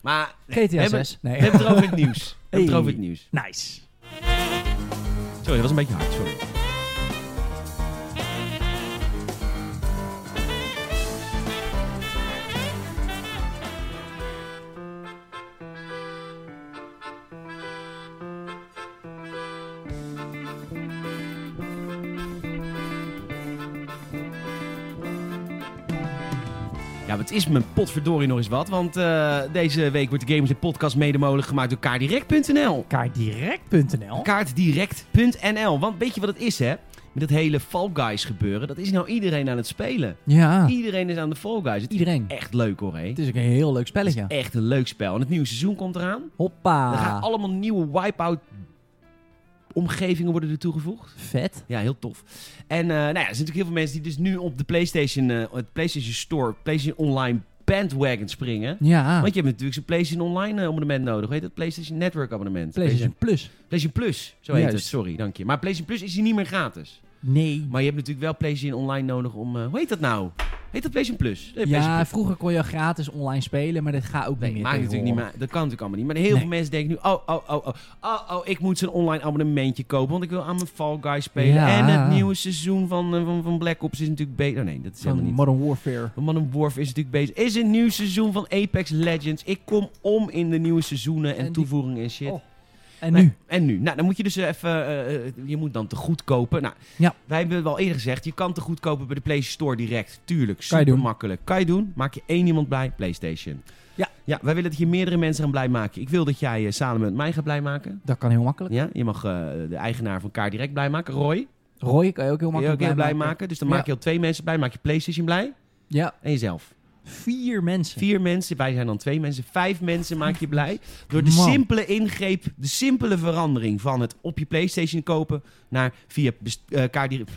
[SPEAKER 1] Maar nee, we
[SPEAKER 2] GTA
[SPEAKER 1] hebben-
[SPEAKER 2] 6. Nee.
[SPEAKER 1] We hebben het over het nieuws. We hebben het
[SPEAKER 2] Hey.
[SPEAKER 1] over het nieuws.
[SPEAKER 2] Nice.
[SPEAKER 1] Sorry, dat was een beetje hard, sorry. Ja, maar het is mijn potverdorie nog eens wat. Want eh, deze week wordt de Gamers in Podcast mede mogelijk gemaakt door kaardirect.nl.
[SPEAKER 2] Kaartdirect.nl.
[SPEAKER 1] Kaartdirect.nl. Want weet je wat het is, hè? Met dat hele Fall Guys gebeuren. Dat is nou iedereen aan het spelen.
[SPEAKER 2] Ja,
[SPEAKER 1] Iedereen is aan de Fall Guys. Het is
[SPEAKER 2] Ah. iedereen.
[SPEAKER 1] echt leuk hoor, hè?
[SPEAKER 2] Het is ook een heel leuk
[SPEAKER 1] Het
[SPEAKER 2] spelletje.
[SPEAKER 1] is echt een leuk spel. En het nieuwe seizoen komt eraan. Er gaan
[SPEAKER 2] Hoppa.
[SPEAKER 1] allemaal nieuwe wipeout omgevingen worden er toegevoegd.
[SPEAKER 2] Vet.
[SPEAKER 1] Ja, heel tof. En eh, nou ja, er zijn natuurlijk heel veel mensen die dus nu op de PlayStation, eh, het PlayStation Store, PlayStation Online bandwagon springen.
[SPEAKER 2] Ja.
[SPEAKER 1] Want je hebt natuurlijk zo'n PlayStation Online eh, abonnement nodig. Hoe heet dat? PlayStation Network abonnement.
[SPEAKER 2] PlayStation Plus.
[SPEAKER 1] PlayStation Plus, zo heet het.
[SPEAKER 2] Juist.
[SPEAKER 1] Sorry, dank je. Maar PlayStation Plus is hier niet meer gratis.
[SPEAKER 2] Nee.
[SPEAKER 1] Maar je hebt natuurlijk wel PlayStation Online nodig om... eh, hoe heet dat nou? Heet dat PlayStation Plus? Nee, PlayStation
[SPEAKER 2] Ja,
[SPEAKER 1] Plus.
[SPEAKER 2] vroeger kon je gratis online spelen, maar dat gaat ook
[SPEAKER 1] Nee,
[SPEAKER 2] niet meer
[SPEAKER 1] maakt natuurlijk niet meer. Dat kan natuurlijk allemaal niet. Maar heel
[SPEAKER 2] Nee.
[SPEAKER 1] veel mensen denken nu: oh, oh, oh, oh, oh, oh, ik moet zo'n online abonnementje kopen. Want ik wil aan mijn Fall Guys spelen.
[SPEAKER 2] Ja.
[SPEAKER 1] En het nieuwe seizoen van, eh, van, van Black Ops is natuurlijk beter. Oh, nee, dat is
[SPEAKER 2] Van
[SPEAKER 1] helemaal niet.
[SPEAKER 2] Modern Warfare.
[SPEAKER 1] Van Modern Warfare is natuurlijk bezig. Is een nieuw seizoen van Apex Legends. Ik kom om in de nieuwe seizoenen en,
[SPEAKER 2] En die-
[SPEAKER 1] toevoegingen en shit.
[SPEAKER 2] Oh. En
[SPEAKER 1] Nee,
[SPEAKER 2] nu?
[SPEAKER 1] En nu. Nou, dan moet je dus even... eh, eh, je moet dan te goed kopen. Nou,
[SPEAKER 2] Ja.
[SPEAKER 1] wij hebben wel eerder gezegd... je kan te goed kopen bij de PlayStation Store direct. Tuurlijk,
[SPEAKER 2] Kan je
[SPEAKER 1] super
[SPEAKER 2] doen.
[SPEAKER 1] makkelijk. Kan je doen. Maak je één iemand blij. PlayStation.
[SPEAKER 2] Ja.
[SPEAKER 1] Ja, wij willen dat je meerdere mensen gaan blij maken. Ik wil dat jij eh, samen met mij gaat blij maken.
[SPEAKER 2] Dat kan heel makkelijk.
[SPEAKER 1] Ja, je mag eh, de eigenaar van Kaar direct blij maken. Roy,
[SPEAKER 2] Roy kan je
[SPEAKER 1] mag
[SPEAKER 2] ook heel
[SPEAKER 1] je ook
[SPEAKER 2] makkelijk
[SPEAKER 1] heel blij
[SPEAKER 2] maken.
[SPEAKER 1] maken. Dus dan
[SPEAKER 2] Ja.
[SPEAKER 1] maak je al twee mensen blij. Maak je PlayStation blij
[SPEAKER 2] Ja,
[SPEAKER 1] en jezelf.
[SPEAKER 2] vier mensen.
[SPEAKER 1] Vier mensen, wij zijn dan twee mensen. Vijf mensen maak je blij. Door de
[SPEAKER 2] Man.
[SPEAKER 1] simpele ingreep, de simpele verandering van het op je PlayStation kopen naar via best, eh, kaardirect,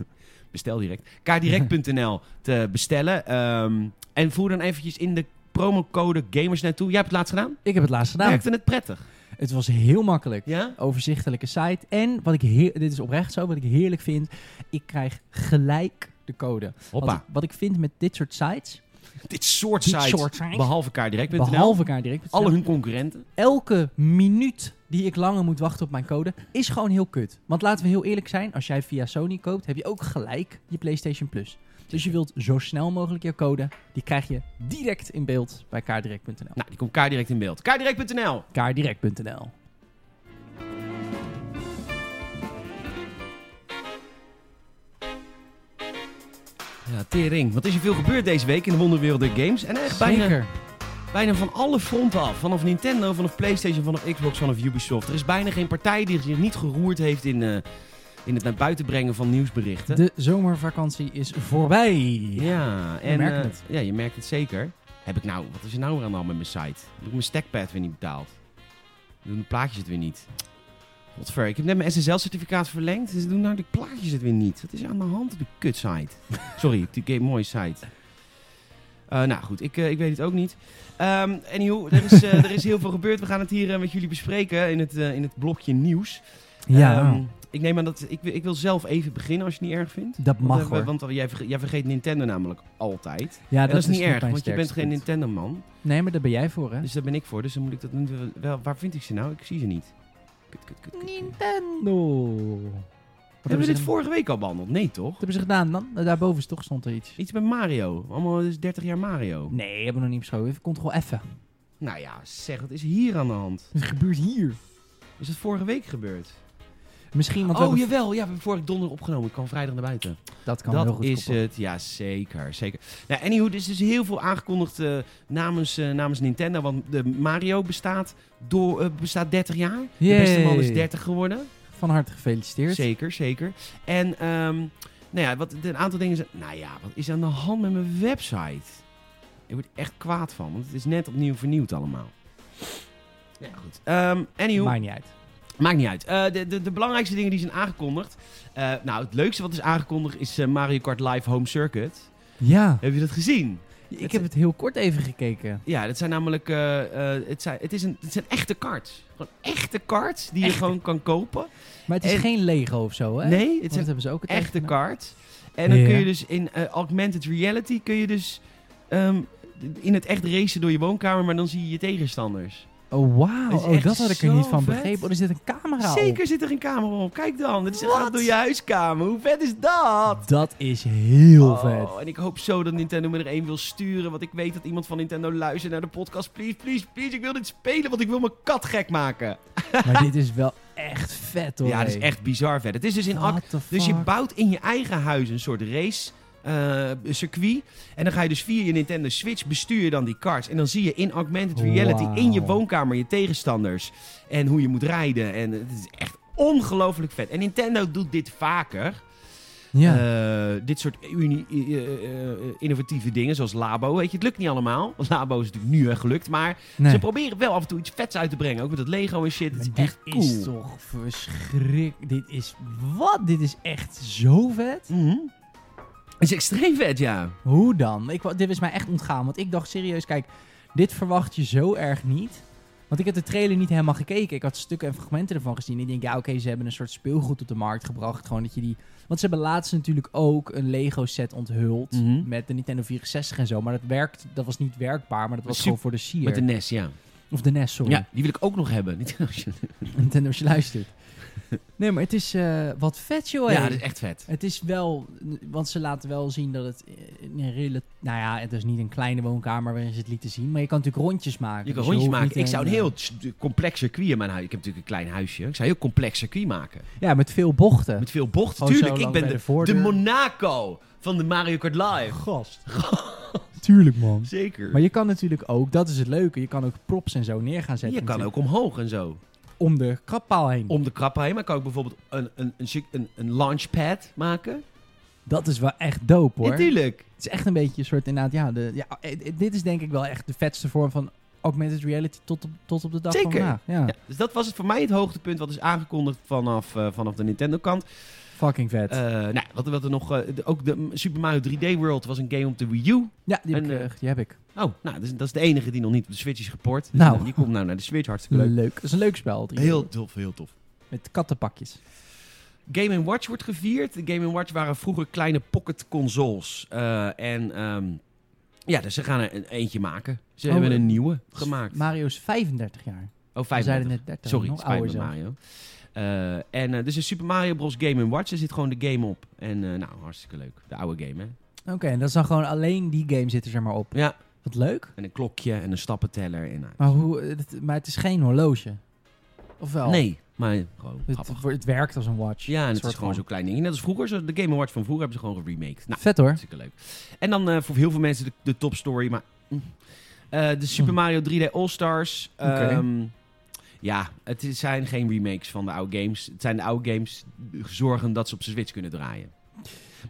[SPEAKER 1] bestel direct, kaardirect.nl te bestellen. Ehm, en voer dan eventjes in de promocode gamers naartoe. Jij hebt het laatst gedaan?
[SPEAKER 2] Ik heb het laatst gedaan.
[SPEAKER 1] Werkte het prettig?
[SPEAKER 2] Het was heel makkelijk.
[SPEAKER 1] Ja?
[SPEAKER 2] Overzichtelijke site. En wat ik heer- dit is oprecht zo, wat ik heerlijk vind, ik krijg gelijk de code. Wat ik,
[SPEAKER 1] Hoppa.
[SPEAKER 2] wat ik vind met dit soort sites,
[SPEAKER 1] Dit soort
[SPEAKER 2] Dit
[SPEAKER 1] sites,
[SPEAKER 2] soort sites.
[SPEAKER 1] behalve kaardirect.nl,
[SPEAKER 2] behalve elkaar direct,
[SPEAKER 1] alle hun concurrenten.
[SPEAKER 2] elke minuut die ik langer moet wachten op mijn code, is gewoon heel kut. Want laten we heel eerlijk zijn, als jij via Sony koopt, heb je ook gelijk je PlayStation Plus. Dus je wilt zo snel mogelijk je code, die krijg je direct in beeld bij kaardirect.nl.
[SPEAKER 1] Nou, die komt kaardirect in beeld. Kaardirect.nl.
[SPEAKER 2] Kaardirect.nl.
[SPEAKER 1] Ja, tering. Wat is er veel gebeurd deze week in de wonderwereld der games? En echt bijna...
[SPEAKER 2] Zeker.
[SPEAKER 1] Bijna van alle fronten af. Vanaf Nintendo, vanaf PlayStation, vanaf Xbox, vanaf Ubisoft. Er is bijna geen partij die zich niet geroerd heeft in, eh, in het naar buiten brengen van nieuwsberichten.
[SPEAKER 2] De zomervakantie is voorbij.
[SPEAKER 1] Ja, en,
[SPEAKER 2] merkt
[SPEAKER 1] eh,
[SPEAKER 2] het.
[SPEAKER 1] ja, je merkt het zeker. Heb ik nou, wat is er nou weer aan de hand met mijn site? Heb ik mijn stackpad weer niet betaald? Doen de plaatjes het weer niet? Godver, ik heb net mijn SSL-certificaat verlengd. Ze doen nou de plaatjes het weer niet. Wat is er aan de hand op de kutsite? Sorry, op die game mooie site. Eh, nou goed, ik, eh, ik weet het ook niet. Ehm anyhow, er is, eh, er is heel veel gebeurd. We gaan het hier eh, met jullie bespreken in het, eh, in het blokje nieuws. Ehm, ik neem aan dat... Ik, wil- ik wil zelf even beginnen, als je het niet erg vindt.
[SPEAKER 2] dat mag
[SPEAKER 1] Want, eh,
[SPEAKER 2] hoor.
[SPEAKER 1] Want jij, verge- jij vergeet Nintendo namelijk altijd.
[SPEAKER 2] ja, dus
[SPEAKER 1] en dat, is niet erg,
[SPEAKER 2] mijn
[SPEAKER 1] want je bent
[SPEAKER 2] sterkste
[SPEAKER 1] geen
[SPEAKER 2] punt.
[SPEAKER 1] Nintendo-man.
[SPEAKER 2] Nee, maar daar ben jij voor, hè?
[SPEAKER 1] Dus daar ben ik voor, dus dan moet ik dat doen. Wel, waar vind ik ze nou? Ik zie ze niet. Kut, kut, kut, kut, kut.
[SPEAKER 2] Nintendo. Wat
[SPEAKER 1] Hebben we dit
[SPEAKER 2] gedaan?
[SPEAKER 1] vorige week al behandeld? Nee, toch?
[SPEAKER 2] Wat hebben ze gedaan dan? Eh, Daarboven toch stond er iets.
[SPEAKER 1] Iets met Mario. Allemaal dus 30 jaar Mario.
[SPEAKER 2] Nee, hebben we nog niet besproken. Even controle even.
[SPEAKER 1] Nou ja, zeg, wat is hier aan de hand?
[SPEAKER 2] Het gebeurt hier.
[SPEAKER 1] Is dat vorige week gebeurd?
[SPEAKER 2] Misschien, want we
[SPEAKER 1] Oh,
[SPEAKER 2] hebben-
[SPEAKER 1] jawel. Ja, we hebben vorige donderdag opgenomen. Ik kwam vrijdag naar buiten.
[SPEAKER 2] dat kan heel
[SPEAKER 1] dat
[SPEAKER 2] goed
[SPEAKER 1] is
[SPEAKER 2] koppelen.
[SPEAKER 1] het, ja zeker. zeker. Nou, anywho, er is dus heel veel aangekondigd eh, namens, eh, namens Nintendo. Want de Mario bestaat, door, eh, bestaat 30 jaar.
[SPEAKER 2] Yay.
[SPEAKER 1] De beste man is 30 geworden.
[SPEAKER 2] Van harte gefeliciteerd.
[SPEAKER 1] eh, Zeker, zeker. En ehm, nou ja, wat, een aantal dingen zijn... Nou ja, wat is aan de hand met mijn website? Ik word er echt kwaad van, want het is net opnieuw vernieuwd allemaal. Ja, goed. Ehm anywho,
[SPEAKER 2] Maakt niet uit.
[SPEAKER 1] Maakt niet uit. Eh, de, de, de belangrijkste dingen die zijn aangekondigd. Eh, nou, het leukste wat is aangekondigd is eh, Mario Kart Live Home Circuit.
[SPEAKER 2] Ja,
[SPEAKER 1] Heb je dat gezien?
[SPEAKER 2] ik heb het heel kort even gekeken.
[SPEAKER 1] Ja, dat zijn namelijk. eh, eh, het, zijn, het, is een, het zijn echte karts. Gewoon echte karts die je
[SPEAKER 2] Echte.
[SPEAKER 1] gewoon kan kopen.
[SPEAKER 2] Maar het is
[SPEAKER 1] En-
[SPEAKER 2] geen Lego of zo, hè? Want
[SPEAKER 1] Nee, het
[SPEAKER 2] dat
[SPEAKER 1] zijn
[SPEAKER 2] hebben ze ook het
[SPEAKER 1] echte
[SPEAKER 2] even gedaan.
[SPEAKER 1] karts. En dan kun
[SPEAKER 2] Ja.
[SPEAKER 1] je dus in eh, augmented reality kun je dus ehm, in het echt racen door je woonkamer, maar dan zie je je tegenstanders.
[SPEAKER 2] Oh, wauw.
[SPEAKER 1] Het is
[SPEAKER 2] Oh,
[SPEAKER 1] echt
[SPEAKER 2] dat had ik er
[SPEAKER 1] zo
[SPEAKER 2] niet van
[SPEAKER 1] vet.
[SPEAKER 2] begrepen. Oh, er zit een camera op.
[SPEAKER 1] Zeker zit er een camera op. Kijk dan, dit is, gaat
[SPEAKER 2] Wat?
[SPEAKER 1] door je huiskamer. Hoe vet is dat?
[SPEAKER 2] Dat is heel
[SPEAKER 1] Oh,
[SPEAKER 2] vet.
[SPEAKER 1] En ik hoop zo dat Nintendo me er één wil sturen. Want ik weet dat iemand van Nintendo luistert naar de podcast. Please, please, please. Ik wil dit spelen, want ik wil mijn kat gek maken.
[SPEAKER 2] Maar dit is wel echt vet hoor.
[SPEAKER 1] Ja, dat is echt bizar vet. Het is dus in act.
[SPEAKER 2] What the
[SPEAKER 1] Dus je
[SPEAKER 2] fuck?
[SPEAKER 1] bouwt in je eigen huis een soort race eh, circuit. En dan ga je dus via je Nintendo Switch bestuur je dan die karts. En dan zie je in augmented reality
[SPEAKER 2] Wauw.
[SPEAKER 1] in je woonkamer je tegenstanders. En hoe je moet rijden. En het is echt ongelooflijk vet. En Nintendo doet dit vaker.
[SPEAKER 2] Ja.
[SPEAKER 1] Eh, dit soort uni- eh, eh, eh, innovatieve dingen, zoals Labo. Weet je, het lukt niet allemaal. Want Labo is natuurlijk nu eh, gelukt. Maar
[SPEAKER 2] nee.
[SPEAKER 1] ze proberen wel af en toe iets vets uit te brengen. Ook met dat Lego en shit. Het is
[SPEAKER 2] Maar
[SPEAKER 1] echt
[SPEAKER 2] dit
[SPEAKER 1] cool.
[SPEAKER 2] is toch verschrikkelijk. Dit is wat? Dit is echt zo vet.
[SPEAKER 1] Mhm. Het is extreem vet, ja.
[SPEAKER 2] Hoe dan? Ik, wa- dit is mij echt ontgaan. Want ik dacht serieus, kijk, dit verwacht je zo erg niet. Want ik heb de trailer niet helemaal gekeken. Ik had stukken en fragmenten ervan gezien. Ik denk, ja, oké, ze hebben een soort speelgoed op de markt gebracht. Gewoon dat je die. Want ze hebben laatst natuurlijk ook een Lego set onthuld.
[SPEAKER 1] Mhm.
[SPEAKER 2] Met de Nintendo 64 en zo. Maar dat, werkt, dat was niet werkbaar, maar dat was
[SPEAKER 1] Super-
[SPEAKER 2] gewoon voor de Sier.
[SPEAKER 1] Met de NES, ja.
[SPEAKER 2] Of de NES, sorry.
[SPEAKER 1] Ja, die wil ik ook nog hebben. Niet- Oh,
[SPEAKER 2] Nintendo, als je luistert. Nee, maar het is eh, wat vet, joh.
[SPEAKER 1] ja,
[SPEAKER 2] hé.
[SPEAKER 1] dat is echt vet.
[SPEAKER 2] Het is wel, want ze laten wel zien dat het in een rela- Nou ja, het is niet een kleine woonkamer waarin ze het lieten zien. Maar je kan natuurlijk rondjes maken.
[SPEAKER 1] Je kan
[SPEAKER 2] Dus
[SPEAKER 1] rondjes
[SPEAKER 2] hoeft
[SPEAKER 1] maken.
[SPEAKER 2] niet
[SPEAKER 1] Ik zou een
[SPEAKER 2] hele-
[SPEAKER 1] heel s- complex circuit in mijn huis... Ik heb natuurlijk een klein huisje. Ik zou een heel complex circuit maken.
[SPEAKER 2] eh, Ja, met veel bochten.
[SPEAKER 1] Met veel bochten.
[SPEAKER 2] Gewoon zo
[SPEAKER 1] Tuurlijk, ik
[SPEAKER 2] lang
[SPEAKER 1] ben
[SPEAKER 2] bij
[SPEAKER 1] de,
[SPEAKER 2] de voordeur.
[SPEAKER 1] de Monaco van de Mario Kart Live.
[SPEAKER 2] Gast. Tuurlijk, man.
[SPEAKER 1] Zeker.
[SPEAKER 2] Maar je kan natuurlijk ook, dat is het leuke, je kan ook props en zo neer gaan zetten.
[SPEAKER 1] Je kan
[SPEAKER 2] natuurlijk
[SPEAKER 1] ook omhoog en zo.
[SPEAKER 2] Om de krappaal heen.
[SPEAKER 1] Om de krap heen. Maar kan ik bijvoorbeeld een, een, een, chic- een, een launchpad maken?
[SPEAKER 2] Dat is wel echt dope, hoor.
[SPEAKER 1] Natuurlijk.
[SPEAKER 2] Het is echt een beetje een soort, inderdaad, ja, de, ja eh, eh, dit is denk ik wel echt de vetste vorm van augmented reality tot op, tot op de dag van
[SPEAKER 1] Zeker.
[SPEAKER 2] vandaag. Ja,
[SPEAKER 1] Ja, dus dat was het voor mij het hoogtepunt wat is aangekondigd vanaf, eh, vanaf de Nintendo kant.
[SPEAKER 2] fucking vet.
[SPEAKER 1] Eh nou, wat, wat er nog, eh, de- ook de mm, Super Mario 3D World was een game op de Wii U.
[SPEAKER 2] ja, die heb,
[SPEAKER 1] en,
[SPEAKER 2] ik,
[SPEAKER 1] eh,
[SPEAKER 2] eh, die heb ik.
[SPEAKER 1] Oh, nou, dat is, dat is de enige die nog niet op de Switch is geport. Dus,
[SPEAKER 2] Nou.
[SPEAKER 1] eh, die komt nou naar de Switch, hartstikke leuk.
[SPEAKER 2] Leuk. Dat is een leuk spel. drie
[SPEAKER 1] Heel tof, heel tof.
[SPEAKER 2] Met kattenpakjes.
[SPEAKER 1] Game Watch wordt gevierd. De Game Watch waren vroeger kleine pocket consoles. Eh, en ehm, ja, dus ze gaan er een, eentje maken. Ze
[SPEAKER 2] Oh,
[SPEAKER 1] hebben een
[SPEAKER 2] eh,
[SPEAKER 1] nieuwe gemaakt.
[SPEAKER 2] Mario is 35 jaar.
[SPEAKER 1] oh,
[SPEAKER 2] We
[SPEAKER 1] 35.
[SPEAKER 2] zeiden net 30.
[SPEAKER 1] Sorry,
[SPEAKER 2] nog
[SPEAKER 1] spijt me,
[SPEAKER 2] ouder zelf.
[SPEAKER 1] Mario. Eh, en eh, dus een Super Mario Bros. Game Watch. Er zit gewoon de game op. En eh, nou, hartstikke leuk. De oude game, hè?
[SPEAKER 2] Oké, en dat is dan gewoon alleen die game zit er zeg maar op.
[SPEAKER 1] Ja.
[SPEAKER 2] Wat leuk.
[SPEAKER 1] En een klokje en een stappenteller. En, nou,
[SPEAKER 2] Maar, hoe, eh, dat- maar het is geen horloge. Of wel?
[SPEAKER 1] Nee, maar gewoon
[SPEAKER 2] Het,
[SPEAKER 1] grappig.
[SPEAKER 2] wordt- het werkt als een watch.
[SPEAKER 1] Ja, en het
[SPEAKER 2] Soort
[SPEAKER 1] is gewoon
[SPEAKER 2] van.
[SPEAKER 1] zo'n klein ding. Net als vroeger. Zo, de Game Watch van vroeger hebben ze gewoon geremaked. Nou,
[SPEAKER 2] Vet hoor.
[SPEAKER 1] hartstikke leuk. En dan eh, voor heel veel mensen de, de topstory. Maar mm. Eh, de Super
[SPEAKER 2] Hm.
[SPEAKER 1] Mario 3D All-Stars.
[SPEAKER 2] Oké.
[SPEAKER 1] ehm, ja, het is- zijn geen remakes van de oude games. Het zijn de oude games die zorgen dat ze op zijn Switch kunnen draaien.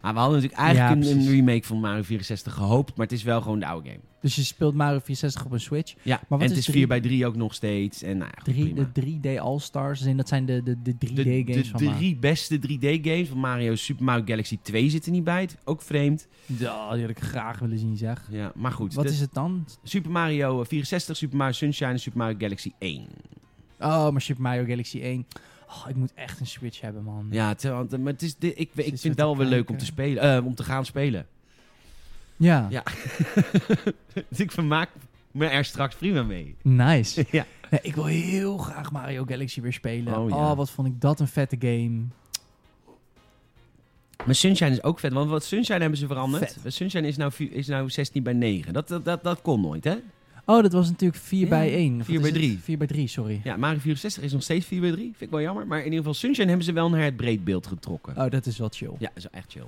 [SPEAKER 1] Maar we hadden natuurlijk eigenlijk
[SPEAKER 2] Ja,
[SPEAKER 1] een, een
[SPEAKER 2] precies.
[SPEAKER 1] remake van Mario 64 gehoopt. Maar het is wel gewoon de oude game.
[SPEAKER 2] Dus je speelt Mario 64 op een Switch.
[SPEAKER 1] Ja,
[SPEAKER 2] wat
[SPEAKER 1] en
[SPEAKER 2] is
[SPEAKER 1] het is
[SPEAKER 2] drie-
[SPEAKER 1] 4 bij 3 ook nog steeds. En nou ja, goed,
[SPEAKER 2] Drie,
[SPEAKER 1] prima.
[SPEAKER 2] de 3D All-Stars. Dus in- dat zijn de, de, de 3D
[SPEAKER 1] De, de,
[SPEAKER 2] games van Mario.
[SPEAKER 1] drie beste 3D-games van Mario Super Mario Galaxy 2 zitten niet bij. Het, ook vreemd.
[SPEAKER 2] Ja, die had ik graag willen zien zeg.
[SPEAKER 1] Ja, maar goed.
[SPEAKER 2] Wat
[SPEAKER 1] de-
[SPEAKER 2] is het dan?
[SPEAKER 1] Super Mario 64, Super Mario Sunshine en Super Mario Galaxy 1.
[SPEAKER 2] Oh, maar Super Mario Galaxy 1. Oh, ik moet echt een Switch hebben, man.
[SPEAKER 1] Ja, het, eh, want, eh, maar het is, de- ik, ik
[SPEAKER 2] Zitten
[SPEAKER 1] vind het
[SPEAKER 2] te
[SPEAKER 1] wel weer leuk om te,
[SPEAKER 2] kijken.
[SPEAKER 1] spelen, eh, om te gaan spelen.
[SPEAKER 2] Ja.
[SPEAKER 1] Ja. Dus ik vermaak me er straks prima mee.
[SPEAKER 2] Nice.
[SPEAKER 1] ja.
[SPEAKER 2] Nee, ik wil heel graag Mario Galaxy weer spelen.
[SPEAKER 1] Oh,
[SPEAKER 2] Oh,
[SPEAKER 1] ja.
[SPEAKER 2] wat vond ik dat een vette game.
[SPEAKER 1] Maar Sunshine is ook vet, want wat Sunshine hebben ze veranderd.
[SPEAKER 2] Vet.
[SPEAKER 1] Sunshine is nou, vi- is nou 16 bij 9. Dat, dat, dat, dat kon nooit, hè?
[SPEAKER 2] Oh, dat was natuurlijk 4
[SPEAKER 1] Ja,
[SPEAKER 2] bij 1.
[SPEAKER 1] 4 bij 3.
[SPEAKER 2] 4 bij 3, sorry.
[SPEAKER 1] Ja, Mario 64 is nog steeds 4 bij 3. Vind ik wel jammer. Maar in ieder geval, Sunshine hebben ze wel naar het breedbeeld getrokken.
[SPEAKER 2] Oh, dat is wel chill.
[SPEAKER 1] Ja, dat is wel echt chill.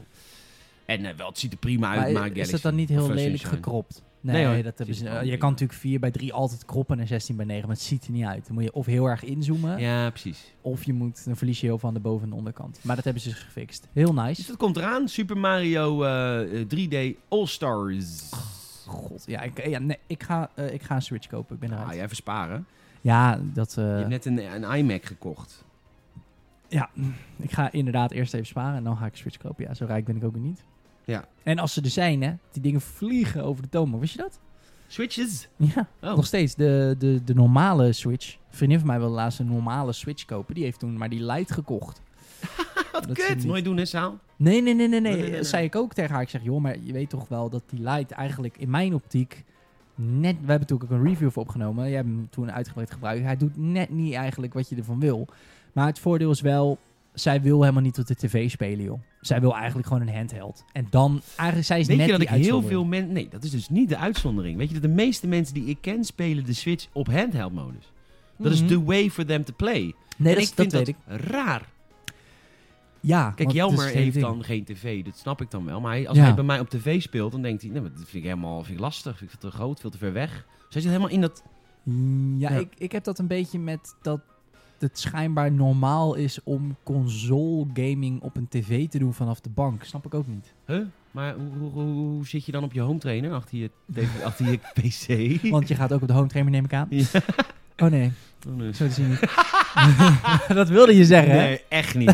[SPEAKER 1] En eh, wel, het ziet er prima uit,
[SPEAKER 2] maar
[SPEAKER 1] Mario
[SPEAKER 2] is
[SPEAKER 1] Galaxy.
[SPEAKER 2] dat dan niet heel
[SPEAKER 1] Of, eh,
[SPEAKER 2] lelijk
[SPEAKER 1] Sunshine.
[SPEAKER 2] gekropt?
[SPEAKER 1] Nee,
[SPEAKER 2] Nee,
[SPEAKER 1] hoor.
[SPEAKER 2] dat hebben ze,
[SPEAKER 1] Ziet er gewoon
[SPEAKER 2] je
[SPEAKER 1] prima.
[SPEAKER 2] kan natuurlijk 4 bij 3 altijd kroppen en 16 bij 9, maar het ziet er niet uit. Dan moet je of heel erg inzoomen,
[SPEAKER 1] Ja, precies.
[SPEAKER 2] of je moet, dan verlies je heel veel aan de boven- en de onderkant. Maar dat hebben ze dus gefixt. Heel
[SPEAKER 1] Dus
[SPEAKER 2] nice.
[SPEAKER 1] dat komt eraan. Super Mario eh, eh, 3D All-Stars.
[SPEAKER 2] Oh, God, ja, ik, ja, nee, ik, ga, eh, ik ga een Switch kopen. Ik ben eruit.
[SPEAKER 1] Ah, jij versparen.
[SPEAKER 2] Ja, dat... eh,
[SPEAKER 1] Je hebt net een, een iMac gekocht.
[SPEAKER 2] Ja, ik ga inderdaad eerst even sparen en dan ga ik Switch kopen. Ja, zo rijk ben ik ook weer niet.
[SPEAKER 1] Ja.
[SPEAKER 2] En als ze er zijn, hè, die dingen vliegen over de toonbank. Wist je dat?
[SPEAKER 1] Switches.
[SPEAKER 2] Ja,
[SPEAKER 1] Oh.
[SPEAKER 2] nog steeds. De, de, de normale Switch. Een vriendin van mij wilde laatst een normale Switch kopen. Die heeft toen maar die Lite gekocht.
[SPEAKER 1] Wat
[SPEAKER 2] Dat ze
[SPEAKER 1] kut.
[SPEAKER 2] niet-
[SPEAKER 1] Nooit doen, hè, Saal?
[SPEAKER 2] Nee, nee, nee, nee,
[SPEAKER 1] Nee,
[SPEAKER 2] nee.
[SPEAKER 1] nee, nee,
[SPEAKER 2] Dat zei ik ook tegen haar. Ik zeg, joh, maar je weet toch wel dat die Lite eigenlijk in mijn optiek net... We hebben toen ook een review voor opgenomen. Jij hebt hem toen uitgebreid gebruikt. Hij doet net niet eigenlijk wat je ervan wil. Maar het voordeel is wel, zij wil helemaal niet op de tv spelen, joh. Zij wil eigenlijk gewoon een handheld. En dan, eigenlijk, zij is
[SPEAKER 1] Weet
[SPEAKER 2] net
[SPEAKER 1] je dat
[SPEAKER 2] die
[SPEAKER 1] ik heel
[SPEAKER 2] uitzondering.
[SPEAKER 1] veel mensen... Nee, dat is dus niet de uitzondering. Weet je dat de meeste mensen die ik ken spelen de Switch op handheld modus? Dat is
[SPEAKER 2] Mhm.
[SPEAKER 1] the way for them to play.
[SPEAKER 2] Nee,
[SPEAKER 1] en ik
[SPEAKER 2] dat, dat
[SPEAKER 1] vind
[SPEAKER 2] weet ik.
[SPEAKER 1] raar.
[SPEAKER 2] Ja,
[SPEAKER 1] Kijk,
[SPEAKER 2] want het
[SPEAKER 1] Jelmer
[SPEAKER 2] is het hele
[SPEAKER 1] heeft
[SPEAKER 2] ding.
[SPEAKER 1] dan geen tv, dat snap ik dan wel. Maar hij, als
[SPEAKER 2] Ja.
[SPEAKER 1] hij bij mij op tv speelt, dan denkt hij, nee, maar dat vind ik helemaal vind ik lastig, vind ik te groot, veel te ver weg. Dus hij zit helemaal in dat...
[SPEAKER 2] Mm, Ja,
[SPEAKER 1] Ja.
[SPEAKER 2] Ik, ik heb dat een beetje met dat het schijnbaar normaal is om console gaming op een tv te doen vanaf de bank. Snap ik ook niet.
[SPEAKER 1] Huh? Maar hoe, hoe, hoe- hoe zit je dan op je home trainer achter je, tv, achter je pc?
[SPEAKER 2] Want je gaat ook op de home trainer, neem ik aan.
[SPEAKER 1] Ja.
[SPEAKER 2] Oh nee,
[SPEAKER 1] Oh, nee.
[SPEAKER 2] zo te zien niet. dat wilde je zeggen, hè?
[SPEAKER 1] Nee, echt niet.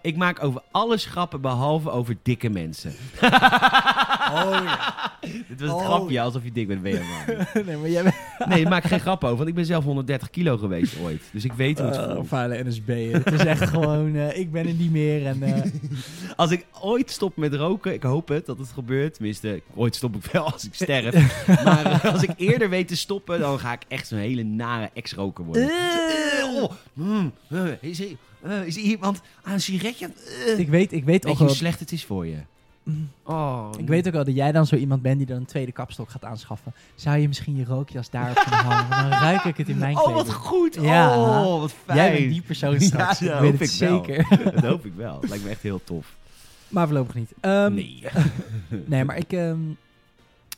[SPEAKER 1] ik maak over alles grappen behalve over dikke mensen.
[SPEAKER 2] Oh,
[SPEAKER 1] Dit was het
[SPEAKER 2] Oh.
[SPEAKER 1] grapje, alsof je dik bent. Ben je helemaal niet.
[SPEAKER 2] nee, maar jij bent
[SPEAKER 1] nee, ik maak geen grap over, want ik ben zelf 130 kilo geweest ooit. Dus ik weet hoe het
[SPEAKER 2] Oh,
[SPEAKER 1] voelt.
[SPEAKER 2] vuile NSB. Het is echt gewoon, eh, ik ben er niet meer. En, eh,
[SPEAKER 1] Als ik ooit stop met roken, ik hoop het dat het gebeurt. Tenminste, ooit stop ik wel als ik sterf. maar eh, als ik eerder weet te stoppen, dan ga ik echt zo'n hele nare ex-roker worden. Eh, oh, mm, eh, is, er, eh, is er iemand aan een sigaretje? aan- eh.
[SPEAKER 2] ik weet, ik weet al
[SPEAKER 1] Weet je hoe
[SPEAKER 2] gewoon...
[SPEAKER 1] slecht het is voor je?
[SPEAKER 2] Mm.
[SPEAKER 1] Oh,
[SPEAKER 2] Ik weet ook wel dat jij dan zo iemand bent die dan een tweede kapstok gaat aanschaffen. Zou je misschien je rookjas daarop kunnen hangen? Dan ruik ik het in mijn
[SPEAKER 1] Oh, wat
[SPEAKER 2] kleding.
[SPEAKER 1] goed.
[SPEAKER 2] Ja.
[SPEAKER 1] Oh, wat fijn.
[SPEAKER 2] Jij bent die persoon straks.
[SPEAKER 1] Ja, dat
[SPEAKER 2] ik weet
[SPEAKER 1] hoop
[SPEAKER 2] het
[SPEAKER 1] ik wel.
[SPEAKER 2] zeker.
[SPEAKER 1] Dat hoop ik wel. Lijkt me echt heel tof.
[SPEAKER 2] Maar voorlopig niet. Ehm, nee.
[SPEAKER 1] nee.
[SPEAKER 2] maar ik... ehm,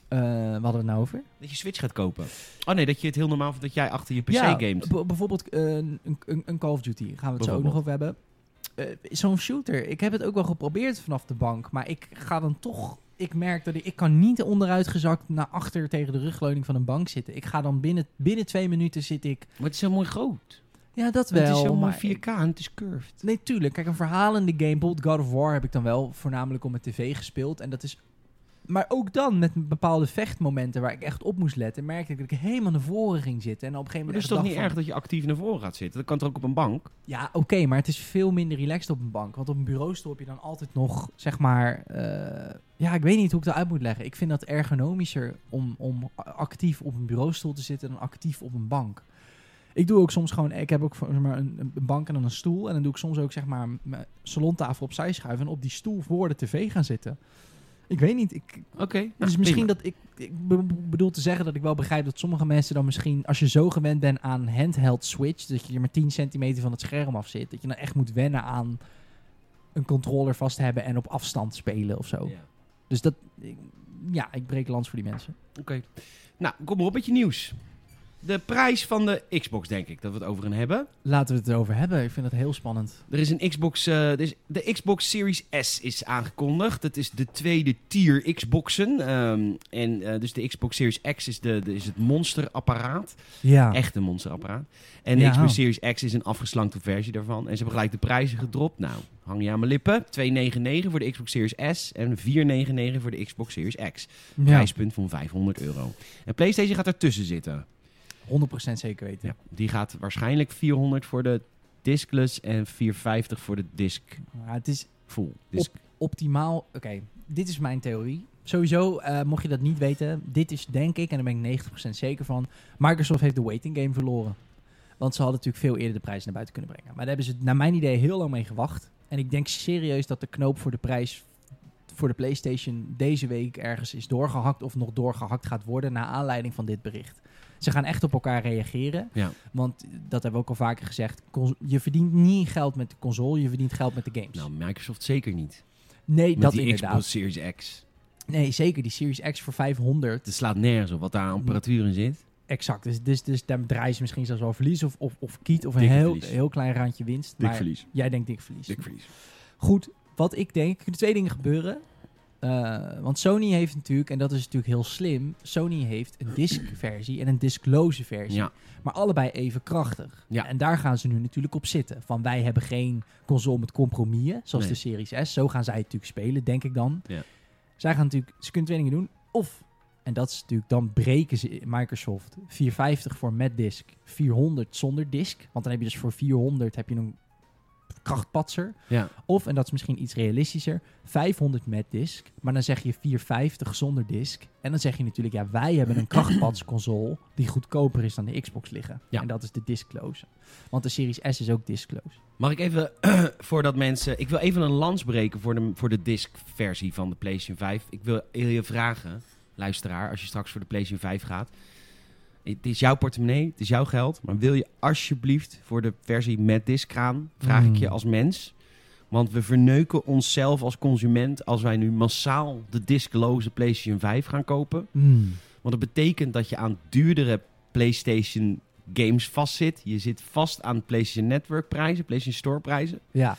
[SPEAKER 2] eh, wat hadden we het nou over?
[SPEAKER 1] Dat je Switch gaat kopen. Oh nee, dat je het heel normaal vindt dat jij achter je PC
[SPEAKER 2] ja,
[SPEAKER 1] gamet.
[SPEAKER 2] b- bijvoorbeeld eh, een, een, een Call of Duty. Gaan we het zo ook nog over hebben. Eh, Zo'n shooter. Ik heb het ook wel geprobeerd vanaf de bank. Maar ik ga dan toch... Ik merk dat ik, ik kan niet onderuitgezakt naar achter tegen de rugleuning van een bank zitten. Ik ga dan binnen, binnen twee minuten zit ik...
[SPEAKER 1] Maar het is zo mooi groot.
[SPEAKER 2] Ja, dat wel.
[SPEAKER 1] het is zo mooi
[SPEAKER 2] maar
[SPEAKER 1] 4K en het is curved.
[SPEAKER 2] Nee, tuurlijk. Kijk, een verhalende game, bijvoorbeeld God of War, heb ik dan wel voornamelijk op mijn tv gespeeld. En dat is. Maar ook dan met bepaalde vechtmomenten waar ik echt op moest letten, merkte ik dat ik helemaal naar voren ging zitten. En op een gegeven
[SPEAKER 1] Maar het
[SPEAKER 2] moment.
[SPEAKER 1] is toch
[SPEAKER 2] echt
[SPEAKER 1] niet
[SPEAKER 2] dacht
[SPEAKER 1] erg dat je actief naar voren gaat zitten? Dat kan toch ook op een bank?
[SPEAKER 2] van, Ja, oké, maar het is veel minder relaxed op een bank. Want op een bureaustoel heb je dan altijd nog, zeg maar. eh, ja, ik weet niet hoe ik dat uit moet leggen. Ik vind dat ergonomischer om, om actief op een bureaustoel te zitten dan actief op een bank. Ik doe ook soms gewoon, ik heb ook zeg maar, een, een bank en dan een stoel. En dan doe ik soms ook zeg maar mijn salontafel opzij schuiven en op die stoel voor de tv gaan zitten. Ik weet niet. Ik,
[SPEAKER 1] Oké. nou,
[SPEAKER 2] dus misschien dat ik, ik be- bedoel te zeggen dat ik wel begrijp dat sommige mensen dan misschien, als je zo gewend bent aan handheld switch, dat je er maar 10 centimeter van het scherm af zit, dat je dan echt moet wennen aan een controller vast hebben en op afstand spelen of zo.
[SPEAKER 1] Ja.
[SPEAKER 2] Dus dat, ik- ja, ik breek lans voor die mensen.
[SPEAKER 1] Oké. Nou, kom maar op met je nieuws. De prijs van de Xbox, denk ik, dat we het over gaan hebben.
[SPEAKER 2] Laten we het erover hebben. Ik vind dat heel spannend.
[SPEAKER 1] Er is een Xbox. eh, er is- de Xbox Series S is aangekondigd. Dat is de tweede tier Xboxen. Ehm, en eh, dus de Xbox Series X is, de, de- is het monsterapparaat.
[SPEAKER 2] Ja.
[SPEAKER 1] Echt een monsterapparaat. En de
[SPEAKER 2] Ja.
[SPEAKER 1] Xbox Series X is een afgeslankte versie daarvan. En ze hebben gelijk de prijzen gedropt. Nou, hang je aan mijn lippen. 2,99 voor de Xbox Series S en 4,99 voor de Xbox Series X.
[SPEAKER 2] Ja,
[SPEAKER 1] Prijspunt van 500 euro. En PlayStation gaat ertussen zitten.
[SPEAKER 2] 100% zeker weten.
[SPEAKER 1] Ja. Die gaat waarschijnlijk 400 voor de Discless en 450 voor de Disc
[SPEAKER 2] Maar het is
[SPEAKER 1] Full. Disc
[SPEAKER 2] optimaal. Oké, dit is mijn theorie. Sowieso, eh, mocht je dat niet weten, dit is denk ik, en daar ben ik 90% zeker van, Microsoft heeft de waiting game verloren. Want ze hadden natuurlijk veel eerder de prijs naar buiten kunnen brengen. Maar daar hebben ze naar mijn idee heel lang mee gewacht. En ik denk serieus dat de knoop voor de prijs voor de PlayStation deze week ergens is doorgehakt of nog doorgehakt gaat worden naar aanleiding van dit bericht. Ze gaan echt op elkaar reageren.
[SPEAKER 1] Ja.
[SPEAKER 2] Want dat hebben we ook al vaker gezegd. cons- Je verdient niet geld met de console, je verdient geld met de games.
[SPEAKER 1] Nou, Microsoft zeker niet.
[SPEAKER 2] nee,
[SPEAKER 1] Met
[SPEAKER 2] dat
[SPEAKER 1] die
[SPEAKER 2] inderdaad.
[SPEAKER 1] Xbox Series X.
[SPEAKER 2] Nee, zeker. Die Series X voor 500.
[SPEAKER 1] Het slaat nergens op wat daar
[SPEAKER 2] Mm.
[SPEAKER 1] aan apparatuur in zit.
[SPEAKER 2] Exact. Dus, dus, dus daar draaien ze misschien zelfs wel verlies. Of, of, of kiet. Of een
[SPEAKER 1] Dikke
[SPEAKER 2] heel,
[SPEAKER 1] verlies.
[SPEAKER 2] heel klein randje winst. maar
[SPEAKER 1] verlies.
[SPEAKER 2] jij denkt dik verlies.
[SPEAKER 1] Dik verlies.
[SPEAKER 2] Goed, wat ik denk. Er kunnen twee dingen gebeuren. Eh, want Sony heeft natuurlijk, en dat is natuurlijk heel slim. Sony heeft een disc-versie en een disclose versie.
[SPEAKER 1] Ja,
[SPEAKER 2] Maar allebei even krachtig.
[SPEAKER 1] Ja.
[SPEAKER 2] En daar gaan ze nu natuurlijk op zitten. Van wij hebben geen console met compromissen, zoals
[SPEAKER 1] Nee.
[SPEAKER 2] de Series S. Zo gaan zij het natuurlijk spelen, denk ik dan.
[SPEAKER 1] Ja.
[SPEAKER 2] Zij gaan natuurlijk, ze kunnen twee dingen doen. Of, en dat is natuurlijk, dan breken ze Microsoft 450 voor met disk, 400 zonder disk. Want dan heb je dus voor 400 heb je een krachtpatser.
[SPEAKER 1] ja.
[SPEAKER 2] Of, en dat is misschien iets realistischer, 500 met disk. Maar dan zeg je 450 zonder disk. En dan zeg je natuurlijk, ja, wij hebben een krachtpadsconsole die goedkoper is dan de Xbox liggen.
[SPEAKER 1] Ja.
[SPEAKER 2] En dat is de disclose. Want de Series S is ook disclose.
[SPEAKER 1] Mag ik even, voordat mensen... Ik wil even een lans breken voor de, voor de disc-versie van de PlayStation 5. Ik wil je vragen, luisteraar, als je straks voor de PlayStation 5 gaat. Het is jouw portemonnee, het is jouw geld. Maar wil je alsjeblieft voor de versie met disc gaan? Vraag
[SPEAKER 2] Mm.
[SPEAKER 1] ik je als mens. Want we verneuken onszelf als consument als wij nu massaal de discloze PlayStation 5 gaan kopen. Want dat betekent dat je aan duurdere PlayStation games vastzit. Je zit vast aan PlayStation Network prijzen, PlayStation Store prijzen.
[SPEAKER 2] Ja.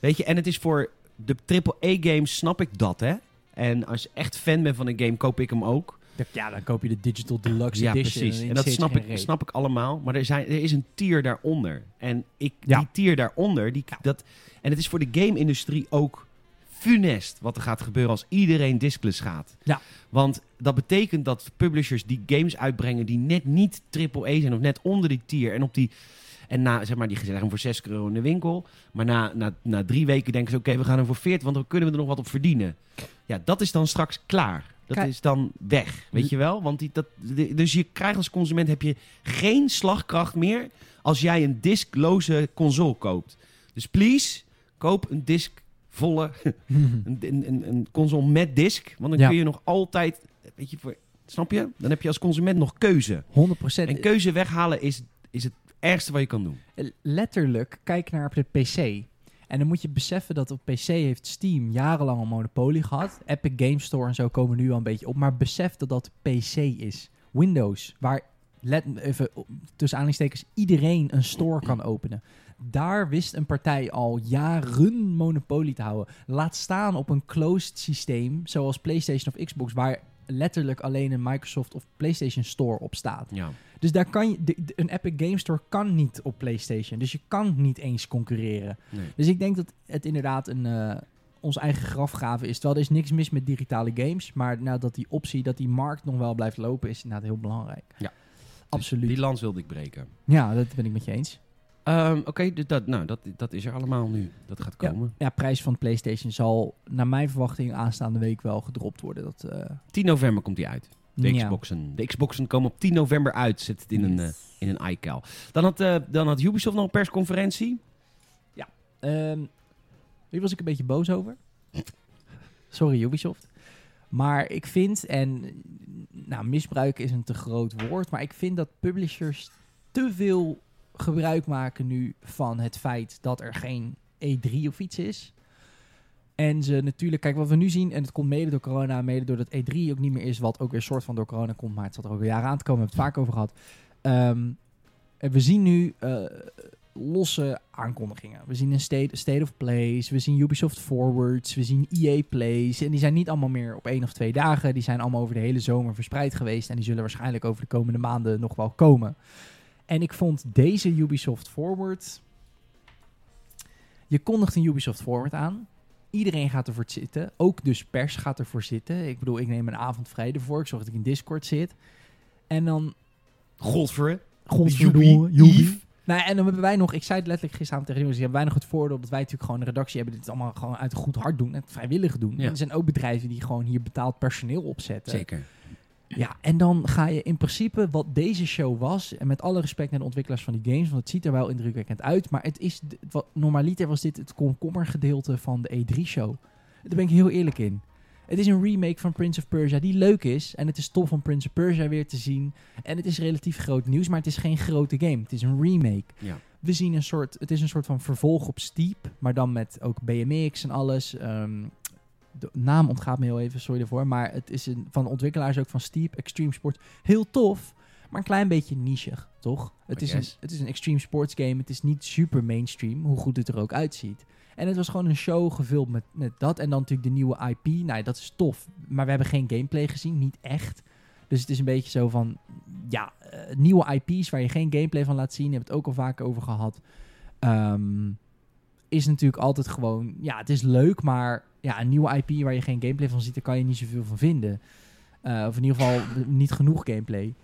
[SPEAKER 1] Weet je, en het is voor de AAA games snap ik dat, hè. En als je echt fan bent van een game, koop ik hem ook.
[SPEAKER 2] Ja, dan koop je de Digital Deluxe
[SPEAKER 1] ja,
[SPEAKER 2] Edition.
[SPEAKER 1] precies.
[SPEAKER 2] dan
[SPEAKER 1] En dat
[SPEAKER 2] zit
[SPEAKER 1] snap
[SPEAKER 2] geen
[SPEAKER 1] ik,
[SPEAKER 2] reet.
[SPEAKER 1] snap ik allemaal. Maar er, zijn, er is een tier daaronder. En ik,
[SPEAKER 2] Ja.
[SPEAKER 1] die tier daaronder, die, dat, en het is voor de game-industrie ook funest wat er gaat gebeuren als iedereen discless gaat.
[SPEAKER 2] Ja.
[SPEAKER 1] Want dat betekent dat publishers die games uitbrengen die net niet triple E zijn of net onder die tier en op die en na, zeg maar, die zeggen voor 6 euro in de winkel. Maar na, na, na drie weken denken ze: oké, we gaan hem voor 40, want dan kunnen we er nog wat op verdienen. Ja, dat is dan straks klaar. Dat
[SPEAKER 2] Kijk.
[SPEAKER 1] is dan weg. Weet je wel? Want die, dat, de- dus je krijgt als consument heb je geen slagkracht meer als jij een diskloze console koopt. Dus please, koop een diskvolle, een, een, een, een console met disk. Want dan
[SPEAKER 2] Ja.
[SPEAKER 1] kun je nog altijd, weet je, voor, snap je? Dan heb je als consument nog keuze.
[SPEAKER 2] 100
[SPEAKER 1] En keuze weghalen is, is het ergste wat je kan doen.
[SPEAKER 2] letterlijk kijk naar op de PC. En dan moet je beseffen dat op PC heeft Steam jarenlang een monopolie gehad. Epic Game Store en zo komen nu al een beetje op. Maar besef dat dat PC is. Windows, waar let, even op- tussen aanhalingstekens iedereen een store kan openen. Daar wist een partij al jaren monopolie te houden. Laat staan op een closed systeem zoals PlayStation of Xbox, waar letterlijk alleen een Microsoft of PlayStation Store op staat.
[SPEAKER 1] Ja.
[SPEAKER 2] Dus daar kan je, de- de- een Epic Game Store kan niet op PlayStation. Dus je kan niet eens concurreren.
[SPEAKER 1] Nee.
[SPEAKER 2] Dus ik denk dat het inderdaad een, eh, ons eigen grafgraven is. Terwijl er is niks mis met digitale games. Maar nou, dat die optie, dat die markt nog wel blijft lopen, is inderdaad heel belangrijk.
[SPEAKER 1] Ja.
[SPEAKER 2] Absoluut.
[SPEAKER 1] Die lans wilde ik breken.
[SPEAKER 2] Ja, dat ben ik met je eens.
[SPEAKER 1] Ehm, Oké, dus dat, nou, dat, dat is er allemaal nu. Dat gaat komen.
[SPEAKER 2] Ja, prijs van PlayStation zal naar mijn verwachting aanstaande week wel gedropt worden. Dat, eh,
[SPEAKER 1] 10 november komt die uit. De
[SPEAKER 2] ja.
[SPEAKER 1] Xboxen. De Xboxen komen op 10 november uit. Zet het in een, eh in een iCal. Dan had, eh, dan had Ubisoft nog een persconferentie.
[SPEAKER 2] Ehm, hier was ik een beetje boos over. Sorry Ubisoft. Maar ik vind, en eh, nou, misbruiken is een te groot woord, maar ik vind dat publishers te veel gebruik maken nu van het feit dat er geen E3 of iets is. En ze natuurlijk, kijk wat we nu zien, en het komt mede door corona, mede doordat E3 ook niet meer is, wat ook weer soort van door corona komt, maar het zat er ook weer jaren aan te komen, we hebben het vaak over gehad. Ehm, en we zien nu eh, losse aankondigingen. We zien een state, state of Plays, we zien Ubisoft Forwards, we zien EA Plays. En die zijn niet allemaal meer op één of twee dagen. Die zijn allemaal over de hele zomer verspreid geweest. En die zullen waarschijnlijk over de komende maanden nog wel komen. En ik vond deze Ubisoft Forward... Je kondigt een Ubisoft Forward aan. Iedereen gaat ervoor zitten. Ook dus pers gaat ervoor zitten. Ik bedoel, ik neem een avond vrij ervoor. Ik zorg dat ik in Discord zit. En dan
[SPEAKER 1] Godver.
[SPEAKER 2] Godverdomme,
[SPEAKER 1] Joepie,
[SPEAKER 2] joepie.
[SPEAKER 1] Yves.
[SPEAKER 2] Nou, en dan hebben wij nog, ik zei het letterlijk gisteravond tegen jongens, die hebben wij nog het voordeel dat wij natuurlijk gewoon een redactie hebben die het allemaal gewoon uit goed hart doen en het vrijwillig doen.
[SPEAKER 1] Ja.
[SPEAKER 2] En er zijn ook bedrijven die gewoon hier betaald personeel opzetten.
[SPEAKER 1] Zeker.
[SPEAKER 2] Ja, en dan ga je in principe wat deze show was, en met alle respect naar de ontwikkelaars van die games, want het ziet er wel indrukwekkend uit, maar het is, d- wat, normaliter was dit het komkommergedeelte van de E3-show. Daar ben ik heel eerlijk in. Het is een remake van Prince of Persia die leuk is. En het is tof om Prince of Persia weer te zien. En het is relatief groot nieuws, maar het is geen grote game. Het is een remake.
[SPEAKER 1] Ja.
[SPEAKER 2] We zien een soort, het is een soort van vervolg op Steep, maar dan met ook BMX en alles. Ehm, de naam ontgaat me heel even, sorry daarvoor. Maar het is een, van de ontwikkelaars ook van Steep, Extreme Sports. Heel tof, maar een klein beetje nichig, toch? Het
[SPEAKER 1] I
[SPEAKER 2] is, een,
[SPEAKER 1] guess.
[SPEAKER 2] het is een extreme sports game. Het is niet super mainstream, hoe goed het er ook uitziet. En het was gewoon een show gevuld met, met dat. En dan natuurlijk de nieuwe IP. Nou, ja, dat is tof. Maar we hebben geen gameplay gezien, niet echt. Dus het is een beetje zo van, ja, eh, nieuwe IP's waar je geen gameplay van laat zien. Hebben we het ook al vaak over gehad. Ehm, is natuurlijk altijd gewoon, ja, het is leuk, maar ja, een nieuwe IP waar je geen gameplay van ziet, daar kan je niet zoveel van vinden. Eh, of in ieder geval niet genoeg gameplay.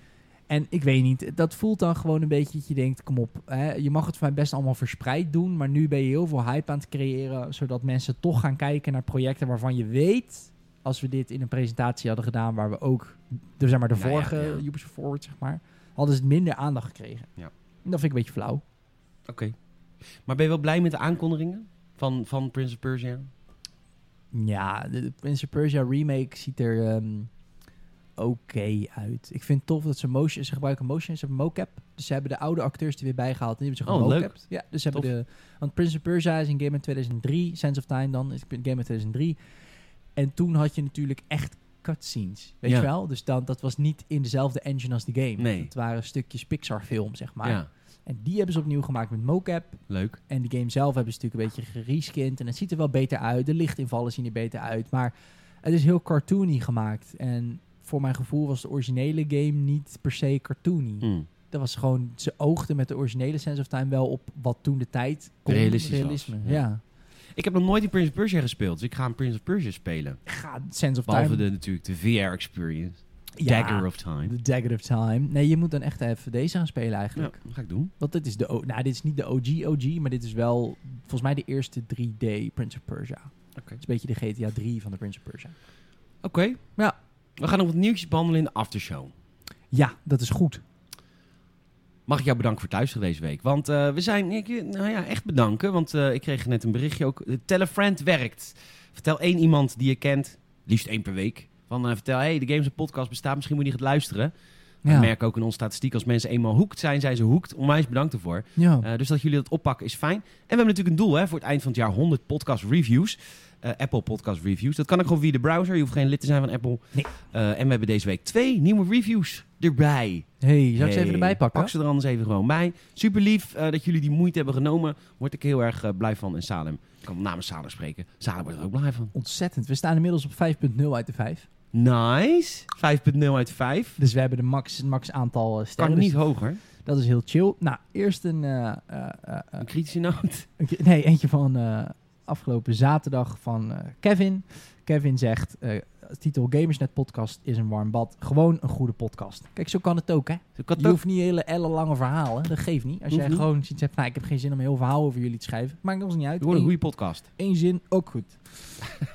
[SPEAKER 2] En ik weet niet, dat voelt dan gewoon een beetje dat je denkt, kom op, hè, je mag het voor mij best allemaal verspreid doen, maar nu ben je heel veel hype aan het creëren, zodat mensen toch gaan kijken naar projecten waarvan je weet, als we dit in een presentatie hadden gedaan, waar we ook, de, zeg maar de
[SPEAKER 1] Nou ja,
[SPEAKER 2] vorige
[SPEAKER 1] ja.
[SPEAKER 2] Ubisoft Forward, zeg maar, hadden ze het minder aandacht gekregen.
[SPEAKER 1] Ja.
[SPEAKER 2] En dat vind ik een beetje flauw.
[SPEAKER 1] Oké. Maar ben je wel blij met de aankondigingen van, van Prince of Persia?
[SPEAKER 2] Ja, de de Prince of Persia remake ziet er ehm, oké uit. Ik vind het tof dat ze motion, ze gebruiken motion, ze hebben mocap. Dus ze hebben de oude acteurs er weer bijgehaald en die hebben ze
[SPEAKER 1] Oh,
[SPEAKER 2] gewoon
[SPEAKER 1] leuk.
[SPEAKER 2] mocap. Ja, dus ze hebben
[SPEAKER 1] Tof.
[SPEAKER 2] de, want Prince of Persia is een game uit 2003, Sense of Time dan, is een game uit 2003. En toen had je natuurlijk echt cutscenes, weet
[SPEAKER 1] Ja.
[SPEAKER 2] je wel? Dus dan, dat was niet in dezelfde engine als de game.
[SPEAKER 1] Nee.
[SPEAKER 2] Het waren stukjes Pixar film, zeg maar.
[SPEAKER 1] Ja,
[SPEAKER 2] En die hebben ze opnieuw gemaakt met mocap.
[SPEAKER 1] leuk.
[SPEAKER 2] En de game zelf hebben ze natuurlijk een beetje gereskind. En het ziet er wel beter uit. De lichtinvallen zien er beter uit. Maar het is heel cartoony gemaakt. En voor mijn gevoel was de originele game niet per se cartoony.
[SPEAKER 1] Mm.
[SPEAKER 2] Dat was gewoon... Ze oogden met de originele Sense of Time wel op wat toen de tijd kon.
[SPEAKER 1] Realistisch was, ja.
[SPEAKER 2] Ja.
[SPEAKER 1] Ik heb nog nooit die Prince of Persia gespeeld, dus ik ga een Prince of Persia spelen.
[SPEAKER 2] Ga Sense of
[SPEAKER 1] Behalve
[SPEAKER 2] Time...
[SPEAKER 1] de, natuurlijk de VR-experience.
[SPEAKER 2] Ja,
[SPEAKER 1] Dagger of Time.
[SPEAKER 2] de Dagger of Time. Nee, je moet dan echt even deze gaan spelen
[SPEAKER 1] Ja,
[SPEAKER 2] eigenlijk.
[SPEAKER 1] dat ga ik doen.
[SPEAKER 2] Want dit is de... O- Nou, dit is niet de OG OG, maar dit is wel volgens mij de eerste 3D Prince of Persia.
[SPEAKER 1] Oké.
[SPEAKER 2] Het is een beetje de GTA 3 van de Prince of Persia.
[SPEAKER 1] Oké.
[SPEAKER 2] Ja.
[SPEAKER 1] We gaan nog wat nieuwtjes behandelen in de aftershow.
[SPEAKER 2] Ja, dat is goed.
[SPEAKER 1] Mag ik jou bedanken voor het luisteren deze week? Want eh, we zijn, ik, nou ja, echt bedanken. Want eh, ik kreeg net een berichtje ook. De Telefriend werkt. Vertel één iemand die je kent, liefst één per week. Van eh, vertel, hey, de Games en Podcast bestaat, misschien moet je niet gaan luisteren. We
[SPEAKER 2] Ja.
[SPEAKER 1] merken ook in onze statistiek, als mensen eenmaal hoekt zijn, zijn ze hoekt. Onwijs bedankt ervoor.
[SPEAKER 2] ja.
[SPEAKER 1] Eh, dus dat jullie dat oppakken is fijn. En we hebben natuurlijk een doel hè, voor het eind van het jaar 100 podcast reviews. Eh, Apple podcast reviews. Dat kan ook gewoon via de browser. Je hoeft geen lid te zijn van Apple.
[SPEAKER 2] Nee.
[SPEAKER 1] Eh, en we hebben deze week twee nieuwe reviews erbij.
[SPEAKER 2] hey, zou ik ze even
[SPEAKER 1] Hey,
[SPEAKER 2] erbij pakken?
[SPEAKER 1] Pak ze er anders even gewoon bij. Super lief eh, dat jullie die moeite hebben genomen. Word ik heel erg eh, blij van. En Salem, ik kan namens Salem spreken. Salem wordt er ook blij van.
[SPEAKER 2] Ontzettend. We staan inmiddels op 5.0 uit de 5.
[SPEAKER 1] Nice. 5.0 uit 5.
[SPEAKER 2] Dus we hebben de max, het max aantal eh,
[SPEAKER 1] Kan
[SPEAKER 2] sterren.
[SPEAKER 1] niet
[SPEAKER 2] Dus
[SPEAKER 1] hoger.
[SPEAKER 2] dat is heel chill. Nou, eerst een... eh, eh, eh, eh,
[SPEAKER 1] Een kritische noot.
[SPEAKER 2] een ke- nee, eentje van eh, afgelopen zaterdag van eh, Kevin. Kevin zegt... eh, titel Gamersnet podcast is een warm bad. Gewoon een goede podcast. Kijk, zo kan het ook, hè?
[SPEAKER 1] Ik had het
[SPEAKER 2] Je
[SPEAKER 1] ook-
[SPEAKER 2] hoeft niet hele ellenlange verhalen. Dat geeft niet. Als
[SPEAKER 1] Hoeft
[SPEAKER 2] jij
[SPEAKER 1] niet.
[SPEAKER 2] gewoon zoiets hebt... Nou, ik heb geen zin om een heel verhaal over jullie te schrijven. Maakt ons niet uit.
[SPEAKER 1] Het wordt een
[SPEAKER 2] Eén-
[SPEAKER 1] goede podcast.
[SPEAKER 2] Eén zin, ook goed.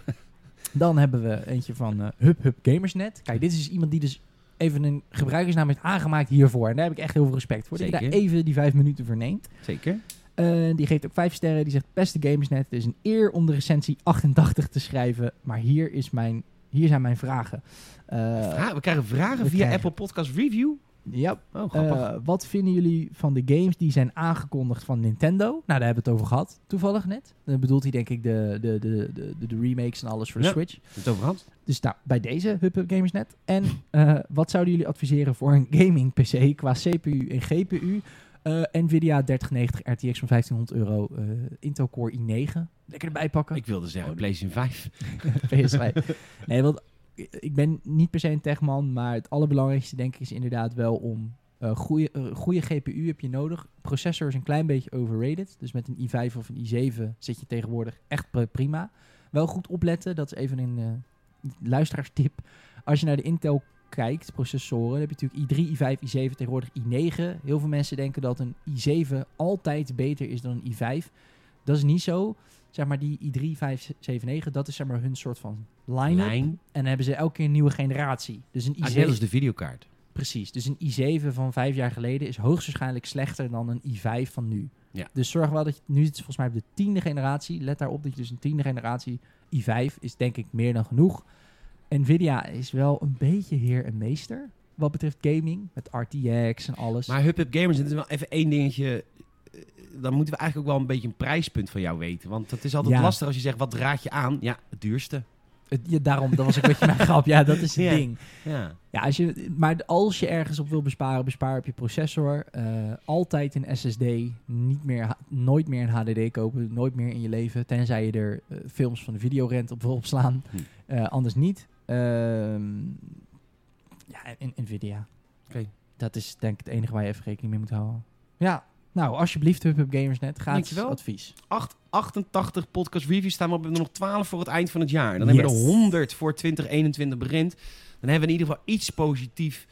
[SPEAKER 2] Dan hebben we eentje van eh Hub Hub Gamersnet. Kijk, dit is iemand die dus even een gebruikersnaam heeft aangemaakt hiervoor. En daar heb ik echt heel veel respect voor. Dat je
[SPEAKER 1] Zeker.
[SPEAKER 2] daar even die vijf minuten voor neemt.
[SPEAKER 1] Zeker.
[SPEAKER 2] Eh, die geeft ook vijf sterren. Die zegt, beste Gamersnet, het is een eer om de recensie 88 te schrijven. Maar hier, is mijn, hier zijn mijn vragen. Eh,
[SPEAKER 1] Vra- Ah, we krijgen vragen
[SPEAKER 2] we
[SPEAKER 1] via
[SPEAKER 2] krijgen-
[SPEAKER 1] Apple Podcast Review.
[SPEAKER 2] ja,
[SPEAKER 1] Oh, grappig.
[SPEAKER 2] eh, wat vinden jullie van de games die zijn aangekondigd van Nintendo? Nou, daar hebben we het over gehad, toevallig net. Dan bedoelt hij denk ik de, de, de, de, de, de remakes en alles voor de
[SPEAKER 1] Ja.
[SPEAKER 2] Switch.
[SPEAKER 1] het over gehad?
[SPEAKER 2] Dus nou, bij deze Hub Hub Gamers net. En eh, wat zouden jullie adviseren voor een gaming PC qua CPU en GPU? Eh, Nvidia 3090 RTX van 1500 euro. eh, Intel Core i9. Lekker erbij pakken.
[SPEAKER 1] Ik wilde zeggen
[SPEAKER 2] Oh,
[SPEAKER 1] PlayStation 5.
[SPEAKER 2] PS5. Nee, want i- ik ben niet per se een techman, maar het allerbelangrijkste denk ik is inderdaad wel om eh goede, eh, goede GPU heb je nodig. Processor is een klein beetje overrated, dus met een i5 of een i7 zit je tegenwoordig echt pr- prima. Wel goed opletten, dat is even een eh, luisteraarstip. Als je naar de Intel kijkt, processoren, dan heb je natuurlijk i3, i5, i7, tegenwoordig i9. Heel veel mensen denken dat een i7 altijd beter is dan een i5. Dat is niet zo. Zeg maar die i3, 5, 7, 9, dat is zeg maar hun soort van line-up.
[SPEAKER 1] Lijn.
[SPEAKER 2] En dan hebben ze elke keer een nieuwe generatie. Dus een i7,
[SPEAKER 1] Als Ah, net als de videokaart.
[SPEAKER 2] precies. Dus een i7 van vijf jaar geleden is hoogstwaarschijnlijk slechter dan een i5 van nu.
[SPEAKER 1] Ja.
[SPEAKER 2] Dus zorg wel dat je, nu zit het volgens mij op de tiende generatie. Let daarop dat je dus een tiende generatie i5 is denk ik meer dan genoeg. Nvidia is wel een beetje heer en meester wat betreft gaming. Met RTX en alles.
[SPEAKER 1] Maar Hub Hub Gamers, dit is wel even één dingetje. Eh, Dan moeten we eigenlijk ook wel een beetje een prijspunt van jou weten. Want dat is altijd
[SPEAKER 2] Ja.
[SPEAKER 1] lastig als je zegt, wat raad je aan? Ja, het duurste.
[SPEAKER 2] Het- ja, daarom, dat was ook een beetje mijn grap. Ja, dat is het
[SPEAKER 1] Ja.
[SPEAKER 2] ding.
[SPEAKER 1] Ja.
[SPEAKER 2] Ja, als je, maar als je ergens op wil besparen, bespaar op je processor. Eh, altijd een SSD. Niet meer, ha- nooit meer een HDD kopen. Nooit meer in je leven. Tenzij je er eh, films van de videorent op wil opslaan.
[SPEAKER 1] Hm.
[SPEAKER 2] Eh, anders niet. Ehm, ja, en- en Nvidia.
[SPEAKER 1] Oké.
[SPEAKER 2] Dat is denk ik het enige waar je even rekening mee moet houden. Ja, nou alsjeblieft Hub Hub Gamersnet. Gratis
[SPEAKER 1] Dankjewel.
[SPEAKER 2] advies.
[SPEAKER 1] 8, 88 podcast reviews staan. We hebben er nog 12 voor het eind van het jaar. Dan
[SPEAKER 2] Yes.
[SPEAKER 1] hebben we er 100 voor 2021 begint. Dan hebben we in ieder geval iets positief,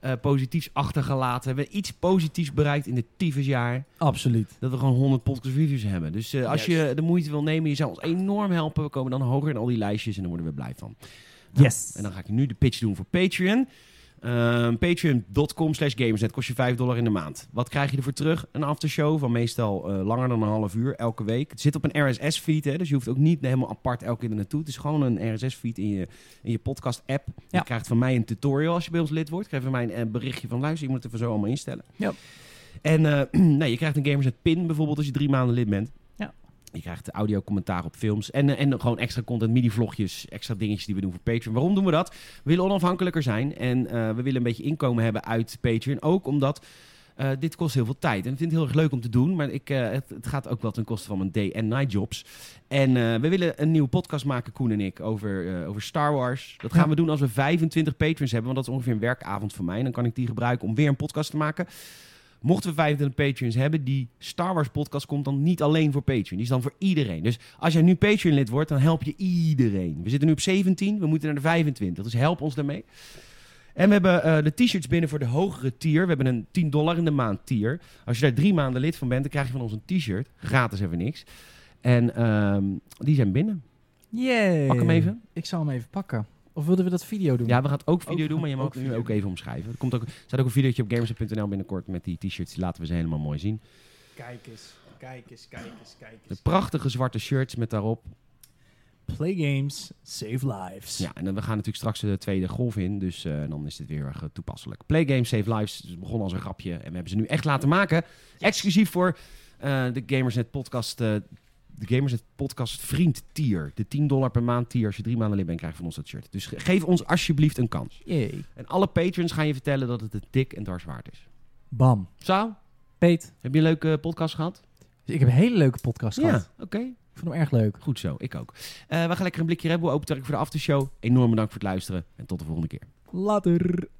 [SPEAKER 1] eh, positiefs achtergelaten. Hebben we iets positiefs bereikt in dit tyfusjaar.
[SPEAKER 2] Absoluut.
[SPEAKER 1] Dat we gewoon 100 podcast reviews hebben. Dus eh, als
[SPEAKER 2] Juist.
[SPEAKER 1] je de moeite wil nemen, je zou ons enorm helpen. We komen dan hoger in al die lijstjes en daar worden we blij van.
[SPEAKER 2] Yes.
[SPEAKER 1] En dan ga ik nu de pitch doen voor Patreon. Ehm, Patreon.com slash gamersnet kost je 5 dollar in de maand. Wat krijg je ervoor terug? Een aftershow van meestal eh, langer dan een half uur elke week. Het zit op een RSS-feed, hè, dus je hoeft ook niet helemaal apart elke keer er naartoe. Het is gewoon een RSS-feed in je, in je podcast-app.
[SPEAKER 2] Ja.
[SPEAKER 1] Je krijgt van mij een tutorial als je bij ons lid wordt. Krijg je van mij een eh, berichtje van luister, je moet het even zo allemaal instellen.
[SPEAKER 2] Ja.
[SPEAKER 1] En eh, nou, je krijgt een Gamersnet-pin bijvoorbeeld als je drie maanden lid bent.
[SPEAKER 2] Ja.
[SPEAKER 1] Je krijgt audio commentaar op films en, eh, en gewoon extra content, mini-vlogjes, extra dingetjes die we doen voor Patreon. Waarom doen we dat? We willen onafhankelijker zijn en eh, we willen een beetje inkomen hebben uit Patreon. Ook omdat eh, dit kost heel veel tijd. En ik vind het heel erg leuk om te doen, maar ik, eh, het, het gaat ook wel ten koste van mijn day- en night jobs. En eh, we willen een nieuwe podcast maken, Koen en ik, over, eh, over Star Wars. Dat gaan
[SPEAKER 2] Ja.
[SPEAKER 1] we doen als we 25 patrons hebben, want dat is ongeveer een werkavond van mij. En dan kan ik die gebruiken om weer een podcast te maken. Mochten we 25 patrons hebben, die Star Wars podcast komt dan niet alleen voor Patreon. Die is dan voor iedereen. Dus als jij nu Patreon lid wordt, dan help je iedereen. We zitten nu op 17, we moeten naar de 25. Dus help ons daarmee. En we hebben eh, de t-shirts binnen voor de hogere tier. We hebben een 10 dollar in de maand tier. Als je daar drie maanden lid van bent, dan krijg je van ons een t-shirt. Gratis even niks. En ehm, die zijn binnen.
[SPEAKER 2] Yay.
[SPEAKER 1] Pak hem even.
[SPEAKER 2] Ik zal hem even pakken. Of wilden we dat video doen?
[SPEAKER 1] Ja, we gaan het ook video
[SPEAKER 2] Ook-
[SPEAKER 1] doen, maar je mag
[SPEAKER 2] ook
[SPEAKER 1] het nu
[SPEAKER 2] video.
[SPEAKER 1] ook even omschrijven. Er, komt ook, er staat ook een videootje op gamers.nl binnenkort met die t-shirts. Die laten we ze helemaal mooi zien.
[SPEAKER 2] Kijk eens, kijk eens, kijk eens, kijk
[SPEAKER 1] De prachtige zwarte shirts met daarop.
[SPEAKER 2] Play games, save lives.
[SPEAKER 1] Ja, en dan, we gaan natuurlijk straks de tweede golf in. Dus eh, dan is dit weer erg eh, toepasselijk. Playgames Save Lives dus het begon als een grapje. En we hebben ze nu echt laten maken. Exclusief voor eh, de Gamersnet podcast... eh, de Gamersnet podcast vriend tier. De 10 dollar per maand tier. Als je drie maanden lid bent, krijg je van ons dat shirt. Dus ge- geef ons alsjeblieft een kans.
[SPEAKER 2] Yay.
[SPEAKER 1] En alle patrons gaan je vertellen dat het het dik en dwars waard is.
[SPEAKER 2] Bam.
[SPEAKER 1] Sao,
[SPEAKER 2] Peet,
[SPEAKER 1] heb je een leuke podcast gehad?
[SPEAKER 2] ik heb een hele leuke podcast gehad.
[SPEAKER 1] oké.
[SPEAKER 2] Ik vond hem erg leuk.
[SPEAKER 1] Goed zo, ik ook. Eh, we gaan lekker een blikje Rebel open trekken voor de aftershow. Enorm bedankt voor het luisteren en tot de volgende keer.
[SPEAKER 2] Later.